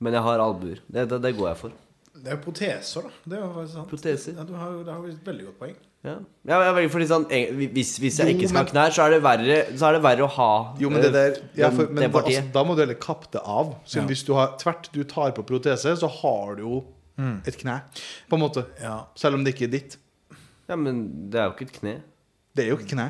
Speaker 3: Men jeg har albuer. Det, det, det går jeg for.
Speaker 2: Det er jo proteser, da. Det er jo faktisk sant.
Speaker 3: Proteser.
Speaker 2: Ja, du har jo det har jo et veldig godt poeng.
Speaker 3: Ja. Ja, jeg velger fordi sånn, eh, hvis, hvis jeg
Speaker 1: Jo,
Speaker 3: ikke skal ha
Speaker 1: men-
Speaker 3: knær, så er det verre, så er det verre å ha eh,
Speaker 1: Jo, men det der ja, for,
Speaker 3: den-
Speaker 1: men da,
Speaker 3: det
Speaker 1: altså,
Speaker 3: partiet.
Speaker 1: da må du heller kappe det av. Så
Speaker 2: Ja.
Speaker 1: hvis du har tvert du tar på protese, så har du jo et kne, på en måte.
Speaker 2: Mm. Ja.
Speaker 1: Selv om det ikke er ditt.
Speaker 3: Ja, men det er jo ikke et kne.
Speaker 1: Det er jo ikke kne.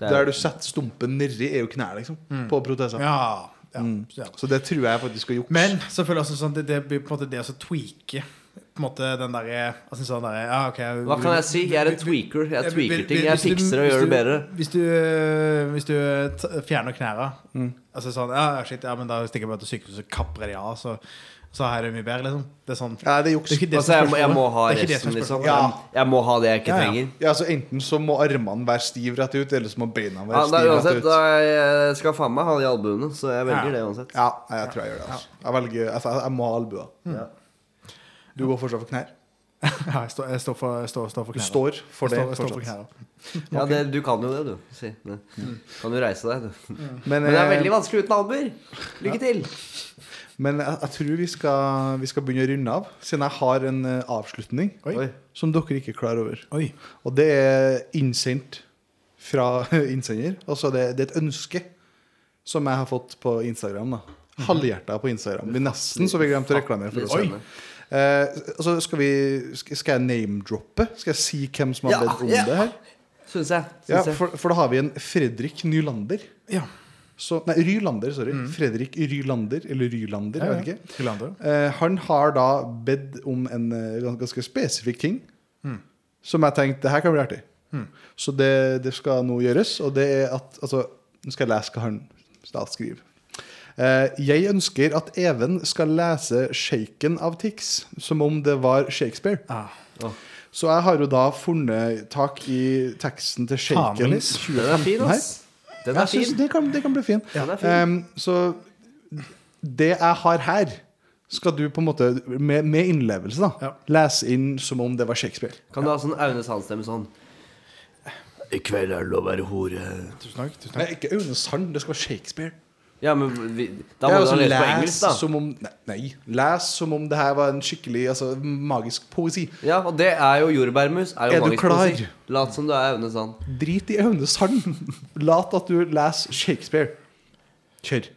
Speaker 3: Det er-
Speaker 1: Der du setter stumpen nedi, er jo kne, liksom. På protesa.
Speaker 2: Mm. ja, ja,
Speaker 3: Mm.
Speaker 2: ja.
Speaker 1: Så det tror jeg faktisk er juks.
Speaker 2: Men selvfølgelig også sånn, det, det blir på en måte det å så tweake på en måte den derre altså sånn der, ja, ok,
Speaker 3: Hva kan jeg si? Jeg er en tweaker. Jeg tweaker ting. Jeg
Speaker 2: Hvis du-
Speaker 3: fikser og
Speaker 2: hvis
Speaker 3: gjør det
Speaker 2: du-
Speaker 3: bedre.
Speaker 2: Hvis du, øh, hvis du øh, t- fjerner knæra
Speaker 3: Mm.
Speaker 2: Altså sånn Ja, shit, ja, men da stikker jeg bare til sykehuset og kapper de av, så, så her er det mye bedre, liksom. Det er sånn
Speaker 1: ja, det er juks.
Speaker 2: det er ikke det
Speaker 3: Altså,
Speaker 2: som
Speaker 3: jeg, må- jeg må
Speaker 2: spørsmålet.
Speaker 3: ha
Speaker 2: Det er ikke det som
Speaker 3: resten,
Speaker 2: er
Speaker 3: liksom.
Speaker 2: spørsmålet.
Speaker 1: Ja.
Speaker 3: Jeg, jeg må ha det jeg ikke
Speaker 2: Ja, ja.
Speaker 3: trenger.
Speaker 1: Ja, så Enten så må armene være stiv rett ut, eller så må beina
Speaker 3: Ja,
Speaker 1: være
Speaker 3: da,
Speaker 1: stiv
Speaker 3: uansett,
Speaker 1: rett ut.
Speaker 3: da jeg skal faen meg ha de albuene, så jeg velger
Speaker 2: Ja.
Speaker 3: det uansett.
Speaker 1: Ja, jeg tror jeg gjør det. Altså. Jeg, velger, altså, jeg må ha albuer.
Speaker 3: Ja.
Speaker 1: Du går fortsatt for knær.
Speaker 2: Ja, jeg står, jeg står for, jeg står, står for
Speaker 1: Du
Speaker 2: knæra.
Speaker 1: står for det
Speaker 2: jeg står, jeg står for
Speaker 1: fortsatt.
Speaker 2: knæra.
Speaker 3: Ja, det, du kan jo det, du. Si. Det. Kan jo reise deg, du.
Speaker 1: Men,
Speaker 3: Men det er
Speaker 1: eh,
Speaker 3: veldig vanskelig uten albuer. Lykke til.
Speaker 1: Men jeg, jeg tror vi skal, vi skal begynne å runde av, siden jeg har en eh, avslutning
Speaker 2: Oi.
Speaker 3: Oi.
Speaker 1: som dere ikke er klar over.
Speaker 2: Oi.
Speaker 1: Og det er innsendt fra innsender. Altså det, det er et ønske som jeg har fått på Instagram. da. Halvhjerta på Instagram. Det er nesten så vi glemte å reklamere for
Speaker 3: Litt
Speaker 1: oss.
Speaker 3: sønne.
Speaker 1: Eh, så skal, vi, sk- skal jeg name-droppe? Skal jeg si hvem som har
Speaker 3: Ja,
Speaker 1: bedt om
Speaker 3: ja.
Speaker 1: det her?
Speaker 3: Syns jeg.
Speaker 1: Ja,
Speaker 3: Syns jeg.
Speaker 1: for, for da har vi en Fredrik Nylander.
Speaker 2: Ja.
Speaker 1: Så, nei, Rylander, sorry. Fredrik Rylander, eller Rylander, jeg vet ikke.
Speaker 2: Hylander.
Speaker 1: Eh, han har da bedt om en eh, gans- ganske spesifikk ting som jeg tenkte det her kan bli artig. Så det, det skal nå gjøres, og det er at altså, Nå skal jeg lese hva han da skriver. Eh, jeg ønsker at Even skal lese 'Shaken' av Tix som om det var Shakespeare.
Speaker 2: Ah.
Speaker 1: Så jeg har jo da funnet tak i teksten til 'Shaken'.
Speaker 2: Faenlis.
Speaker 3: Den er fin, ass. Den
Speaker 1: Jeg
Speaker 3: er
Speaker 1: synes
Speaker 3: fin.
Speaker 1: det kan, det kan bli fin.
Speaker 3: Den er fin.
Speaker 1: Ehm, så det jeg har her, skal du på en måte, med, med innlevelse, da,
Speaker 2: Ja.
Speaker 1: lese inn som om det var Shakespeare.
Speaker 3: Kan du ha sånn Aune Sandstemme sånn I kveld er det lov å være hore.
Speaker 2: Tusen takk. Tusen takk.
Speaker 1: Nei, ikke Aune Sand, det skal være Shakespeare.
Speaker 3: Ja, men vi,
Speaker 1: Det
Speaker 3: da må
Speaker 1: er
Speaker 3: du ha
Speaker 1: altså
Speaker 3: lest på
Speaker 1: les
Speaker 3: engelsk, da.
Speaker 1: Som om, nei, nei, les som om det her var en skikkelig altså, magisk poesi.
Speaker 3: Ja, og det er jo jordbærmus. Er, jo
Speaker 1: Er du
Speaker 3: magisk
Speaker 1: klar?
Speaker 3: poesi. Lat som du er Aune Sand.
Speaker 1: Drit i Aune Sand. Lat at du leser Shakespeare. Kjør.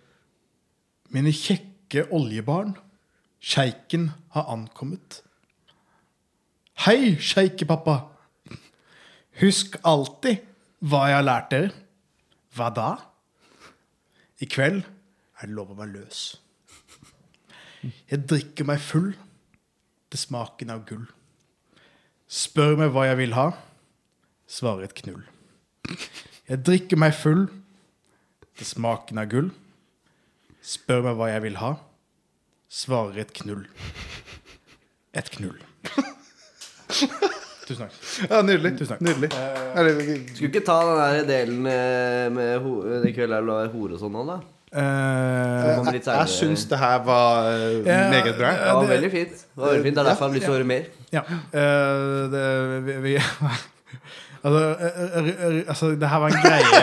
Speaker 2: Mine kjekke oljebarn, sjeiken har ankommet. Hei, sjeikepappa! Husk alltid hva jeg har lært dere. Hva da? I kveld er det lov å være løs. Jeg drikker meg full til smaken av gull. Spør meg hva jeg vil ha. Svarer et knull. Jeg drikker meg full til smaken av gull. Spør meg hva jeg vil ha. Svarer et knull. Et knull. Tusen takk.
Speaker 1: Ja, nydelig.
Speaker 2: Tusen takk.
Speaker 1: Nydelig. Eller, vi-
Speaker 3: Skulle ikke ta den der delen eh, med ho i kveld er det lov å være hore og sånn nå, da?
Speaker 2: Eh,
Speaker 3: Kommer litt sånn,
Speaker 1: jeg jeg
Speaker 3: senere.
Speaker 1: syns det her var eh,
Speaker 2: Ja,
Speaker 1: meget bra.
Speaker 3: Det var veldig fint. Det var veldig fint, Det er derfor jeg har lyst til å høre mer.
Speaker 2: ja. Eh, det, vi, vi altså, eh, eh, eh, altså, det her var en greie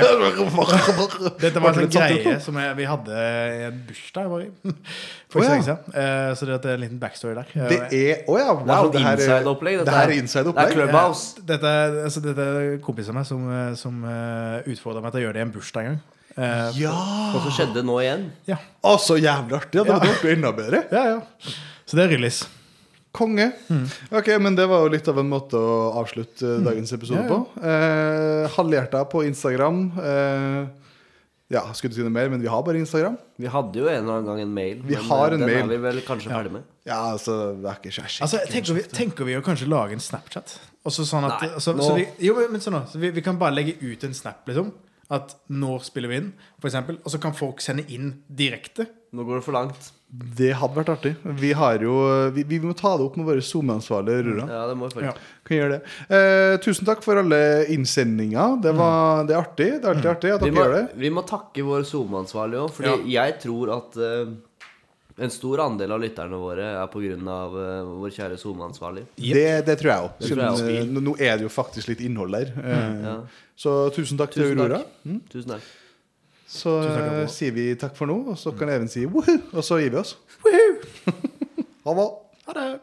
Speaker 2: Dette var en sånn greie som jeg, vi hadde i en bursdag jeg var i. For
Speaker 1: Å, ja.
Speaker 2: ikke så lenge siden. Eh, så det er en liten backstory der. Eh,
Speaker 1: Det er Å ja.
Speaker 3: Det er
Speaker 1: wow,
Speaker 3: sånn
Speaker 1: her
Speaker 3: inside-opplegg. dette
Speaker 1: Det her er
Speaker 3: Det er
Speaker 1: inside-opplegg.
Speaker 3: Clubhouse.
Speaker 2: Eh, Dette, er- altså, dette er kompiser av meg som, eh, som eh, utfordra meg til å gjøre det i en bursdag en gang. Eh,
Speaker 1: Ja!
Speaker 3: Hva som skjedde nå igjen?
Speaker 2: ja.
Speaker 1: Å, så jævlig artig. Ja, det hadde vært enda bedre.
Speaker 2: ja, ja. Så det er release.
Speaker 1: Konge.
Speaker 3: Mm.
Speaker 1: Ok, men det var jo litt av en måte å avslutte eh, dagens episode
Speaker 2: Ja, ja.
Speaker 1: på. Eh, Halvhjerta på Instagram. Eh, ja, skulle si noe mer, men vi har bare Instagram.
Speaker 3: Vi hadde jo en eller annen gang en mail.
Speaker 1: Vi
Speaker 3: men,
Speaker 1: har
Speaker 3: eh,
Speaker 1: en
Speaker 3: den
Speaker 1: mail.
Speaker 3: er vi vel kanskje ferdig med.
Speaker 1: Ja, altså, det er ikke så jeg
Speaker 2: Altså, tenker, vi, tenker vi å kanskje lage en Snapchat? Og så sånn at
Speaker 3: Nei,
Speaker 2: så,
Speaker 3: nå-
Speaker 2: så vi, Jo, men sånn da. så vi, vi kan bare legge ut en Snap, liksom. At når spiller vi inn, for eksempel. Og så kan folk sende inn direkte.
Speaker 3: Nå går det for langt.
Speaker 1: Det hadde vært artig. Vi har jo Vi, vi må ta det opp med våre SoMe-ansvarlige, Rura.
Speaker 3: Ja, det må vi
Speaker 2: Ja.
Speaker 3: faktisk.
Speaker 1: Kan gjøre det. Eh, tusen takk for alle innsendinger. Det, var, det er artig. Det er alltid artig at
Speaker 3: Mm.
Speaker 1: dere
Speaker 3: Vi må,
Speaker 1: gjør det.
Speaker 3: vi må takke vår SoMe-ansvarlig òg, fordi jeg tror at eh, en stor andel av lytterne våre er pga. Uh, vår kjære SoMe-ansvarlig.
Speaker 1: Det, det tror jeg
Speaker 3: Det tror jeg Mm.
Speaker 1: òg. Nå er det jo faktisk litt innhold der. Eh,
Speaker 3: Ja.
Speaker 1: Så tusen takk til
Speaker 3: Tusen
Speaker 1: Aurora.
Speaker 3: takk. Tusen takk.
Speaker 1: Så
Speaker 2: Tusen takk, Aurora.
Speaker 1: eh, sier vi takk for nå, og så kan Even si woho, og så gir vi oss. ha det.